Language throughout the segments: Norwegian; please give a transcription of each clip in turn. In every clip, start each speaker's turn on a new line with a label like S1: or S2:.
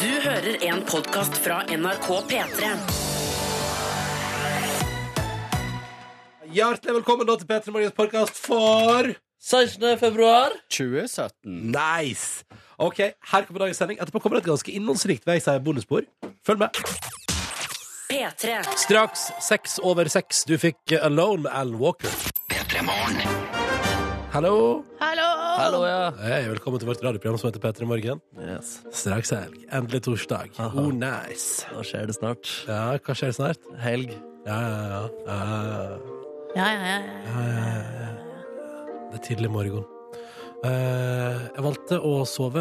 S1: Du hører en podcast fra NRK P3.
S2: Hjertelig velkommen da til Petter Morgens podkast for
S3: 16. februar.
S4: 2017.
S2: Nice! Ok, Her kommer dagens sending. Etterpå kommer det et ganske innholdsrikt vei, sier bonusspor. Følg med.
S1: P3.
S2: Straks seks over seks. Du fikk Alone Al Walker. Hallo.
S3: Hallo, ja.
S2: Hei, velkommen til vårt radioprogram som heter P3 Morgen.
S3: Yes,
S2: Straks helg. Endelig torsdag.
S3: Aha.
S2: Oh, nice.
S3: Nå skjer det snart.
S2: Ja, hva skjer snart?
S3: Helg.
S2: Ja, ja, ja. ja.
S5: Ja, ja, ja. ja.
S2: Det er tidlig morgen. Eh, jeg valgte å sove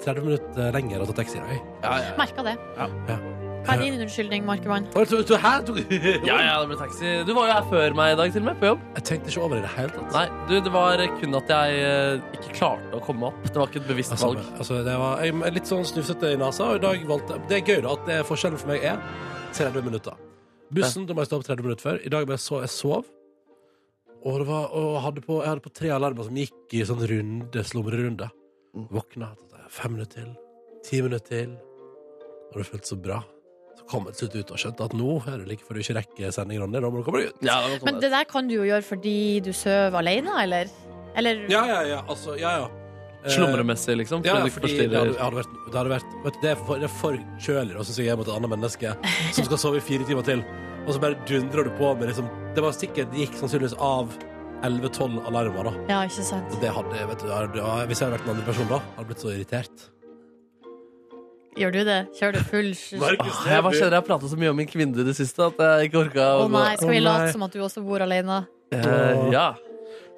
S2: 30 minutter lenger og ta taxi i dag.
S5: Merka det.
S2: Ja.
S5: Hva er din unnskyldning, Markemann?
S2: Oi, du- du- hæ? Du-
S3: Ja, ja, det ble taxi. Du var jo her før meg i dag, til og med, på jobb.
S2: Jeg tenkte ikke over det i det hele tatt.
S3: Nei, du, det var kun at jeg eh, ikke klarte å komme opp. Det var ikke et bevisst
S2: Altså,
S3: valg.
S2: altså, det var jeg er litt sånn snufsete i nesa, og i dag valgte Det er gøy, da, at det er forskjellen for meg er 30 minutter. Bussen da må jeg stå opp 30 minutter før. I dag bare så jeg sov. Og, det var, og hadde på, jeg hadde på tre alarmer som gikk i sånn runde, slumrerunde. Våkna tenkte jeg, fem minutter til, ti minutter til. Og det føltes så bra. Så kom jeg til slutt ut og skjønte at nå er det like før du ikke rekker sendingen. Ronny. Da må du komme deg ut.
S3: Ja, det var
S5: Men
S3: sånn det.
S5: det der kan du jo gjøre fordi du sover alene, eller? Eller
S2: Ja, ja, ja. Altså, ja, ja. Eh,
S3: Slumremessig, liksom.
S2: Ja,
S3: fordi du
S2: ja,
S3: ikke
S2: fordi det hadde,
S3: forstyrrer.
S2: det hadde vært, det, hadde vært vet du, det, er for, det er for kjølig å si hjemme til et annet menneske som skal sove i fire timer til, og så bare dundrer du på med liksom Det var sikkert, det gikk sannsynligvis av 11-12 alarmer, da.
S5: Ja, ikke sant?
S2: Og det hadde, vet du, det hadde, ja, Hvis jeg hadde vært en andre person da, hadde jeg blitt så irritert.
S5: Gjør du det? Kjører du full
S3: Åh, Jeg bare kjenner jeg har pratet så mye om min kvinne i det siste at jeg ikke orka
S5: Å
S3: å gå.
S5: nei, skal vi
S2: Å, nei.
S5: late som at du også bor alene?
S3: Eh, ja.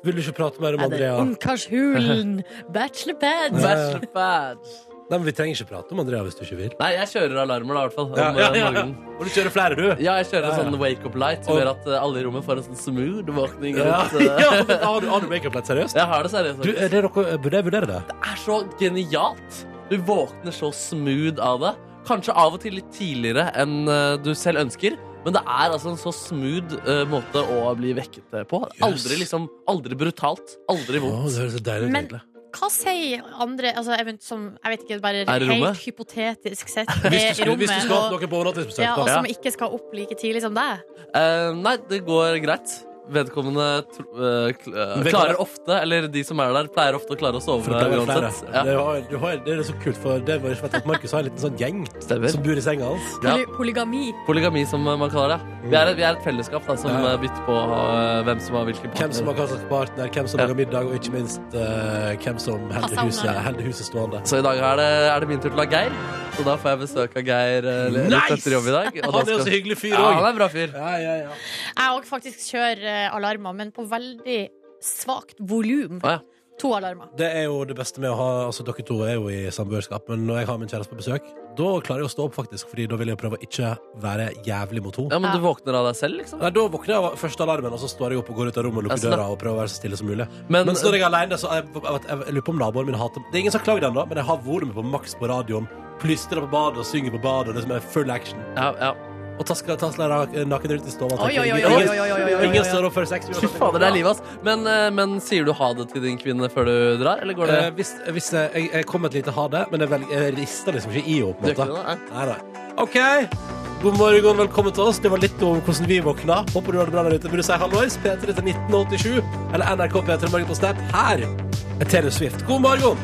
S2: Vil du ikke prate mer om
S5: Er det
S2: Andrea?
S5: Ungkarshulen? Bachelorpad?
S2: Nei.
S3: Bachelor pad.
S2: Nei, men Vi trenger ikke prate om Andrea hvis du ikke vil.
S3: Nei, jeg kjører alarmer, da, i hvert fall. Om,
S2: Ja, ja,
S3: eh,
S2: ja, ja.
S3: morgenen.
S2: Og du kjører flere, du?
S3: Ja, jeg kjører
S2: Ja, ja.
S3: en sånn wake-up light som
S2: Og-
S3: gjør at eh, alle i rommet får en sånn smooth våkning.
S2: Ja,
S3: rundt, eh.
S2: ja men Har du, har du makeup-lett, seriøst?
S3: Jeg har det seriøst.
S2: Du, er det noe, burde jeg vurdere det?
S3: er så genialt. Du våkner så smooth av det. Kanskje av og til litt tidligere enn eh, du selv ønsker, men det er altså en så smooth eh, måte å bli vekket eh, på. Aldri liksom, aldri brutalt, aldri
S2: Å,
S3: vondt.
S2: det høres så deilig ut,
S5: Men-
S2: egentlig.
S5: Hva sier andre altså, jeg, vet, som, jeg vet ikke, bare
S3: Er i rommet?
S5: helt hypotetisk sett
S2: Hvis du,
S5: er i
S2: skulle, hvis
S5: rommet,
S2: du skulle
S5: og,
S2: hatt noe på overnattingsbesøk,
S5: ja, og
S2: da.
S5: som ikke skal opp like tidlig som deg?
S3: Eh, nei, det går greit. Vedkommende tr- eh, kl- eh,
S2: Vedkommende-
S3: klarer ofte, eller de som er der, pleier ofte å klare å sove
S2: For det pleier å være
S5: Altså,
S3: uansett.
S2: flere.
S3: Ja.
S2: Det, var, det, var, det er så kult, for det var ikke at Markus har en liten sånn gjeng
S3: Stemmer.
S2: som bor i senga hans.
S3: Ja.
S5: Poly polygami?
S3: Polygami, som man kaller det. Vi er, et- vi er et fellesskap da, som
S2: Ja.
S3: eh, bytter på eh, hvem som har hvilken
S2: Hvem som har hva slags partner, hvem som
S3: Ja.
S2: lager middag, og ikke minst eh, hvem som holder
S5: Fasaner.
S2: huset, holder huset stående.
S3: Så i dag er det, er det min tur til å ha Geir. Så da får jeg besøk av Geir eh, litt
S2: Nice!
S3: etter jobb i dag. og da
S2: Han er jo
S3: skal-
S2: så hyggelig fyr
S3: Ja,
S2: òg.
S3: han er en bra fyr.
S2: Ja, ja, ja.
S5: Jeg òg faktisk kjører eh, alarmer, men på veldig svakt volum.
S3: Å, ja.
S5: To alarmer.
S2: Det er jo det beste med å ha Altså, dere to er jo i samboerskap, men når jeg har min kjæreste på besøk, da klarer jeg å stå opp, faktisk, Fordi da vil jeg prøve å ikke være jævlig mot henne.
S3: Ja, Men du våkner av deg selv, liksom?
S2: Nei, Da våkner jeg av første alarmen, og så står jeg opp og går ut av rommet og
S3: Ja,
S2: lukker
S3: sånn, ja.
S2: døra og prøver å være så stille som mulig.
S3: Men,
S2: Men står jeg alene, så jeg, jeg, vet- jeg, jeg lurer på om naboen min hater Det er ingen som har klagd ennå, men jeg har volumet på maks på radioen. Plystrer på badet og synger på badet. Og det som er full action.
S3: ja, ja.
S2: Og tasker tasler naken rundt i stua.
S5: Oi, oi, oi, oi,
S2: Ingen-
S5: oi, oi, oi, oi, oi.
S2: Ingen står opp før seks.
S3: Fy fader, det er livet, ass. Men, eh, men sier du ha det til din kvinne før du drar, eller går det
S2: Eh, hvis, hvis jeg, jeg, jeg kom et lite ha det, men jeg, velger, jeg rister liksom ikke i henne. på en
S3: Du gjør ikke
S2: måte.
S3: det,
S2: Nei, nei. OK. God morgen, velkommen til oss. Det var litt om hvordan vi våkna. Håper du har det bra der ute. Burde du si hallois? P3 til 1987 eller NRK P3 Morgen på Snap. Her er Taylor Swift. God morgen!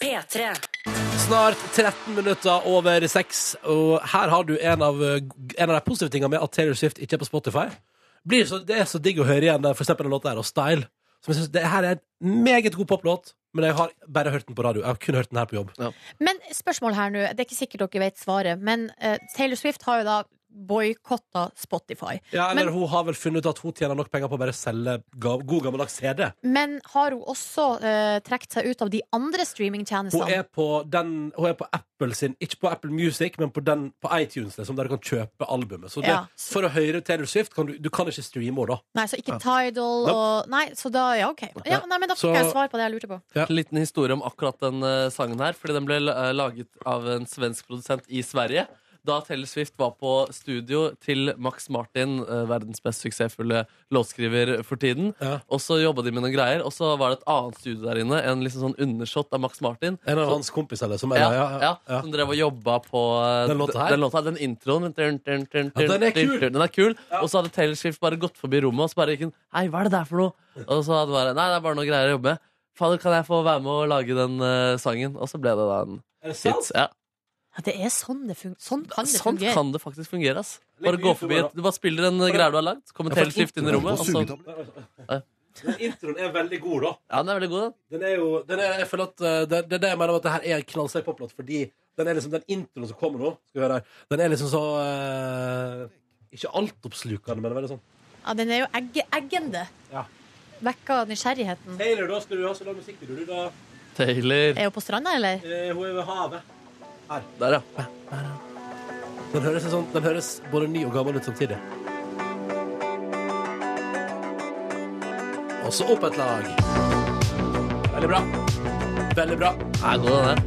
S1: P3.
S2: Snart 13 minutter over 6 Og her har du en av, en av de positive tingene med at Taylor Swift ikke er på Spotify Blir så, Det er så digg å høre igjen For eksempel den låten her, og Style Som jeg synes, det her er en meget god poplåt Men jeg har bare hørt den på radio Jeg har kun hørt den her på jobb
S5: Men spørsmål her nå. Det er ikke sikkert dere vet svaret, men eh, Taylor Swift har jo da boikotta Spotify.
S2: Ja, eller
S5: Men-
S2: hun har vel funnet ut at hun tjener nok penger på å bare selge ga, god gammeldags CD
S5: Men har hun også uh, trukket seg ut av de andre
S2: Hun
S5: streamingtjenestene?
S2: er på, den, hun er på Apple sin Ikke på Apple Music, men på, den, på iTunes liksom, Der du kan kjøpe albumet Så det,
S5: Ja.
S2: for å høre Taylor Swift kan du, du kan ikke streame henne da
S5: Nei, så ikke Tidal og Nei, så da Ja, OK. Ja, nei, men da
S2: Så-
S5: fikk jeg svar på det jeg lurte på.
S2: Ja.
S3: En liten historie om akkurat den eh, sangen her. Fordi den ble eh, laget av en svensk produsent i Sverige. da Taylor Swift var på studio til Max Martin, eh, verdens best suksessfulle låtskriver for tiden.
S2: Ja.
S3: Og så jobba de med noen greier, og så var det et annet studio der inne. En liksom sånn undershot av Max Martin.
S2: En av hans kompiser, liksom. eller? Som er,
S3: Ja,
S2: ja,
S3: ja, Som drev og jobba på eh,
S2: Den låta her?
S3: Den, låta, den introen. Dun, dun, dun,
S2: Ja, den er
S3: dun,
S2: kul.
S3: dun, Den er kul. Og så hadde Taylor Swift bare gått forbi rommet og så bare gikk hun, Hei, hva er det der for noe? Og så hadde hun bare Nei, det er bare noen greier å jobbe med. Fader, kan jeg få være med og lage den eh, sangen? Og så ble det da en
S2: Er det sant?
S3: hit. Ja.
S5: Ja, det er sånn det fungerer. Sånn kan det
S3: Sånn
S5: fungere.
S3: kan det faktisk fungere. ass Bare
S2: Litt
S3: gå forbi
S2: YouTuber,
S3: et- Du bare spiller en eh, greie du har lagd, så
S2: Ja,
S3: kommer
S2: for
S3: Taylor Swift inn i rommet. Og så,
S2: Men Introen er veldig god, da.
S3: ja, den er veldig god, den.
S2: Den er jo, den er, jeg føler at eh, det, det er det jeg mener med at det her er en knallsterk poplåt, fordi den er liksom den introen som kommer nå, skal vi høre her, den er liksom så eh, Ikke altoppslukende, men veldig sånn
S5: Ja, den er jo egge, eggende.
S2: Ja.
S5: Vekka nysgjerrigheten.
S2: Taylor, da skal du ha så lang musikk, du, da.
S3: Taylor.
S5: Er hun på stranda, eller?
S2: hun er ved havet.
S3: Der, ja.
S2: Den høres, en sånn, den høres både ny og gammel ut samtidig. Og så opp et lag. Veldig bra. Veldig bra.
S3: Er god, den der.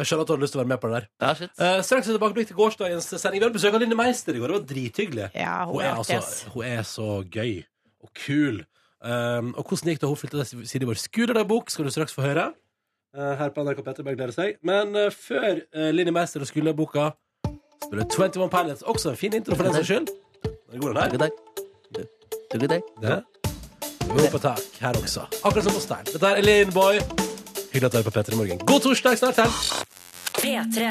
S2: Jeg skjønner at du har lyst til å være med på det der.
S3: Ja, shit.
S2: Eh, straks et tilbakeblikk til gårsdagens sending. Vi hadde besøk av Linne Meister i går. Det var drithyggelig.
S5: Ja,
S2: Hun er, altså, hun er så gøy og kul.
S3: Ehm,
S2: Um, og hvordan gikk det? Hun fylte det siden i vår skolebok, skal du straks få høre. Eh, her på NRK Petter, bare gleder seg. Men eh, før uh, Linni Meister og skoleboka spiller 21 Pilots. Også en fin intro, for den saks skyld. Den er god, den her.
S3: God dag. God dag.
S2: Det. Gå på tak her også. Akkurat som hos Stein. Dette er Elin Boy. Hyggelig at du hører på Petter i morgen. God torsdag, snart helg.
S1: P3.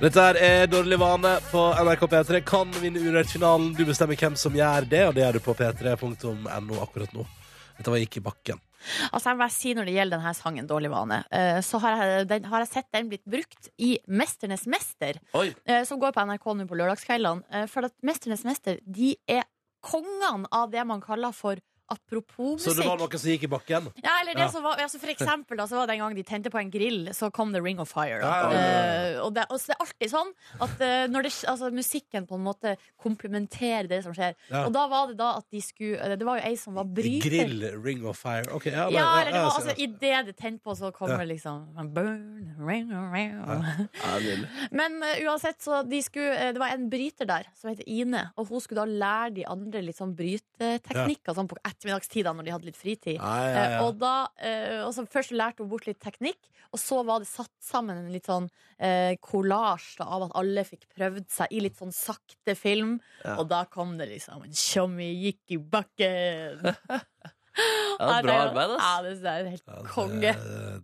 S2: Dette her er Dårlig vane på NRK P3. Kan vinne Urørt-finalen. Du bestemmer hvem som gjør det, og det gjør du på p3.no akkurat nå. Dette var gikk i bakken.
S5: Altså, jeg må bare si når det gjelder denne sangen, 'Dårlig vane', eh, så har jeg, den, har jeg sett den blitt brukt i 'Mesternes mester',
S3: Oi.
S5: eh, som går på NRK nå på lørdagskveldene. Eh, For at 'Mesternes mester' de er kongene av det man kaller for
S2: Så det var
S5: apropos-musikk.
S2: noen som gikk i bakken?
S5: Ja, eller det
S2: Ja.
S5: som var, altså for eksempel, da, så var det en gang de tente på en grill, så kom The Ring of Fire.
S2: Ja, ja, ja,
S5: Eh, og, det, og så det er alltid sånn at eh, når det, altså, musikken på en måte komplementerer det som skjer.
S2: Ja.
S5: Og da var det da at de skulle eh, Det var jo ei som var bryter.
S2: Grill, ring of fire. Ok, ja, men-
S5: Ja, eller det
S2: ja,
S5: var
S2: jeg ser
S5: altså
S2: det.
S5: idet det tente på, så kommer
S2: Ja.
S5: det liksom Burn, ring, ring.
S3: Ja, nydelig.
S5: Men eh, uansett, så de skulle, eh, det var en bryter der som heter Ine, og hun skulle da lære de andre litt sånn bryteteknikker sånn på ettermiddagstida når de hadde litt fritid.
S2: ja, ja,
S5: Eh,
S2: ja.
S5: Og da, eh, og så først lærte hun bort litt teknikk, og så var det satt sammen en litt sånn kollasj av at alle fikk prøvd seg i litt sånn sakte film.
S3: Ja.
S5: Og da kom det liksom en tjommi gikk i bakken.
S3: Ja, bra arbeid,
S5: Ja,
S3: ass.
S5: det synes jeg er
S2: Ja,
S5: helt
S2: det-
S5: konge.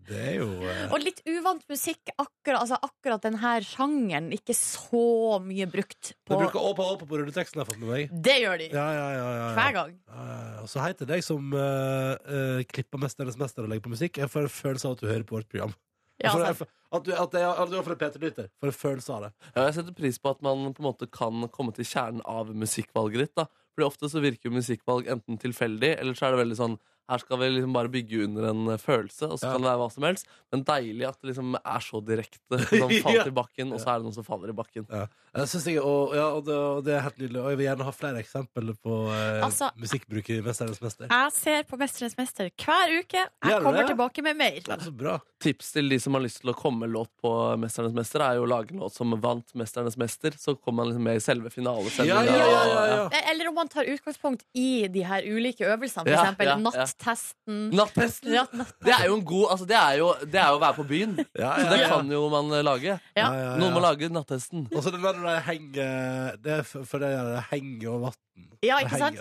S2: Det er jo eh,
S5: Og litt uvant musikk. Akkurat, altså akkurat denne sjangeren ikke så mye brukt
S2: Det
S5: på
S2: bruker åpa åpa på rulleteksten jeg har fått med meg.
S5: Det gjør de!
S2: Ja, ja, ja, ja, ja.
S5: Hver gang.
S2: Ja, ja, ja. Og så hei til deg som eh, eh, klipper 'Mesternes mester' og legger på musikk. Jeg får en følelse av at du hører på vårt program.
S5: Ja, altså.
S2: Jeg får- jeg
S5: sant.
S2: får- Altså, at du, at jeg, at du er for en Peter-lytter. For en følelse av det.
S3: Ja, jeg setter pris på at man på en måte kan komme til kjernen av musikkvalget ditt. da Fordi ofte så virker jo musikkvalg enten tilfeldig, eller så er det veldig sånn her skal vi liksom bare bygge under en eh, følelse, og så
S2: Ja.
S3: kan det være hva som helst. Men deilig at det liksom er så direkte. Sånn,
S2: Ja.
S3: falt i bakken, og så er det noen som faller i bakken.
S2: Ja. Jeg synes jeg, og, ja, og, det, og det er helt nydelig. Og jeg vil gjerne ha flere eksempler på eh,
S5: Altså-
S2: musikkbruk i 'Mesternes mester'.
S5: Jeg ser på 'Mesternes mester' hver uke.
S2: Gjør
S5: Jeg
S2: du
S5: kommer
S2: det?
S5: tilbake med
S2: Det
S5: mer.
S2: er så bra.
S3: Tips til de som har lyst til å komme med låt på Mesternes mester, er jo å lage en låt som vant Mesternes mester. Så kommer man liksom med i selve
S2: Ja,
S3: finalesendinga.
S2: ja, ja, ja,
S3: og-
S2: ja.
S5: Eh, Eller om man tar utgangspunkt i de her ulike øvelsene,
S3: Ja,
S5: f.eks.
S3: ja, ja.
S5: nattesten.
S3: Nattesten!
S5: Ja, natt-
S3: Det er jo en god altså, det, er jo, det er jo å være på byen.
S2: Ja,
S3: Så
S2: ja,
S3: det
S2: ja.
S3: kan jo man eh, lage.
S5: Ja.
S2: Ja, ja, ja.
S3: Noen må lage nattesten.
S2: Og så det der når de henger Det er for for det gjør det henger over vann.
S5: Ja, ikke sant?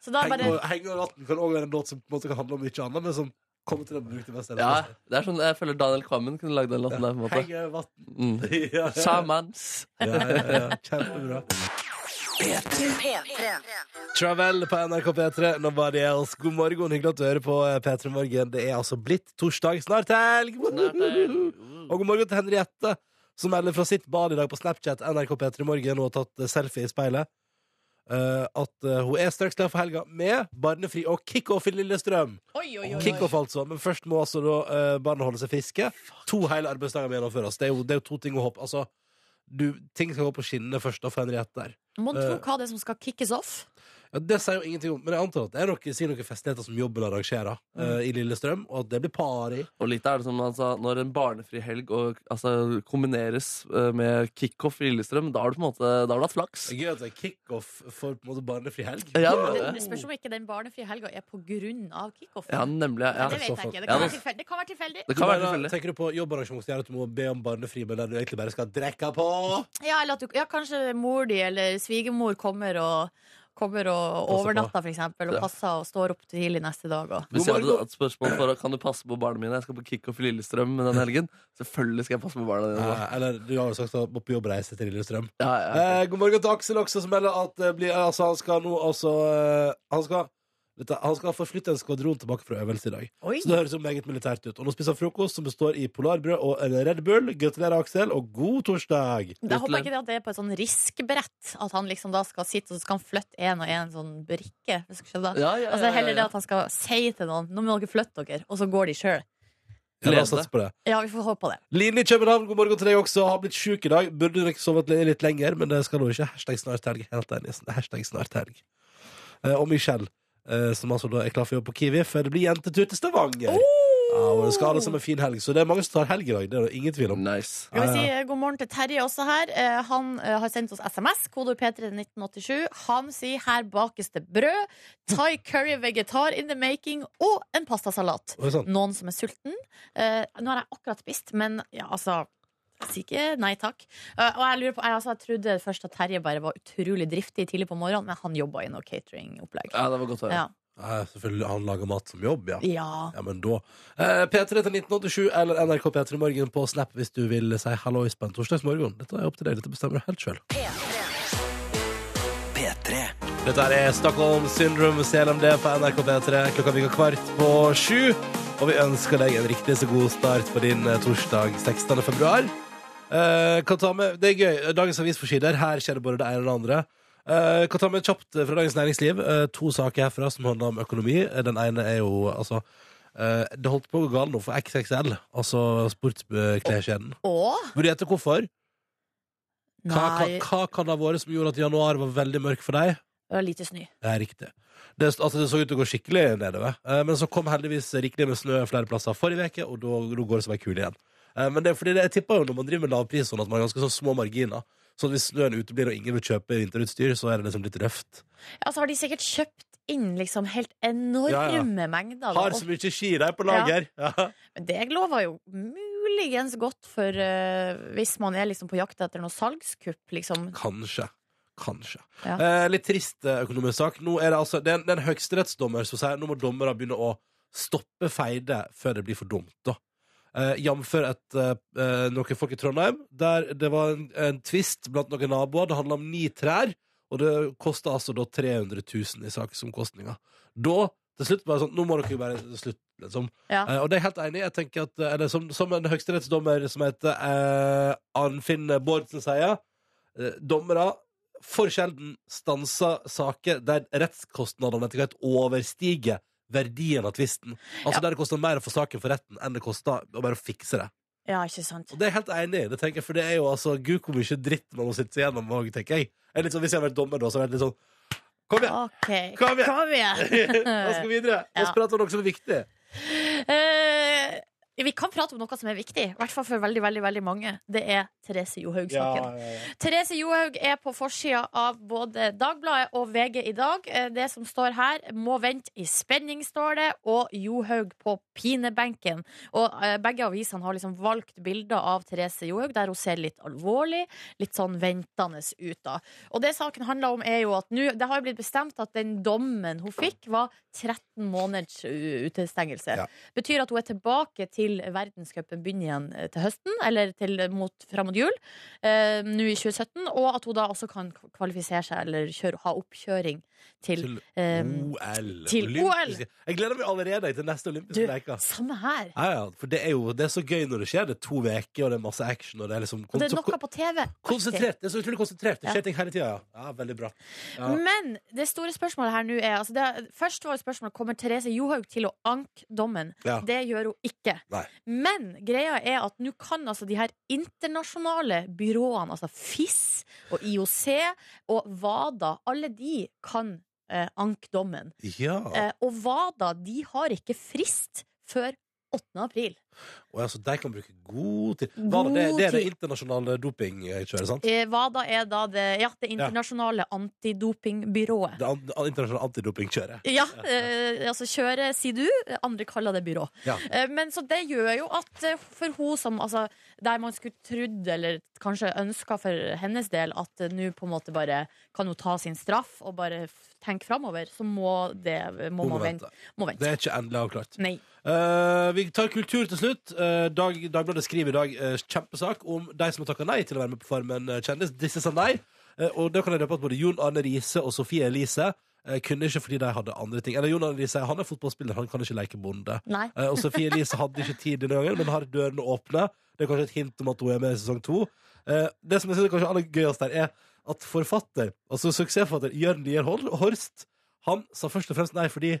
S5: Så da er
S2: Henge
S5: bare
S2: over, henge over vann kan òg være en låt som på en måte kan handle om mye annet, men som kommer til å bruke det mest.
S3: Ja, det er sånn, Jeg føler Daniel Kvammen kunne lagd den låten der. på en måte
S2: Henge over vann.
S3: mm.
S2: Ja, ja,
S3: Shamans.
S2: ja, ja. Kjempebra.
S1: P3.
S2: Travel på NRK P3. Nobody else. God morgen, hyggelig at du hører på eh, P3 Morgen. Det er altså blitt torsdag. Snart helg!
S3: Snart helg.
S2: Og god morgen til Henriette, som melder fra sitt bad i dag på Snapchat NRK P3 Morgen og har tatt eh, selfie i speilet. eh, at eh, hun er straks klar for helga med barnefri og kickoff i Lillestrøm.
S5: Oi, oi, oi, oi.
S2: Kickoff, altså. Men først må altså da eh, barna holde seg friske. To hele arbeidsdager må gjennomføres. Det er jo, det er jo to ting å håpe. Altså, du, ting skal gå på skinnene først da for Henriette der. Eh,
S5: Mon tro hva det er som skal kickes off?
S2: Ja, det sier jo ingenting om, men jeg antar at det er noe, sier noen festligheter som jobben arrangerer
S5: Mm.
S2: eh, i Lillestrøm, og at det blir party.
S3: Og litt er det som han sa, når en barnefri helg og, altså, kombineres eh, med kickoff i Lillestrøm, da har du på en måte da har du hatt flaks.
S2: Det er Gøy at det er kickoff for på en måte barnefri helg.
S3: Ja,
S5: Det,
S3: men-
S5: det spørs om ikke den barnefrie helga er på grunn av kickoffen.
S3: ja nemlig. Ja.
S5: det vet jeg ikke. Det
S3: Ja,
S5: kan,
S3: det-
S5: være tilfeldig. det kan være tilfeldig.
S3: Det kan være
S2: Du mener,
S3: tilfeldig.
S2: Tenker du på jobbarrangement som gjør at du må be om barnefri, men der du egentlig bare skal drikke på?
S5: Ja, eller at du, ja, kanskje mor di eller svigermor kommer og, kommer og
S2: på.
S5: overnatter, for eksempel, og
S3: Ja.
S5: passer og står opp tidlig neste dag. Og.
S3: Hvis
S2: God
S3: jeg hadde
S2: morgen.
S3: hatt spørsmål for Kan du passe på barna mine, jeg skal på kickoff i Lillestrøm den helgen, selvfølgelig skal jeg passe på barna dine. da.
S2: Eh, eller du har jo sagt at du må på jobbreise til Lillestrøm.
S3: Ja, ja.
S2: Eh, god morgen til Aksel også, som melder at det blir, altså, han skal nå altså eh, han, skal, vet du, han skal forflytte en skvadron tilbake fra øvelse i dag.
S5: Oi.
S2: Så det høres jo meget militært ut. Og nå spiser han frokost som består i polarbrød og en Red Bull. Gratulerer, Aksel, og god torsdag!
S5: Jeg håper ikke det at det er på et sånn riskbrett, at han liksom da skal sitte og så skal han flytte en og en sånn brikke. Hvis du skjønner.
S3: Ja, ja, ja,
S5: Altså,
S3: ja,
S5: heller det
S3: ja.
S5: at han skal si til noen Nå må dere flytte dere, og så går de sjøl.
S2: Ja, la oss
S3: Glede.
S2: satse på det.
S5: Ja, vi får håpe på det.
S2: Line i København, god morgen til deg også. Har blitt sjuk i dag. Burde nok sovet li- litt lenger, men det skal nå ikke. Hashtag snart helg. Helt enig. Hashtag snart helg. Eh, Og Michelle, eh, som altså da er klar for jobb på Kiwi, for det blir jentetur til Stavanger.
S3: Oh!
S2: Ja, og det skal alle sammen en fin helg, så det er mange som tar helg i dag. Det er det ingen tvil om.
S3: Nice.
S5: Skal vi si eh, god morgen til Terje også her. Eh, Han eh, har sendt oss SMS, kodeord P3 til 1987. Han sier 'her bakes det brød', Thai curry vegetar in the making og en pastasalat.
S2: Oi, sant.
S5: Noen som er sulten. Eh, Nå har jeg akkurat spist, men ja, altså jeg sier ikke nei takk. Eh, og jeg lurer på, jeg, altså, jeg trodde først at Terje bare var utrolig driftig tidlig på morgenen, men han jobba i noe cateringopplegg.
S3: Ja, det var godt å høre.
S5: Ja.
S2: Ja, selvfølgelig, han lager mat som jobb, ja.
S5: ja.
S2: Ja, men da. Eh, P3 til 1987 eller NRK P3 Morgen på Snap hvis du vil si hallois på en torsdagsmorgen. Dette er opp til deg. Dette bestemmer du helt sjøl. Dette her er Stockholm Syndrome CLMD på NRK P3. Klokka virker kvart på sju. Og vi ønsker deg en riktig så god start på din eh, torsdag 16. februar. Eh, kan ta med, det er gøy. eh, Dagens avisforsider. Her skjer det både det ene og det andre. Eh, kan ta med kjapt fra Dagens Næringsliv. Eh, to saker herfra som handler om økonomi. Eh, Den ene er jo altså eh, Det holdt på å gå galt nå for XXL, altså sportskleskjeden.
S5: Og
S2: Vil du gjette hvorfor? Hva, hva,
S5: Nei,
S2: hva kan det ha vært som gjorde at januar var veldig mørk for deg?
S5: det var lite snø.
S2: Det er riktig. Det, altså, det så ut til å gå skikkelig nedover. Eh, Men så kom heldigvis rikelig med snø flere plasser forrige uke, og da da går det som ei kule igjen. Eh, Men det er fordi det, jeg tipper jo når man driver med lavprissone, at man har ganske sånn små marginer. Så hvis snøen uteblir og ingen vil kjøpe vinterutstyr, så er det liksom litt røft.
S5: Altså har de sikkert kjøpt inn liksom helt enorme
S2: Ja, ja.
S5: mengder. Da.
S2: Har så mye ski der på lager! Ja.
S5: Og det lover jo muligens godt for eh, hvis man er liksom på jakt etter noe salgskupp, liksom.
S2: Kanskje. Kanskje.
S5: Ja.
S2: Eh, litt trist eh, økonomisk sak. Nå er det altså det er en, det er en høyesterettsdommer som sier nå må dommere begynne å stoppe feide før det blir for dumt. da. Eh, Jf. Eh, eh, noen folk i Trondheim der det var en, en tvist blant noen naboer. Det handla om ni trær, og det kosta altså da 300 000 i saksomkostninger. Da til slutt bare sånn Nå må dere jo bare slutte, liksom.
S5: Ja.
S2: Eh, og det er jeg helt enig i. Jeg tenker at, eh, eller som, som en høyesterettsdommer som heter eh, Arnfinn Bårdsen sier, eh, dommere for sjelden stanser saker der rettskostnadene etter hvert overstiger verdien av tvisten. Altså
S5: Ja.
S2: der det koster mer å få saken for retten enn det koster å bare fikse det.
S5: Ja, ikke sant?
S2: Og det er jeg helt enig i, det tenker jeg, for det er jo altså gud hvor mye dritt man må sitte igjennom òg, tenker jeg. Det er litt sånn, hvis jeg hadde vært dommer da, så hadde jeg vært litt sånn Kom igjen!
S5: OK.
S2: Kom igjen!
S5: Kom igjen!
S2: Nå skal vi videre. La oss
S5: Ja.
S2: prate om noe som er viktig.
S5: Eh, vi kan prate om noe som er viktig, i hvert fall for veldig veldig, veldig mange. Det er Therese Johaug-saken. Therese Johaug er på forsida av både Dagbladet og VG i dag. Eh, Det som står her, må vente i spenning, står det, og Johaug på pinebenken. Og eh, begge avisene har liksom valgt bilder av Therese Johaug der hun ser litt alvorlig, litt sånn ventende ut, da. Og det saken handler om, er jo at nå Det har jo blitt bestemt at den dommen hun fikk, var 13 måneders u- utestengelse.
S2: Ja.
S5: Betyr at hun er tilbake til verdenscupen begynner igjen eh, til høsten, eller til, mot, fram mot jul eh, nå i 2017, og at hun da også kan k- kvalifisere seg eller kjøre, ha oppkjøring til,
S2: Til
S5: eh,
S2: OL.
S5: til
S2: Olympiske- Jeg gleder meg allerede til
S5: Du,
S2: neste olympiske leker.
S5: samme her.
S2: Ja, ja, for det er jo det er så gøy når det skjer. Det er to uker, og det er masse action. Og det er liksom
S5: Og det er
S2: så
S5: noe på TV. alltid.
S2: konsentrert. Det er så utrolig konsentrert. Det
S5: Ja.
S2: skjer ting hele tida, ja. ja. Veldig bra. Ja.
S5: Men det store spørsmålet her nå er altså det, Først var det spørsmålet Kommer Therese Johaug til å anke dommen.
S2: Ja.
S5: Det gjør hun ikke.
S2: Nei.
S5: Men greia er at nå kan altså de her internasjonale byråene, altså FIS og IOC og WADA, alle de kan eh, ankedommen.
S2: Ja.
S5: Eh, og WADA de har ikke frist før 8. april.
S2: Og altså, de kan bruke god tid. Var det, det, det er det internasjonale dopingkjøret, sant?
S5: Eh, WADA er da det, ja, det internasjonale antidopingbyrået.
S2: Det an- internasjonale antidopingkjøret.
S5: Ja, eh, altså kjøre, sier du. Andre kaller det byrå.
S2: Ja.
S5: Eh, men så det gjør jo at eh, for hun som altså, Der man skulle trodd, eller kanskje ønska for hennes del, at eh, nå på en måte bare kan hun ta sin straff og bare f- tenke framover, så må det må
S2: Hun må
S5: man vente.
S2: vente.
S5: Må vente.
S2: Det er ikke endelig avklart.
S5: Nei.
S2: Eh, vi tar kultur til slutt. Eh, Dag, Dagbladet skriver i dag eh, kjempesak om de som har takka nei til å være med på Farmen eh, kjendis. Disse sa nei. Eh, og da kan jeg røpe at både Jon Arne Riise og Sofie Elise eh, kunne ikke fordi de hadde andre ting. Eller Jon Arne Riise han er fotballspiller, han kan ikke leke bonde.
S5: Nei.
S2: Eh, og Sofie Elise hadde ikke tid denne gangen, men har dørene åpne. Det er kanskje et hint om at hun er med i sesong to. Eh, det som jeg synes er kanskje aller gøyest der, er at forfatter, altså suksessforfatter Jørn Lier Hol- Horst, han sa først og fremst nei fordi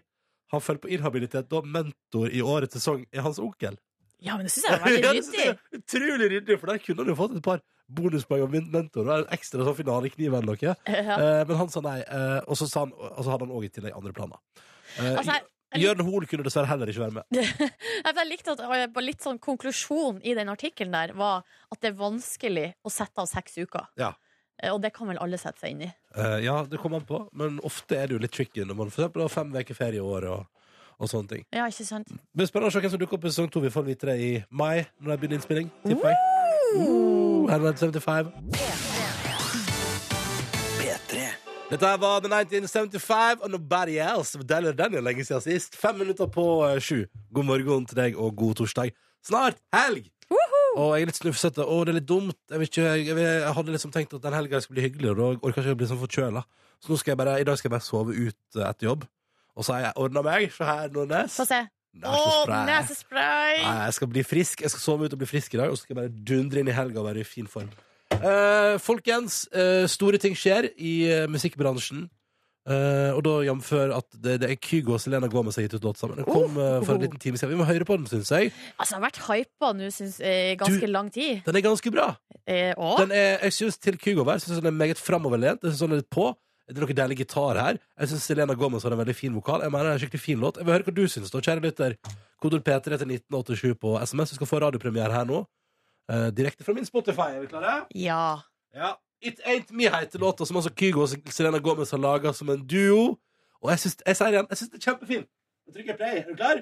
S2: han følger på inhabilitet da mentor i årets sesong er hans onkel.
S5: Ja, men det syns jeg var veldig
S2: Ja, det synes
S5: nyttig.
S2: jeg er Utrolig ryddig, for der kunne han jo fått et par bonuspoeng av min mentor. Og en ekstra sånn finalekniv eller noe.
S5: Ja.
S2: Eh, men han sa nei, eh, og så sa han, og så hadde han òg i tillegg andre planer. Eh,
S5: Altså, jeg,
S2: Jørn Hoel kunne dessverre heller ikke være med.
S5: jeg, jeg likte at eh, bare litt sånn konklusjonen i den artikkelen der var at det er vanskelig å sette av seks uker.
S2: Ja.
S5: Eh, Og det kan vel alle sette seg inn i.
S2: Eh, ja, det kommer an på, men ofte er det jo litt tricky når man for eksempel har fem uker ferie i året og, og sånne ting.
S5: Ja, ikke sant?
S2: Det blir spennende å se hvem som dukker opp i sesong to. Vi får vite det i mai, når det begynner innspilling. Tipper jeg. Uh, 1975. Dette her var The 1975 og Nobody Else. Deilig den er lenge siden sist. Fem minutter på eh, sju. God morgen til deg, og god torsdag. Snart helg! Og jeg er litt snufsete, og det er litt dumt. Jeg, vet ikke, jeg, jeg, jeg hadde liksom tenkt at den helga skulle bli hyggelig, og da orker jeg ikke å bli sånn forkjøla. Så nå skal jeg bare, i dag skal jeg bare sove ut eh, etter jobb. Og så har jeg ordna meg. Se her, Nordnes.
S5: Få se. Å,
S2: Det er så sprø.
S5: nesespray!
S2: Nei, jeg skal bli frisk. Jeg skal sove ut og bli frisk i dag, og så skal jeg bare dundre inn i helga og være i fin form. Eh, folkens, eh, store ting skjer i eh, musikkbransjen. Eh, og da jamfør at det, det er Kygo og Selena Gomez har gitt ut låt sammen. Den kom eh, for en liten time siden. Vi må høre på den, syns jeg.
S5: Altså, jeg har vært hypa nå syns- i ganske
S2: Du-
S5: lang tid.
S2: Den er ganske bra.
S5: Eh, og
S2: Den er, jeg synes til Kygo-vær synes jeg den er meget framoverlent. Jeg synes den er litt på. Det er noe deilig gitar her. Jeg synes Selena Gomez har en veldig fin vokal. Jeg mener det er en skikkelig fin låt. Jeg vil høre hva du synes da, kjære lytter. Kodord P3 til 1987 på SMS. Du skal få radiopremiere her nå. Eh, direkte fra min Spotify. Er vi klare?
S5: ja.
S2: Ja. It Ain't Me heter låta som altså Kygo og Selena Gomez har laga som en duo. Og jeg synes, jeg sier det igjen, jeg synes det er kjempefin. Jeg trykker play. Er du klar?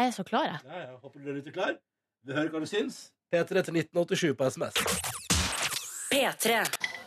S5: Jeg er så klar, jeg.
S2: Ja, ja. Håper du er ute klar. Vi hører hva du syns. P3 til 1987 på SMS.
S1: P3.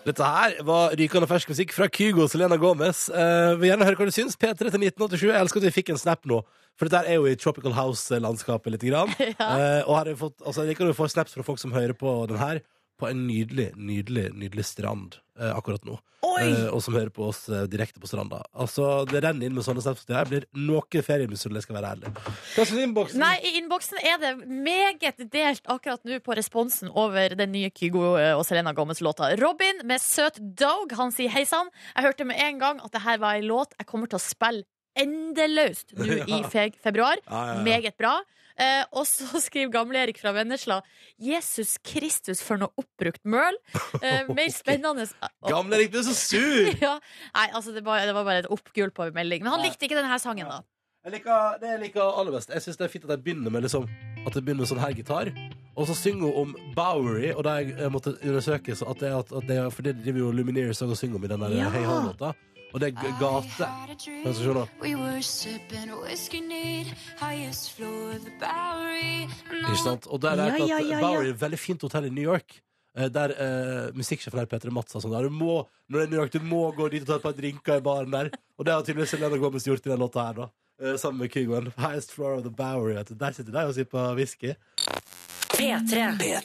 S2: Dette her var rykende fersk musikk fra Kygo og Selena Gomez. Eh, vil gjerne høre hva du syns. P3 til 1987. Jeg elsker at vi fikk en snap nå. For dette her er jo i Tropical House-landskapet lite grann. Eh, og her har vi fått, altså, jeg liker at vi får snaps fra folk som hører på den her på en nydelig, nydelig, nydelig strand eh, akkurat nå. Eh, og som hører på oss eh, direkte på stranda. Altså, Det renner inn med sånne snaps. Det her blir noe feriemisunnelig, skal jeg være ærlig. Hva slags innboks?
S5: Nei, i innboksen er det meget delt akkurat nå på responsen over den nye Kygo eh, og Selena Gomez-låta. Robin med 'Søt Dog', han sier hei sann. Jeg hørte med en gang at det her var ei låt jeg kommer til å spille endeløst nå i fe februar.
S2: Ja, ja, ja.
S5: Meget bra. Eh, og så skriver Gamle-Erik fra Vennesla 'Jesus Kristus, for noe oppbrukt møl'. Eh, mer spennende
S2: Gamle Erik, du er så sur!
S5: ja. Nei, altså det var, det var bare et oppgulp på en melding. Men han likte ikke denne sangen, da.
S2: Jeg liker, det jeg liker aller best. Jeg synes det er fint at jeg begynner med liksom, At jeg begynner med sånn her gitar. Og så synger hun om Bowery, og da jeg, jeg måtte undersøke så at det, er at, at det, er- For det driver jo Lumineers og synger om i den der
S5: Ja.
S2: Hey Ho-låta. Og det er g- gate. Men så skjønner du.
S1: Mm.
S2: Ikke sant? Og der er
S5: Ja,
S2: det
S5: ja, ja,
S2: at
S5: ja.
S2: Bowery er et veldig fint hotell i New York. eh, Der eh, musikksjefen her, Peter Mats, sa sånn der, du må, Når det er New York, du må gå dit og ta et par drinker i baren der. Og det har tydeligvis Selena Gomez gjort i den låta her, da. Eh, Sammen med Kygoen. Highest floor of the Bowery. vet du. Der sitter de og sipper whisky.
S1: P3.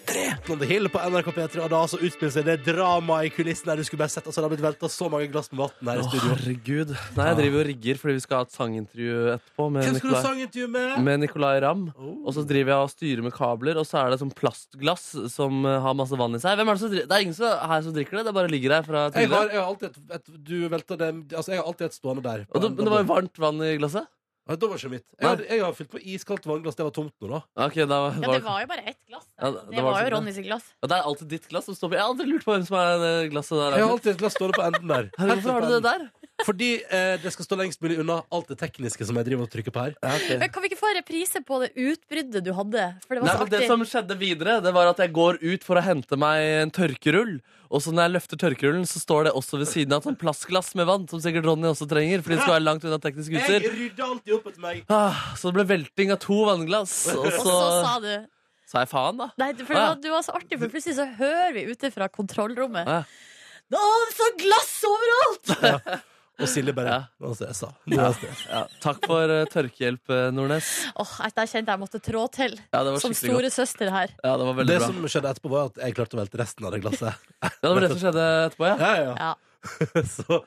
S2: Captain on the Hill på NRK P3, og da altså utspiller seg det dramaet i kulissen der du skulle bare sett. Altså, det har blitt velta så mange glass med vann her i
S3: Å,
S2: studio.
S3: herregud. Nei, jeg driver og rigger fordi vi skal ha et sangintervju etterpå med
S2: Ah. Hvem skulle du
S3: Nicolay,
S2: sangintervju med?
S3: med Nicolay Ramm.
S2: Oh.
S3: Og så driver jeg og styrer med kabler, og så er det sånn plastglass som eh, har masse vann i seg. Hvem er det, som dri- det er ingen som, her som drikker det, det bare ligger der fra
S2: Jeg har,
S3: tidligere.
S2: jeg har alltid et, et Du velta det Altså, jeg har alltid et stående der.
S3: Og det, men det var jo varmt vann i glasset.
S2: Nei, da var det ikke mitt. Jeg,
S3: Nei.
S2: hadde, jeg har fylt på iskaldt vannglass. Det var tomt nå, da.
S3: Ok, da var,
S5: Ja, det var jo bare ett glass.
S3: Ja,
S5: det,
S3: det
S5: var,
S3: var sånn,
S5: jo
S3: ja.
S5: Ronny sitt glass.
S3: Ja, det er alltid ditt glass som står på. Jeg har aldri lurt på hvem som er det glasset der.
S2: Jeg har alltid et glass stående på enden der.
S3: Herregud, Hvorfor har du det der?
S2: Fordi eh, det skal stå lengst mulig unna alt det tekniske som jeg driver og trykker på her.
S5: Men Kan vi ikke få en reprise på det utbruddet du hadde? For det var
S3: Nei,
S5: så
S3: men det
S5: artig.
S3: som skjedde videre, det var at jeg går ut for å hente meg en tørkerull. Og så når jeg løfter tørkerullen, så står det også ved siden av et sånt plastglass med vann, som sikkert Ronny også trenger, fordi det skal være langt unna teknisk utstyr.
S2: rydder alltid opp etter meg.
S3: Ah, så det ble velting av to vannglass. Og
S5: Og
S3: så
S5: så sa du
S3: sa jeg faen, da.
S5: Nei, for det var, det var så artig, for plutselig så hører vi ute fra kontrollrommet
S3: Ja.
S5: Nå er det så glass overalt!
S2: Og Silje bare
S3: Ja.
S2: Det var det jeg sa. Det var det jeg sa.
S3: Ja, takk for eh, tørkehjelp, eh, Nordnes.
S5: Åh, Der kjente jeg måtte trå til,
S3: Ja, det var
S5: som
S3: skikkelig godt.
S5: store søster her.
S3: Ja, det var veldig
S2: Det
S3: bra.
S2: som skjedde etterpå, var at jeg klarte å velte resten av det glasset.
S3: Ja, det var det som skjedde etterpå, ja.
S2: Ja, ja, ja.
S5: Ja.
S2: Så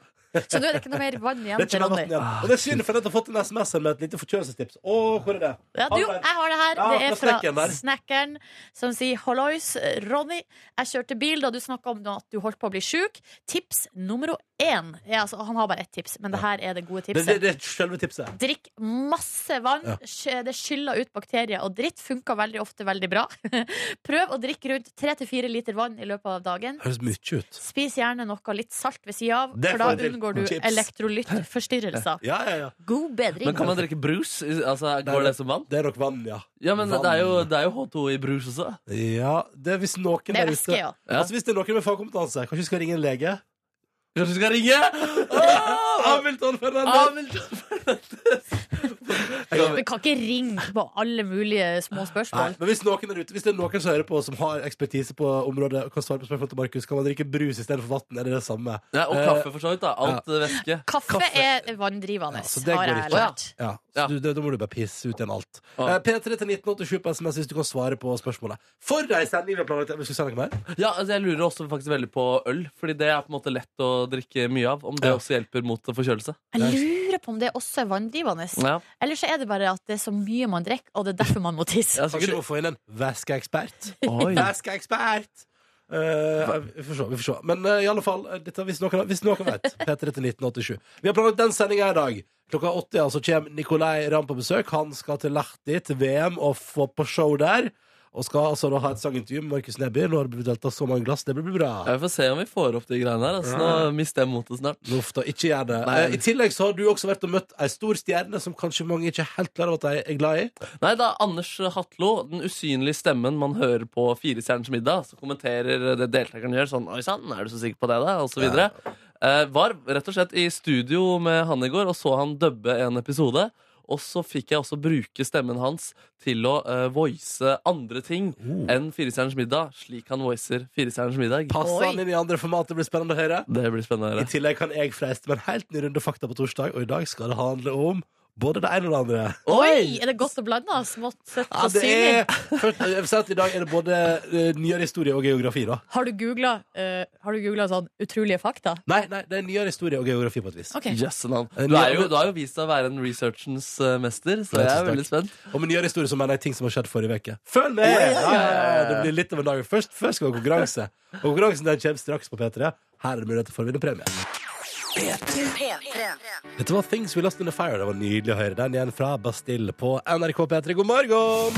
S5: Så nå er det ikke noe mer vann igjen
S2: det er ikke
S5: til
S2: mer vann
S5: Ronny.
S2: igjen. Og det er synd, for jeg har fått en SMS her med et lite forkjølelsestips. Å, hvor er det?
S5: Ja, du, jo, jeg har det her.
S2: Ja,
S5: Det er
S2: fra snekkeren
S5: fra
S2: der.
S5: snekkeren som sier 'Hallois, Ronny. Jeg kjørte bil da du snakka om at du holdt på å bli sjuk. Tips nummer én er altså Han har bare ett tips, men det her er det gode
S2: Det, det,
S5: tipset.
S2: det er selve tipset.
S5: Drikk masse vann.
S2: Ja.
S5: Sj- Det skyller ut bakterier og dritt. Funker veldig ofte veldig bra. Prøv å drikke rundt tre til fire liter vann i løpet av dagen.
S2: Høres mye ut.
S5: Spis gjerne noe litt salt ved sida av,
S2: Det
S5: for
S2: får
S5: da
S2: jeg til.
S5: unngår du
S2: Chips.
S5: elektrolyttforstyrrelser.
S2: Ja, ja, ja.
S5: God bedring.
S3: Men kan man drikke brus? Altså,
S2: Nei,
S3: går det som vann?
S2: Det er nok vann, ja.
S3: Ja, men det er jo,
S2: Vann.
S3: det er jo H2 i brus også.
S2: Ja, det er hvis noen
S5: Det er
S2: der
S5: væske,
S2: ute
S5: ja.
S3: Ja.
S2: Altså Hvis det er noen med fagkompetanse, kanskje vi skal ringe en lege? Ah!
S3: Kanskje vi skal ringe? Ah!
S2: Hamilton Fernandez!
S3: Amundsen!
S5: Ah! Vi kan ikke ringe på alle mulige små
S2: Nei,
S5: spørsmål.
S2: men hvis noen er ute Hvis det er noen som hører på som har ekspertise på området, og kan svare på spørsmål til Markus, kan man drikke brus istedenfor vann? Er det det samme?
S3: Ja, og
S2: Eh,
S3: kaffe, for så vidt. da Alt eh, væske.
S5: Kaffe, er vanndrivende,
S2: Ja, så Altså, det
S5: har
S2: går
S5: jeg
S2: ikke.
S5: lært.
S2: Ja, så
S3: Ja.
S2: Du, det, da må du bare pisse ut igjen alt.
S3: Ja.
S2: Eh, P3 til 1987 på SMS hvis du kan svare på spørsmålet. For ei sending vi har planlagt! Vi skal sende noe mer.
S3: Ja, altså Jeg lurer også faktisk veldig på øl, Fordi det er på en måte lett å drikke mye av. Om det
S2: Ja.
S3: også hjelper mot forkjølelse.
S5: Jeg lurer på om det også er vanndrivende.
S3: Ja,
S5: Eller så er det bare at det er så mye man drikker, og det er derfor man må tisse.
S3: ja
S2: Kanskje vi
S3: sikkert
S2: må få inn en væskeekspert.
S3: Oi.
S2: Væskeekspert! Eh, vi får se. vi får se Men eh, i alle fall, eh, dette, hvis, noen, hvis noen vet, P3 til 1987. Vi har planlagt den sendinga i dag. Klokka 80 altså, kommer Nikolai Ramm på besøk. Han skal til Lahti, til VM, og få på show der. Og skal altså da ha et sangintervju med Markus Neby. Nå har det blitt delt av så mange glass. Det blir bra.
S3: Ja, Vi får se om vi får opp de greiene her. Altså, nå mister jeg motet snart.
S2: Uff da, ikke gjør det.
S3: Nei.
S2: Eh, I tillegg så har du også vært og møtt ei stor stjerne som kanskje mange ikke er helt klar over at de er glad i.
S3: Nei, da Anders Hatlo, den usynlige stemmen man hører på Firestjerners middag, så kommenterer det deltakerne gjør, sånn 'Oi sann, er du så sikker på det', da? Og så videre. Eh, var rett og slett i studio med han i går og så han dubbe en episode. Og så fikk jeg også bruke stemmen hans til å eh, voice andre ting
S2: Oh.
S3: enn Firestjerners middag, slik han voicer Firestjerners middag.
S2: Passer
S5: Oi.
S2: han inn i andre format, det blir spennende å høre.
S3: Det blir spennende å
S2: I
S3: høre.
S2: tillegg kan jeg freiste med en helt ny runde fakta på torsdag, og i dag skal det handle om både det ene og det andre.
S5: Oi! Er det godt å blande? Smått, søtt
S2: Ja,
S5: og
S2: det er,
S5: syrlig.
S2: først, jeg vil si at I dag er det både eh, nyere historie og geografi. da
S5: Har du googla sånn utrolige fakta?
S2: Nei, nei, det er nyere historie og geografi på et vis.
S5: Ok.
S3: Jøsse navn.
S2: Eh,
S3: Du, er
S2: ja,
S3: jo-
S2: men-
S3: du har jo vist deg å være en researchens eh, mester, så
S2: Ja,
S3: jeg er
S2: tusen
S3: veldig spent.
S2: Og med nyere historie så mener jeg ting som har skjedd forrige uke. Følg med! Ja, ja, ja. Det blir litt av en dag. Først, først skal vi ha konkurranse. Og konkurransen den kommer straks på P3. Her er det mulighet for å vinne premie.
S1: P3.
S2: Dette var Things We Lost In The Fire. Det var nydelig å høre den igjen fra Bastille på NRK P3. God morgen!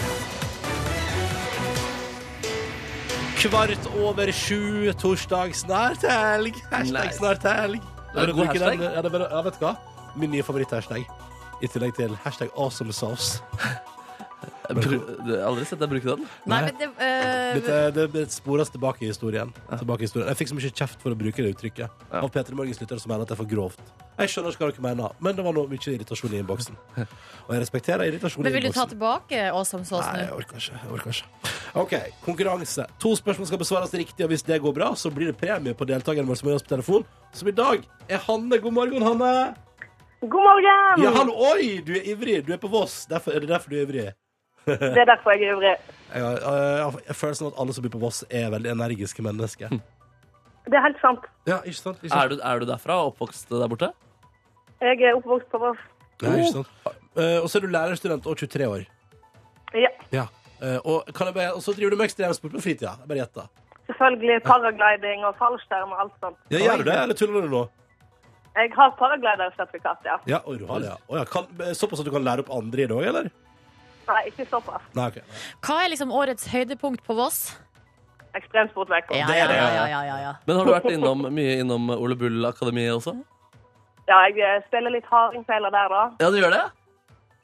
S2: Kvart over sju, torsdag, snart helg. Hashtag
S3: Nice.
S2: snart helg.
S3: Det er en god
S2: Bruker den-
S3: hashtag.
S2: ja, det er bare, ja, vet du hva? Min nye favoritt-hashtag. I tillegg til hashtag awesome sauce.
S3: Jeg bru- jeg har aldri sett deg bruke den.
S5: Nei, men det, eh,
S2: Dette, det det spores tilbake i historien. Tilbake i historien. Jeg fikk så mye kjeft for å bruke det uttrykket
S3: Ja.
S2: av P3 Morgens lyttere som mener at det er for grovt. Jeg skjønner ikke hva dere mener, men det var noe mye irritasjon i innboksen. Og jeg respekterer irritasjon i
S5: men vil du ta
S2: innboksen.
S5: tilbake Awesome Sauce
S2: Nei, jeg
S5: nå?
S2: orker ikke. jeg orker ikke OK, konkurranse. To spørsmål skal besvares riktig, og hvis det går bra, så blir det premie på deltakeren vår som er med oss på telefon, som i dag er Hanne. God morgen, Hanne.
S4: God morgen!
S2: Ja, hallo, oi, du er ivrig. Du er på Voss. Derfor, er det derfor du er ivrig?
S4: Det er derfor jeg er ivrig.
S2: Jeg, har- jeg, har- jeg føler sånn at alle som bor på Voss, er veldig energiske mennesker.
S4: Det er helt sant.
S2: Ja, ikke sant? Ikke sant?
S3: Er du, er du derfra? Oppvokst der borte? Oh.
S4: Jeg er oppvokst på Voss.
S2: Nei, ikke sant. Eh, og så er du lærerstudent og 23 år.
S4: Ja,
S2: Eh, og, kan jeg bare, og så driver du med ekstremsport på fritida. Jeg Bare gjett, da.
S4: selvfølgelig paragliding og fallskjerm og alt sånt.
S2: Ja, gjør du det, eller tuller du nå?
S4: Jeg har paraglidersertifikat, ja.
S2: Ja, oi, du har det, ja. Å, ja. Kan, eh, såpass at du kan lære opp andre i dag, eller?
S4: Nei, ikke såpass.
S2: Nei, ok.
S5: Hva er liksom årets høydepunkt på Voss?
S4: Ekstremsportvekk.
S5: Ja,
S2: Det
S5: ja,
S2: er det,
S5: ja,
S2: ja.
S5: ja, ja, ja.
S3: Men har du vært innom, mye innom Ole Bull-akademiet også?
S4: Ja, jeg eh, spiller litt hardingfeiler der, da.
S3: Ja, du gjør det?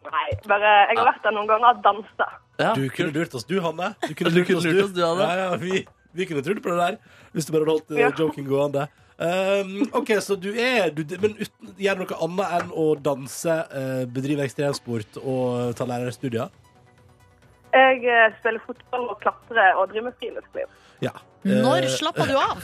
S4: Nei, bare Jeg har vært der noen ganger og dansa.
S3: Ja.
S2: Du kunne lurt oss, du, Hanne. Du kunne
S3: Du kunne lurt oss, du, Hanne.
S2: Ja, ja, vi, vi kunne trodd på det der, hvis du bare hadde holdt eh,
S4: Ja.
S2: joken gående. Um, OK, så du er du, Men uten, gjør du noe annet enn å danse, eh, bedrive ekstremsport og ta lærerstudier?
S4: Jeg eh, spiller fotball og klatrer og driver med friluftsliv.
S2: Ja.
S5: Når
S2: Eh,
S5: slappa du av?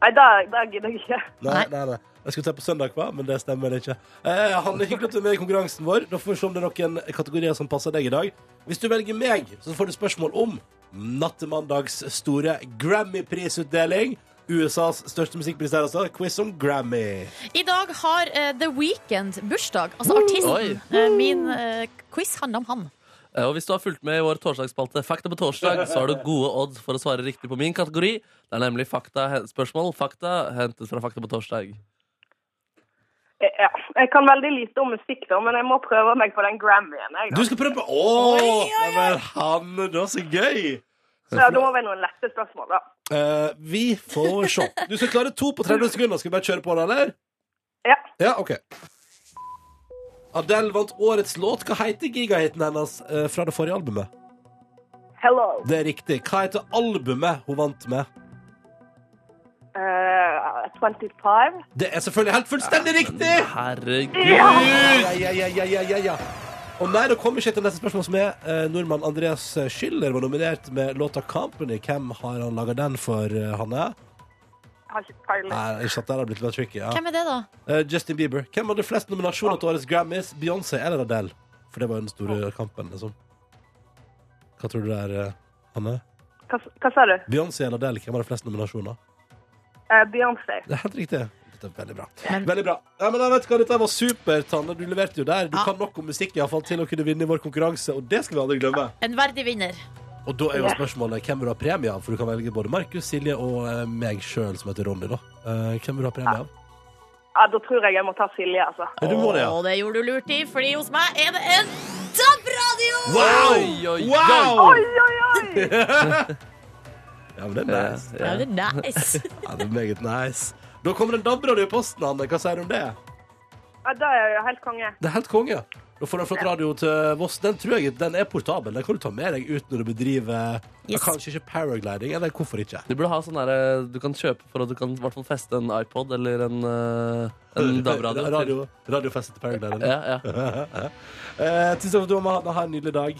S4: Nei, det det gidder jeg ikke.
S2: Nei, nei, nei. Jeg skulle ta på søndag, hva? men det stemmer ikke. Eh, Hanne, hyggelig at du er med i konkurransen vår. Da får vi se om det er noen kategorier som passer deg i dag. Hvis du velger meg, så får du spørsmål om nattemandags store Grammy-prisutdeling. USAs største musikkpris der, altså. Quiz om Grammy.
S5: I dag har eh, The Weekend bursdag. Altså artisten. Eh, min eh, quiz handler om han.
S3: Eh, Og hvis du har fulgt med i vår torsdagsspalte Fakta på torsdag, så har du gode odds for å svare riktig på min kategori. Det er nemlig fakta, spørsmål fakta hentet fra Fakta på torsdag.
S4: Eh, Ja. Jeg kan veldig lite om musikk, da, men jeg må prøve meg på den Grammyen. Jeg,
S2: Du
S4: da.
S2: skal prøve på Å! Neimen, Hanne, det var så gøy!
S4: Så ja, da må vi ha noen lette spørsmål, da.
S2: Eh, vi får se. Du skal klare to på 30 sekunder. Skal vi bare kjøre på, da, eller?
S4: Ja.
S2: Ja, ok Adele vant årets låt. Hva heter gigahiten hennes eh, fra det forrige albumet?
S4: Hello.
S2: Det er riktig. Hva heter albumet hun vant med?
S4: Eh, 25.
S2: Det er selvfølgelig helt fullstendig riktig!
S3: Herregud.
S4: Ja!
S2: Ja, ja, ja, ja, ja, ja, ja. Og nei, det kommer ikke til neste spørsmål, som er eh, nordmann Andreas Schiller var nominert med låta 'Company'. Hvem har han laga den for, eh, Hanne?
S4: Jeg har ikke peiling.
S2: Nei, ikke sant, det hadde blitt litt tricky. Ja.
S5: Hvem er det, da?
S2: Eh, Justin Bieber. Hvem hadde flest nominasjoner til årets Grammys? Beyoncé eller Adele? For det var jo den store kampen, liksom. Hva tror du det er, eh, Hanne?
S4: Hva, hva sa du?
S2: Beyoncé eller Adele, hvem hadde flest nominasjoner?
S4: Eh, Beyoncé.
S2: Det er helt riktig. Dette er veldig bra. veldig bra. Ja, men jeg vet hva, Dette var supert, Hanne. Du leverte jo der. Du
S5: Ja.
S2: kan nok om musikk i hvert fall, til å kunne vinne i vår konkurranse, og det skal vi aldri glemme.
S5: En verdig vinner.
S2: Og da er jo spørsmålet hvem vil du ha premie av? For du kan velge både Markus, Silje og eh, meg sjøl, som heter Ronny. da. Eh, hvem vil du ha premie av?
S4: Ja, da tror jeg jeg må ta Silje, altså.
S2: Du må det, ja.
S5: Og det gjorde du lurt i, fordi hos meg er det en DAB-radio!
S3: Oi, oi, oi.
S2: Wow!
S4: Oi, oi, oi!
S2: Ja, men det er
S3: Eh,
S2: nice.
S5: Ja,
S3: ja.
S5: det er nice.
S2: Ja, det er meget nice. Da kommer en DAB-radio i posten, Hanne. Hva sier du om det?
S4: Ja, det er jo helt konge.
S2: Det er helt konge. Da får du en flott radio til Voss. Den tror jeg den er portabel. Den kan du ta med deg ut når du bedriver ja,
S5: Yes.
S2: kanskje ikke paragliding, eller hvorfor ikke?
S3: Du burde ha sånn derre du kan kjøpe for at du kan i hvert fall feste en iPod eller en, eh, en DAB-radio. til.
S2: Radio, radiofest til paragliding.
S3: Ja, ja.
S2: Eh, tusen takk for at du var med. Hanne. Ha en nydelig dag.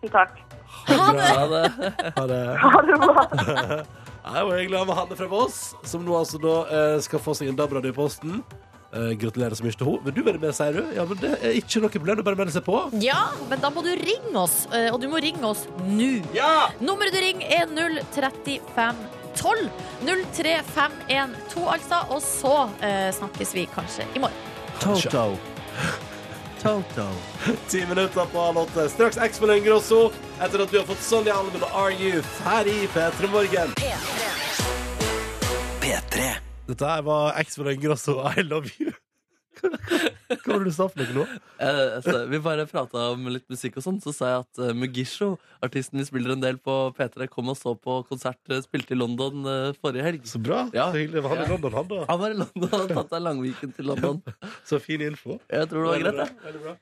S4: Tusen takk.
S5: Ha det!
S3: Ja, det.
S2: Ha det.
S4: Ha det bra.
S2: Nei, og jeg er glad med Hanne fra Voss, som nå altså da eh, skal få seg en DAB-radio i posten. Eh, gratulerer så mye til henne. Vil du være med, sier du? Ja, men det er ikke noe problem. Det er bare å melde seg på.
S5: Ja, men da må du ringe oss, eh, og du må ringe oss nå. Nummeret du ringer er 03512. 03512, altså. Og så eh, snakkes vi kanskje i morgen.
S2: Toto. Toto. Ti minutter på halv åtte. Straks X-Men Ingrosso etter at du har fått Sonja Almen og Are Youth her i P3 Morgen.
S1: P3.
S2: Dette her var X-Men Ingrosso og I Love You. Hva var det du sa for noe nå?
S3: Eh, altså, vi bare prata om litt musikk og sånn, så sa jeg at eh, Mugisho, artisten vi spiller en del på P3, kom og så på konsert eh, spilte i London eh, forrige helg.
S2: Så bra.
S3: Ja.
S2: Så hyggelig. Han i London, han da.
S3: Han var i London og hadde tatt av langviken til London.
S2: Så fin info.
S3: Jeg tror det var greit, det.
S2: Veldig bra.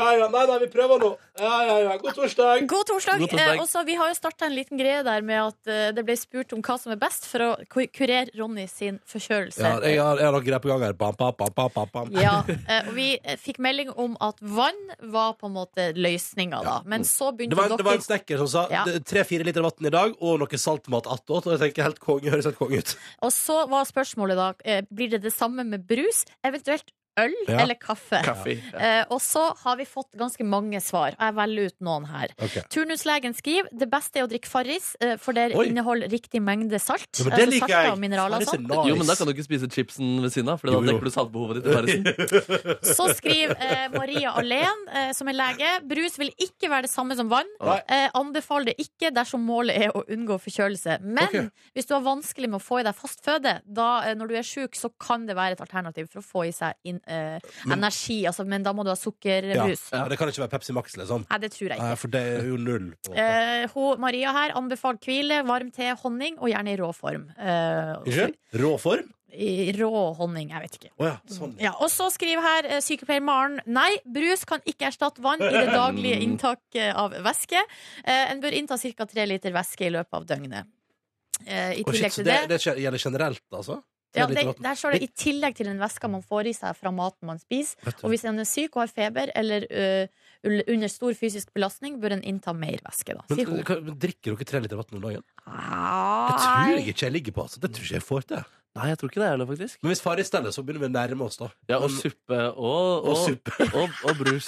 S2: Ja, ja, nei, nei, vi prøver nå. Ja, ja, ja. God torsdag.
S5: God torsdag.
S3: God torsdag.
S5: Eh, og så Vi har jo starta en liten greie der med at eh, det ble spurt om hva som er best for å ku- kurere Ronny sin forkjølelse.
S2: Ja, jeg har, jeg har noen greier på gang her. Bam, bam, bam, bam, bam, bam.
S5: Ja, eh, og Vi eh, fikk melding om at vann var på en måte løsninga, da. Men så
S2: Det
S5: begynte
S2: var, en, det var en
S5: dere
S2: snekker som sa
S5: Ja.
S2: tre-fire liter vann i dag og noe saltmat attåt. Og jeg tenker helt konge, høres helt konge ut.
S5: Og så var spørsmålet da eh, blir det det samme med brus, eventuelt øl
S2: Ja.
S5: eller kaffe.
S3: Kaffe.
S5: Eh, og så har vi fått ganske mange svar. Jeg velger ut noen her.
S2: Ok.
S5: Turnuslegen skriver det beste er å drikke Farris, eh, for det
S2: Oi.
S5: inneholder riktig mengde salt.
S2: Ja, men
S5: altså
S2: det liker
S5: salter
S2: jeg.
S5: Og mineraler og sånn.
S3: Jo, men da kan du ikke spise chipsen ved siden av, for da
S2: Jo, jo.
S3: dekker du saltbehovet ditt. i Farrisen.
S5: Så skriver eh, Maria Alén, eh, som er lege, brus vil ikke være det samme som vann.
S2: Nei.
S5: Eh, anbefaler det ikke dersom målet er å unngå forkjølelse. Men
S2: Ok.
S5: hvis du har vanskelig med å få i deg fast føde, da, eh, når du er sjuk, så kan det være et alternativ for å få i seg inn, eh, energi. Altså, men da må du ha sukkerbrus.
S2: Ja, det kan ikke være Pepsi Max, liksom.
S5: Nei, det tror jeg ikke.
S2: Nei, for det er jo null. På.
S5: Eh, hun, Maria her anbefaler hvile, varm te, honning og gjerne i rå form. Eh,
S2: Ikke? Rå form?
S5: i rå honning. Jeg vet ikke.
S2: Å ja, sånn.
S5: Ja, og så skriver her eh, sykepleier Maren Nei, brus kan ikke erstatte vann i det daglige inntaket av væske. Eh, en bør innta ca. tre liter væske i løpet av døgnet. Eh, I
S2: Å, shit,
S5: tillegg
S2: så
S5: til
S2: det,
S5: det,
S2: det skjer- gjelder generelt, altså?
S5: ja,
S2: Tre
S5: det
S2: liter vann.
S5: Der står det i tillegg til den væska man får i seg fra maten man spiser.
S2: Vet du.
S5: Og hvis en er syk og har feber eller eh, ul- under stor fysisk belastning, bør en innta mer væske, da, sier hun.
S2: men, hva- men drikker dere tre liter vann om dagen? Det tror jeg
S5: Nei.
S2: ikke jeg ligger på. Altså. Det tror ikke jeg får til.
S3: Nei, jeg tror ikke det heller, faktisk.
S2: Men hvis far i stedet, så begynner vi å nærme oss, da.
S3: Ja, Og
S2: Men-
S3: suppe og,
S2: og
S3: og,
S2: suppe.
S3: og, og brus.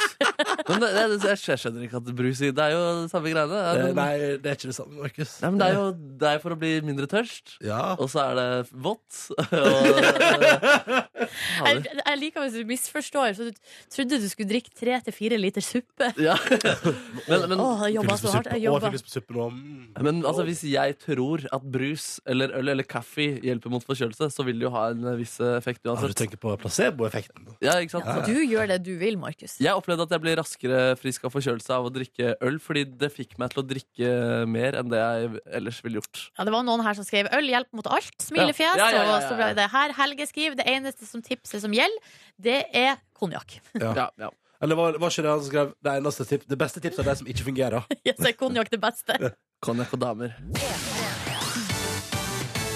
S3: Men det, det, jeg, jeg skjønner ikke at brus i Det er jo det samme greiene. Ja,
S2: Eh,
S3: men, nei.
S2: Nei, det er ikke det samme, Markus.
S3: men Det er jo det er for å bli mindre tørst,
S2: Ja.
S3: og så er det vått. Og,
S5: Jeg, jeg liker hvis du misforstår. Så du trodde du skulle drikke tre til fire liter suppe.
S3: ja. Men, men,
S5: Åh, jeg jobba
S2: Fylles
S5: så
S2: på
S5: hardt.
S2: suppe.
S5: Jeg
S2: Å,
S5: jobba.
S2: fylles på suppe nå. Mm.
S3: men altså, hvis jeg tror at brus eller øl eller kaffe hjelper mot forkjølelse, så vil det jo ha en viss effekt
S2: Ja, du
S3: uansett.
S2: tenker på placeboeffekten.
S3: Ja, ikke sant?
S5: Du gjør det du vil, Markus.
S3: Jeg opplevde at jeg ble raskere frisk av forkjølelse av å drikke øl, fordi det fikk meg til å drikke mer enn det jeg ellers ville gjort.
S5: Ja, det var noen her som skrev 'øl hjelper mot alt', smilefjes.
S3: Ja, ja, ja, ja, ja.
S5: Og så ble det her Helge skriver 'det eneste som tipset som gjelder, det er konjakk'.
S2: Ja.
S3: Ja, ja.
S2: Eller var, var ikke det han som skrev det, eneste tip, det beste tipset er de som ikke fungerer?
S5: Ja, så er konjakk det beste.
S3: Konjakk og damer.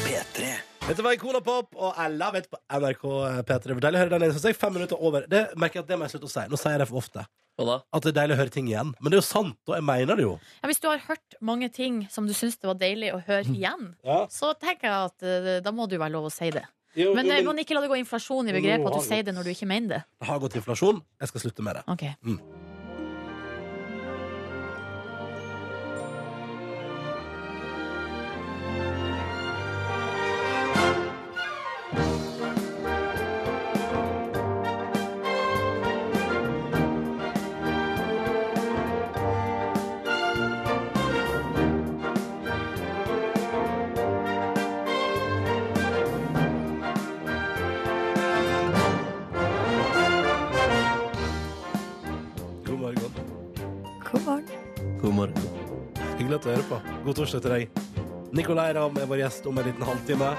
S1: P3.
S2: Dette var Icona Pop og Ella vet på NRK P3. Det var deilig å høre den ene, synes jeg. Fem minutter over. Det merker jeg at det må jeg slutte å si. Nå sier jeg det for ofte.
S3: Hva da?
S2: At det er deilig å høre ting igjen. Men det er jo sant, og jeg mener det jo.
S5: Ja, hvis du har hørt mange ting som du syns det var deilig å høre igjen,
S2: Ja.
S5: så tenker jeg at eh, da må det jo være lov å si det.
S2: Jo,
S5: Men
S2: jo,
S5: eh,
S2: men-
S5: man ikke la det gå inflasjon i begrepet at du sier det når du ikke mener det.
S2: Det har gått inflasjon. Jeg skal slutte med det. Mm.
S5: Ok.
S2: God morgen.
S5: God morgen.
S3: God morgen.
S2: Hyggelig at du hører på. God torsdag til deg. Nicolay Ramm er vår gjest om en liten halvtime.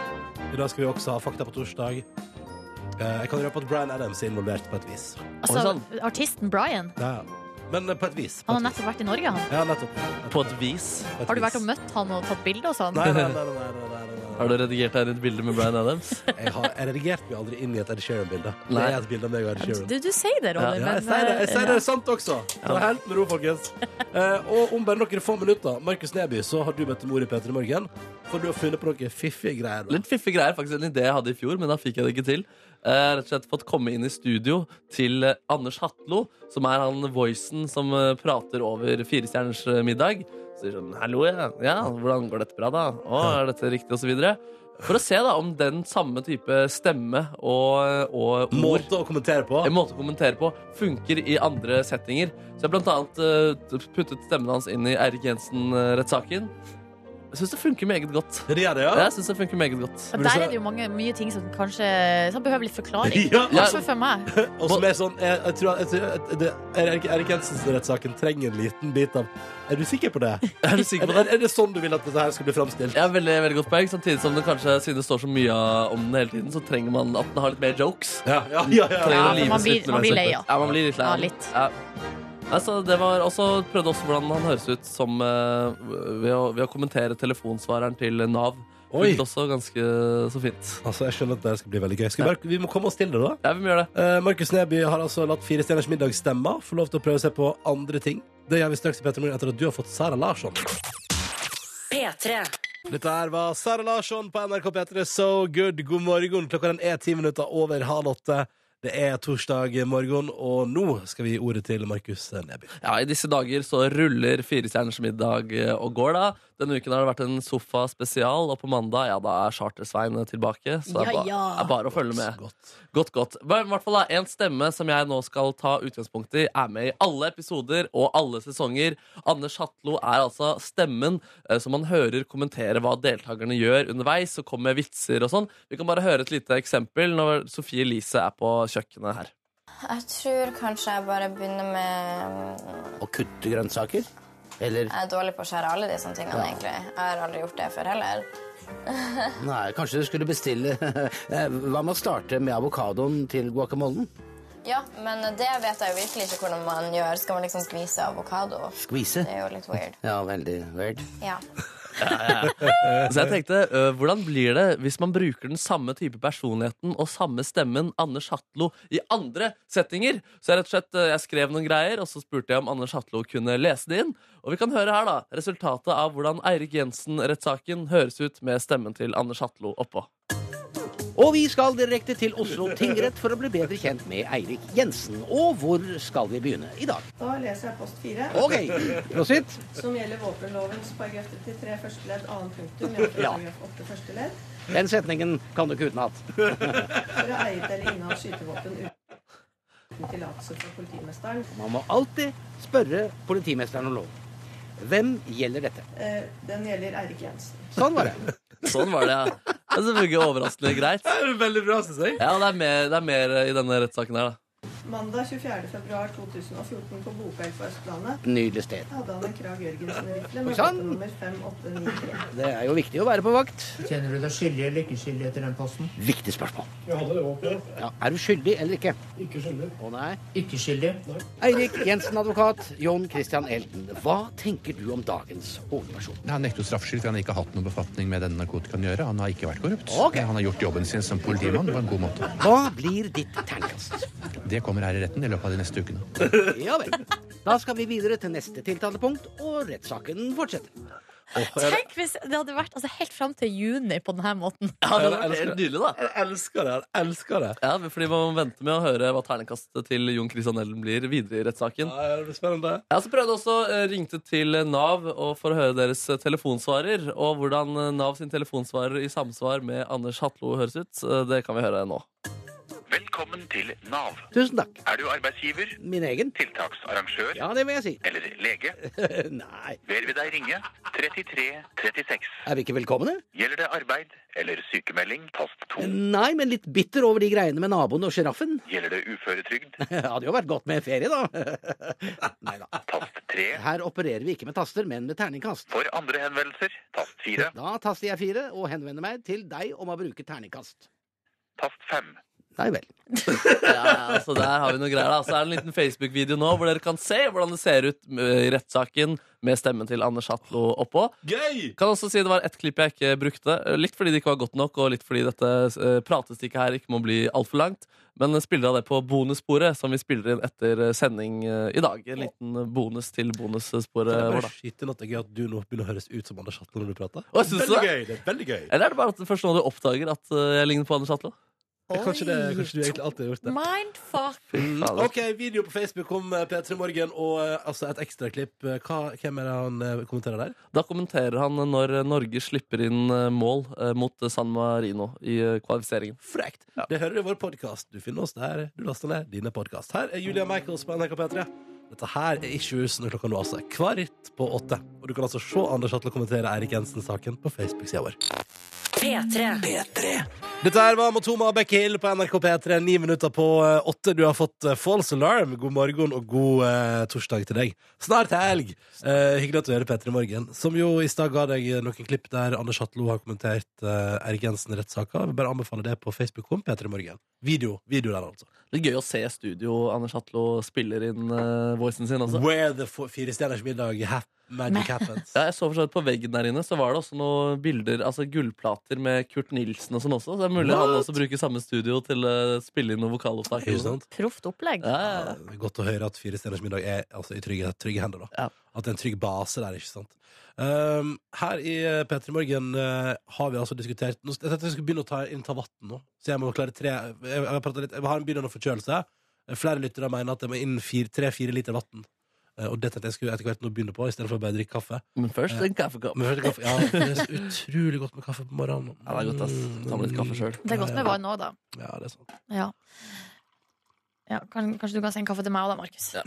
S2: I dag skal vi også ha Fakta på torsdag. Eh, Jeg kan røpe at Bryan Adams er involvert på et vis.
S3: Oi, sånn.
S5: Altså,
S2: sånn.
S3: sann.
S5: artisten Brian.
S2: Ja, ja. Men eh, på et vis. På
S5: Han har
S2: et vis.
S5: nettopp vært i Norge, han.
S2: Ja, nettopp.
S3: På et vis.
S2: På et
S5: Har du
S2: vis.
S5: vært og møtt han og tatt bilde og sånn?
S2: Nei, nei, nei. nei, nei, nei, nei, nei.
S3: Har du redigert deg inn i et bilde med Bryan Adams?
S2: Jeg, har, jeg redigerte meg aldri inn i et Ed Sheeran-bilde. Det
S3: Nei.
S2: er et bilde av meg og Ed Sheeran.
S5: Du, du sier det, Ronny. eh,
S2: Ja, jeg sier det. Jeg sier det er sant også. Ta helt med ro, folkens. Eh, og om bare noen få minutter, Markus Neby, så har du møtt mor i P3 Morgen. For du har funnet på noen fiffige greier. da.
S3: Litt fiffige greier, faktisk en idé jeg hadde i fjor, men da fikk jeg det ikke til. Eh, rett og slett fått komme inn i studio til eh, Anders Hatlo, som er han voicen som eh, prater over Firestjerners eh, middag. Så sier sånn, hallo, ja. ja, hvordan går dette bra da? Å, er dette riktig, og så videre. For å se da om den samme type stemme og, og ord
S2: Måte å kommentere på.
S3: en måte å kommentere på funker i andre settinger. Så jeg har blant annet eh, puttet stemmen hans inn i Eirik eh, Jensen-rettssaken. Jeg syns det funker meget godt.
S2: Det gjør det, ja.
S3: Jeg synes det funker meget godt.
S5: Ja, Der er det jo mange, mye ting som kanskje som behøver litt forklaring.
S2: Ja,
S3: Ja.
S5: Også for meg.
S2: og som er sånn Jeg, jeg tror, jeg, tror- jeg, det- Erik Erik Jensen-rettssaken trenger en liten bit av Er du sikker på det?
S3: Er du sikker
S2: Er,
S3: på det?
S2: er, er det sånn du vil at dette her skal bli framstilt?
S3: Jeg har veldig, veldig godt poeng, Samtidig som det kanskje siden det står så mye om den hele tiden, så trenger man at den har litt mer jokes.
S2: Ja, ja, ja, ja.
S3: Trenger
S5: Ja,
S3: å live
S5: man blir-
S3: sitt når
S5: man
S3: det er
S5: blir lei,
S3: slutt. Ja, man blir litt lei.
S5: Ja, litt.
S3: Ja. Altså, det var også, prøvde også hvordan han høres ut som eh, ved, å, ved å kommentere telefonsvareren til Nav.
S2: Oi.
S3: Funket også ganske så fint.
S2: Altså, Jeg skjønner at det her skal bli veldig gøy. Skal vi, bare, vi må komme oss til det, da.
S3: Ja, vi må gjøre det.
S2: Eh, Markus Neby har altså latt Fire stjerners middag stemme. Få lov til å prøve seg på andre ting. Det gjør vi straks i Petter Morgen etter at du har fått Sara Larsson.
S1: P3.
S2: Dette her var Sara Larsson på NRK P3 So Good. God morgen. Klokka den er ti minutter over halv åtte. Det er torsdag morgen, og nå skal vi gi ordet til Markus Neby.
S3: Ja, I disse dager så ruller Firestjerners middag eh, og går, da. Denne uken har det vært en sofa-spesial, og på mandag ja, da er Charter-Svein eh, tilbake. Så det er,
S5: Ja,
S3: ba
S5: ja.
S3: er bare å følge med.
S2: Godt.
S3: Godt, godt. Men i hvert fall da, En stemme som jeg nå skal ta utgangspunkt i, er med i alle episoder og alle sesonger. Anders Hatlo er altså stemmen eh, som man hører kommentere hva deltakerne gjør underveis, og kommer med vitser og sånn. Vi kan bare høre et lite eksempel når Sofie Elise er på kjøkkenet her.
S6: Jeg tror kanskje jeg bare begynner med
S7: Å kutte grønnsaker?
S6: Eller
S7: Jeg er dårlig på å skjære alle de sånne tingene, egentlig. Jeg har aldri gjort det før heller.
S6: nei, kanskje du skulle bestille Eh, Hva med å starte med avokadoen til guacamolen?
S7: Ja, men det vet jeg jo virkelig ikke hvordan man gjør. Skal man liksom skvise avokado?
S6: Skvise?
S7: Det er jo litt weird.
S6: Ja, veldig weird.
S7: Ja.
S3: Så jeg tenkte, ø, hvordan blir det hvis man bruker den samme type personligheten og samme stemmen Anders Hatlo i andre settinger? Så jeg rett og slett, ø, jeg skrev noen greier, og så spurte jeg om Anders Hatlo kunne lese det inn. Og vi kan høre her da, resultatet av hvordan Eirik Jensen-rettssaken høres ut med stemmen til Anders Hatlo oppå.
S6: Og vi skal direkte til Oslo tingrett for å bli bedre kjent med Eirik Jensen. Og hvor skal vi begynne i dag?
S8: Da leser jeg post 4,
S6: Ok, prosit.
S8: som gjelder våpenlovens paragraf 33 første ledd annet punktum. jf.
S6: Ja.
S8: paragraf 8 første ledd.
S6: Den setningen kan du ikke utenat.
S8: For å eie eller inneha skytevåpen uten tillatelse fra politimesteren.
S6: Man må alltid spørre politimesteren om lov. Hvem gjelder dette?
S8: Eh, Den gjelder Eirik Jensen.
S6: Sånn var det.
S3: Sånn var det, ja. Det er selvfølgelig overraskende greit.
S2: Det er veldig bra, synes jeg.
S3: Ja, det er mer, det er mer i denne rettssaken her da.
S8: Mandag 24. februar 2014 på Bokøy på Østlandet
S6: Nydelig sted. Sånn.
S8: hadde han en Krag Jørgensen-rifle
S6: Oi,
S8: med
S6: sann!
S8: våpennummer 5893.
S6: Det er jo viktig å være på vakt.
S9: Kjenner du deg skyldig eller ikke skyldig etter den posten?
S6: Viktig spørsmål. Ja, er du skyldig eller ikke? Ikke skyldig. Å nei.
S9: Ikke skyldig.
S6: Eirik Jensen, advokat. John Christian Elden. Hva tenker du om dagens hovedperson?
S10: Han nekter jo straffskyld fordi han ikke har hatt noen befatning med denne narkotikaen å gjøre. Han har ikke vært korrupt.
S6: Ok.
S10: Han har gjort jobben sin som politimann på en god måte.
S6: Hva blir ditt terningkast?
S10: Det kommer her i retten i løpet av de neste ukene.
S6: Ja vel. Da skal vi videre til neste tiltalepunkt, og rettssaken fortsetter.
S5: Tenk hvis det hadde vært altså, helt fram til juni på denne måten.
S3: Ja, det var helt nydelig da.
S2: Jeg elsker det. Jeg elsker det.
S3: Ja, fordi man må vente med å høre hva ternekastet til Jon Christian Ellen blir videre i rettssaken.
S2: Ja, det blir spennende.
S3: Jeg så prøvde også eh, ringte til Nav og for å høre deres eh, telefonsvarer. Og hvordan eh, Nav sin telefonsvarer i samsvar med Anders Hatlo høres ut, eh, det kan vi høre nå.
S11: Velkommen til Nav.
S6: Tusen takk.
S11: Er du arbeidsgiver,
S6: Min egen?
S11: tiltaksarrangør
S6: Ja, det vil jeg si.
S11: eller lege,
S6: Nei.
S11: ber vi deg ringe 33 36.
S6: Er vi ikke velkomne?
S11: Gjelder det arbeid eller sykemelding, tast 2.
S6: Nei, men litt bitter over de greiene med naboen og sjiraffen.
S11: Gjelder det uføretrygd,
S6: Hadde jo vært godt med ferie, da. Nei da.
S11: tast 3.
S6: Her opererer vi ikke med taster, men med terningkast.
S11: For andre henvendelser, tast 4,
S6: Da taster jeg fire og henvender meg til deg om å bruke terningkast.
S11: tast 5.
S6: Nei vel.
S3: Ja, så der har vi noe greier da. Så er det en liten Facebook-video nå hvor dere kan se hvordan det ser ut eh, i rettssaken med stemmen til Anders Hatlo oppå.
S2: Gøy!
S3: Kan også si det var ett klipp jeg ikke brukte. eh, Litt fordi det ikke var godt nok, og litt fordi dette eh, pratestikket her ikke må bli altfor langt. Men eh, spiller av det på bonussporet, som vi spiller inn etter eh, sending eh, i dag. En liten eh, bonus til bonussporet
S2: Jeg
S3: vårt.
S2: bare
S3: da.
S2: skyter inn at det er gøy at du nå begynner å høres ut som Anders Hatlo når du prater.
S3: Å, synes du
S2: Veldig
S3: det?
S2: gøy, det er veldig gøy.
S3: Eller er det bare at først nå du oppdager at eh, jeg ligner på Anders Hatlo?
S2: Eh, Kanskje, det, kanskje du egentlig alltid har gjort det.
S5: Mindfuck.
S3: Fader.
S2: Ok, video på Facebook om eh, P3 Morgen og eh, altså et ekstraklipp. Eh, Hva- Hvem er det han eh, kommenterer der?
S3: Da kommenterer han når Norge slipper inn eh, mål eh, mot San Marino i eh, kvalifiseringen.
S2: Frekt! Det hører du i vår podkast. Du finner oss der. Du laster ned dine podkast. Her er Julia Michaels på NRK P3. Dette her er Issues når klokka nå altså er kvart på åtte. Og du kan altså se Anders Atle kommentere Eirik Jensen-saken på Facebook-sida vår.
S1: P3.
S2: Dette her var Motoma Bekkhill på NRK P3, ni minutter på eh, åtte. Du har fått eh, false alarm. God morgen og god eh, torsdag til deg. Snart helg. Eh, hyggelig at du hører P3 Morgen, som jo i stad ga deg noen klipp der Anders Hatlo har kommentert eh, Erik Jensen-rettssaka. Jeg vil bare anbefale det på Facebook om P3 Morgen. Video, video der, altså.
S3: Det er gøy å se studio Anders Hatlo spiller inn eh, voicen sin også.
S2: Where the fo- fire stjerners middag hap magic happens.
S3: Ja, jeg så for så vidt På veggen der inne så var det også noen bilder, altså gullplater med Kurt Nilsen og sånn også. Så det er mulig han også bruker samme studio til å spille inn noen vokalopptak.
S2: Ikke sant?
S5: Proft opplegg.
S3: Ja, ja, ja.
S2: Det er Godt å høre at Fire stjerners middag er altså, i trygge, trygge hender. da
S3: Ja.
S2: At det er en trygg base der. ikke sant? Um, her i eh, P3 Morgen eh, har vi altså diskutert nå, Jeg tenkte jeg skulle begynne å ta innta vann nå. Så jeg må klare tre Jeg, jeg, har pratet litt, jeg har en begynnende forkjølelse. Flere lyttere mener at jeg må inn tre-fire liter vann. og det tenkte jeg skulle etter hvert nå begynne på, istedenfor å bare drikke kaffe. Eh,
S3: Men først en kaffekopp.
S2: Men først kaffe Ja, det er så utrolig godt med kaffe på morgenen.
S3: Ja, det er godt, ass. Ta med litt kaffe sjøl.
S5: Det er godt med vann òg, da.
S2: Ja, det er sant.
S5: Ja. Ja, kan, kanskje du kan sende kaffe til meg òg, da, Markus.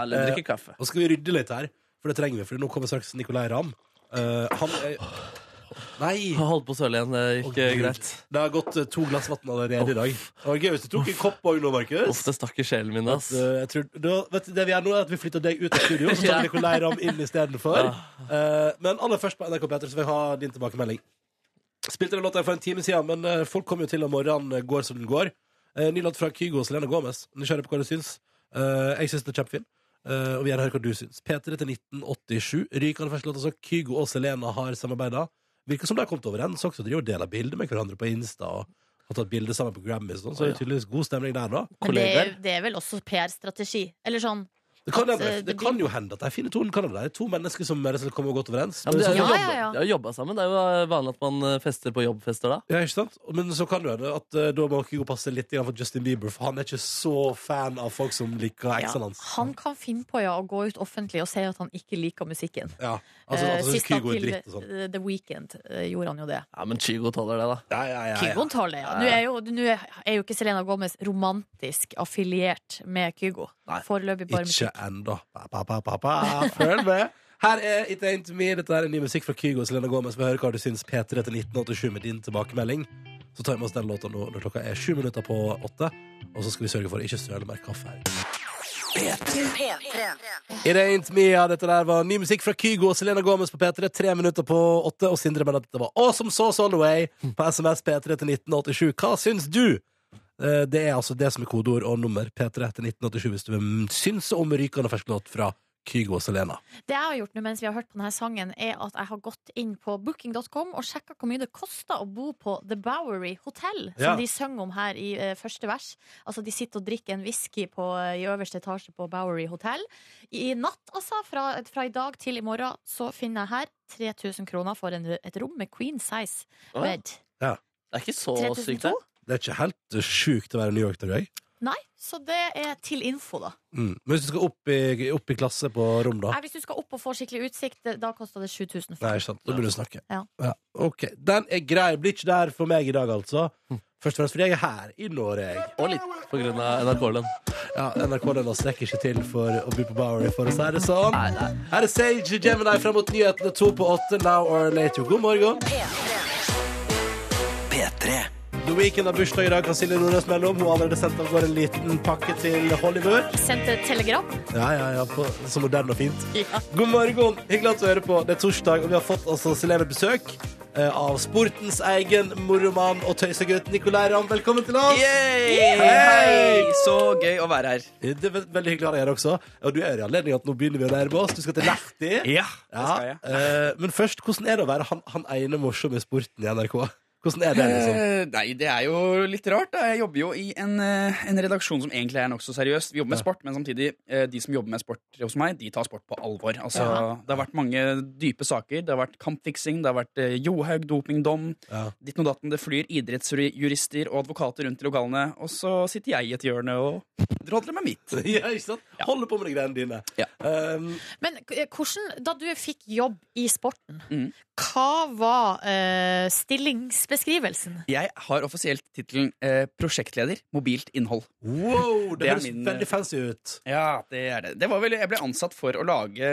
S3: Eller drikke kaffe.
S2: Og så skal vi rydde litt her, for det trenger vi. For nå kommer straks Nicolay Ramm. Eh, han er Nei.
S3: Holdt på å søle igjen. Det gikk eh, greit.
S2: Det har gått eh, to glass vann allerede i dag. Det var gøy hvis du tok en kopp òg nå, Markus.
S3: Uff, det stakk i sjelen min, ass.
S2: Eh, Jeg tror, da, vet du, det vi gjør nå, er at vi flytter deg ut av studio, så tar vi Nicolai Ram inn istedenfor. Eh, men aller først på NRK P3, så vil jeg ha din tilbakemelding. Spilte den låta for en time siden, men eh, folk kommer jo til om morgenen eh, går som den går. Eh, ny låt fra Kygo og Selena Gomez. Nysgjerrig på hva du syns. Eh, jeg syns den er kjempefin. Eh, og vi gjerne hører hva du syns. P3 til 1987. Rykende fersk låt. Altså Kygo og Selena har samarbeida. Virker som de har kommet overens. Også driver og deler bilder med hverandre på Insta. Og har tatt bilder sammen på Grammy, sånn, så det er tydeligvis god stemning der, da.
S5: Men det er, det er vel også PR-strategi. Eller sånn
S2: Det kan,
S5: at,
S2: hende-
S5: eh,
S2: det
S5: blir-
S2: kan jo hende at de finner tonen. Kan det være to mennesker som er- som kommer godt overens?
S3: Ja, men de har jo
S2: Men så-
S5: Ja, ja, ja.
S3: jobba- de har jobba sammen. Det er jo vanlig at man eh, fester på jobbfester da.
S2: Ja, ikke sant? Men så kan du hende at eh, da må Kygo passe litt grann for Justin Bieber, for han er ikke så fan av folk som liker
S5: ja,
S2: eksen hans.
S5: Han kan finne på ja, å gå ut offentlig og si at han ikke liker musikken.
S2: Ja, altså,
S5: Eh,
S2: altså
S5: Sist han
S2: Kygo er
S5: til
S2: dritt og sånn.
S5: eh, The Weekend eh, gjorde han jo det.
S3: Ja, Men Kygo tåler det, da.
S2: Ja, ja, ja, ja.
S5: Kygoen tåler det, ja. Nå er jo, nå er- er jo ikke Selena Gomez romantisk affiliert med Kygo. Foreløpig bare
S2: Ikke
S5: musikk.
S2: ennå. Pa, pa, pa, pa, pa. Følg med! Her er It Ain't Me. Dette er ny musikk fra Kygo og Selena Gomez. Vi hører hva du syns, P3 til 1987, med din tilbakemelding. Så tar vi med oss den låta nå når klokka er sju minutter på åtte. Og så skal vi sørge for å ikke søle mer kaffe her.
S1: P3.
S2: It Ain't Me, ja, dette der var ny musikk fra Kygo og Selena Gomez på P3, tre minutter på åtte, og Sindre mener at dette var Awesome Sauce All The Way på SMS P3 til 1987. Hva syns du? Eh, Det er altså det som er kodeord og nummer P3 til 1987 hvis du mm, syns om rykende fersk låt fra Kygo og Selena.
S5: Det jeg har gjort nå mens vi har hørt på denne sangen, er at jeg har gått inn på booking.com og sjekka hvor mye det koster å bo på The Bowery Hotel, som
S12: Ja.
S5: de synger om her i eh, første vers. Altså, de sitter og drikker en whisky på, eh, i øverste etasje på Bowery Hotel. I natt, altså, fra, fra i dag til i morgen, så finner jeg her 3000 kroner for en, et rom med queen size
S2: Å, ja.
S5: bed.
S2: Ja.
S3: Det er ikke så
S5: 3002? sykt, det.
S2: Det er ikke helt eh, sjukt å være New York til deg.
S5: Nei, så det er til info, da.
S2: Mm. Men hvis du skal opp i, opp i klasse på rom, da?
S5: Nei, hvis du skal opp og få skikkelig utsikt, det- da koster det 7000.
S2: Nei, ikke sant. Da begynner du å snakke.
S5: Ja.
S2: Ja, ok. Den er grei. Blir ikke der for meg i dag, altså. Først og fremst fordi jeg er her i Norge.
S3: Hm. Og litt på grunn av NRK-lønn.
S2: Ja, NRK-lønna strekker ikke til for å bo på Bowery, for å si det sånn. Her er Sage Gemini fram mot nyhetene to på åtte, now or later. God morgen.
S1: P3.
S2: The Weekend har bursdag i dag, kan Silje Nordnes melde om. Hun har allerede sendt av gårde en liten pakke til Hollywood.
S5: Sendte telegram.
S2: Ja, ja, ja, på, så moderne og fint. God morgen, hyggelig at du hører på. Det er torsdag, og vi har fått altså celebert besøk eh, av sportens egen moromann og tøysegutt Nicolai Ramm. Velkommen til oss!
S13: Yay! Hei! Så gøy å være her.
S2: Det er ve- veldig hyggelig å ha deg her også. Og du er i anledning at nå begynner vi å nærme oss. Du skal til Lahti.
S13: Ja, det skal jeg.
S2: eh, men først, hvordan er det å være han, han ene morsomme i sporten i NRK? Hvordan er det, liksom?
S13: Eh, Nei, det er jo litt rart. Da. Jeg jobber jo i en, eh, en redaksjon som egentlig er nokså seriøs. Vi jobber med sport, men samtidig, eh, de som jobber med sport hos meg, de tar sport på alvor. Altså,
S14: Ja.
S13: Det har vært mange dype saker. Det har vært kampfiksing, det har vært eh, Johaug, dopingdom, ditt og datten. Det flyr idrettsjurister og advokater rundt i lokalene, og så sitter jeg i et hjørne og drodler med mitt.
S2: Ja, ikke sant? Holder på med de greiene dine. Um,
S5: Men eh, hvordan, da du fikk jobb i sporten,
S13: Mm.
S5: hva var eh, stillingsbeskrivelsen?
S13: Jeg har offisielt tittelen eh, prosjektleder mobilt innhold.
S2: Wow, det
S13: er eh,
S2: høres veldig fancy ut.
S13: Ja, det er det. Det var vel, jeg ble ansatt for å lage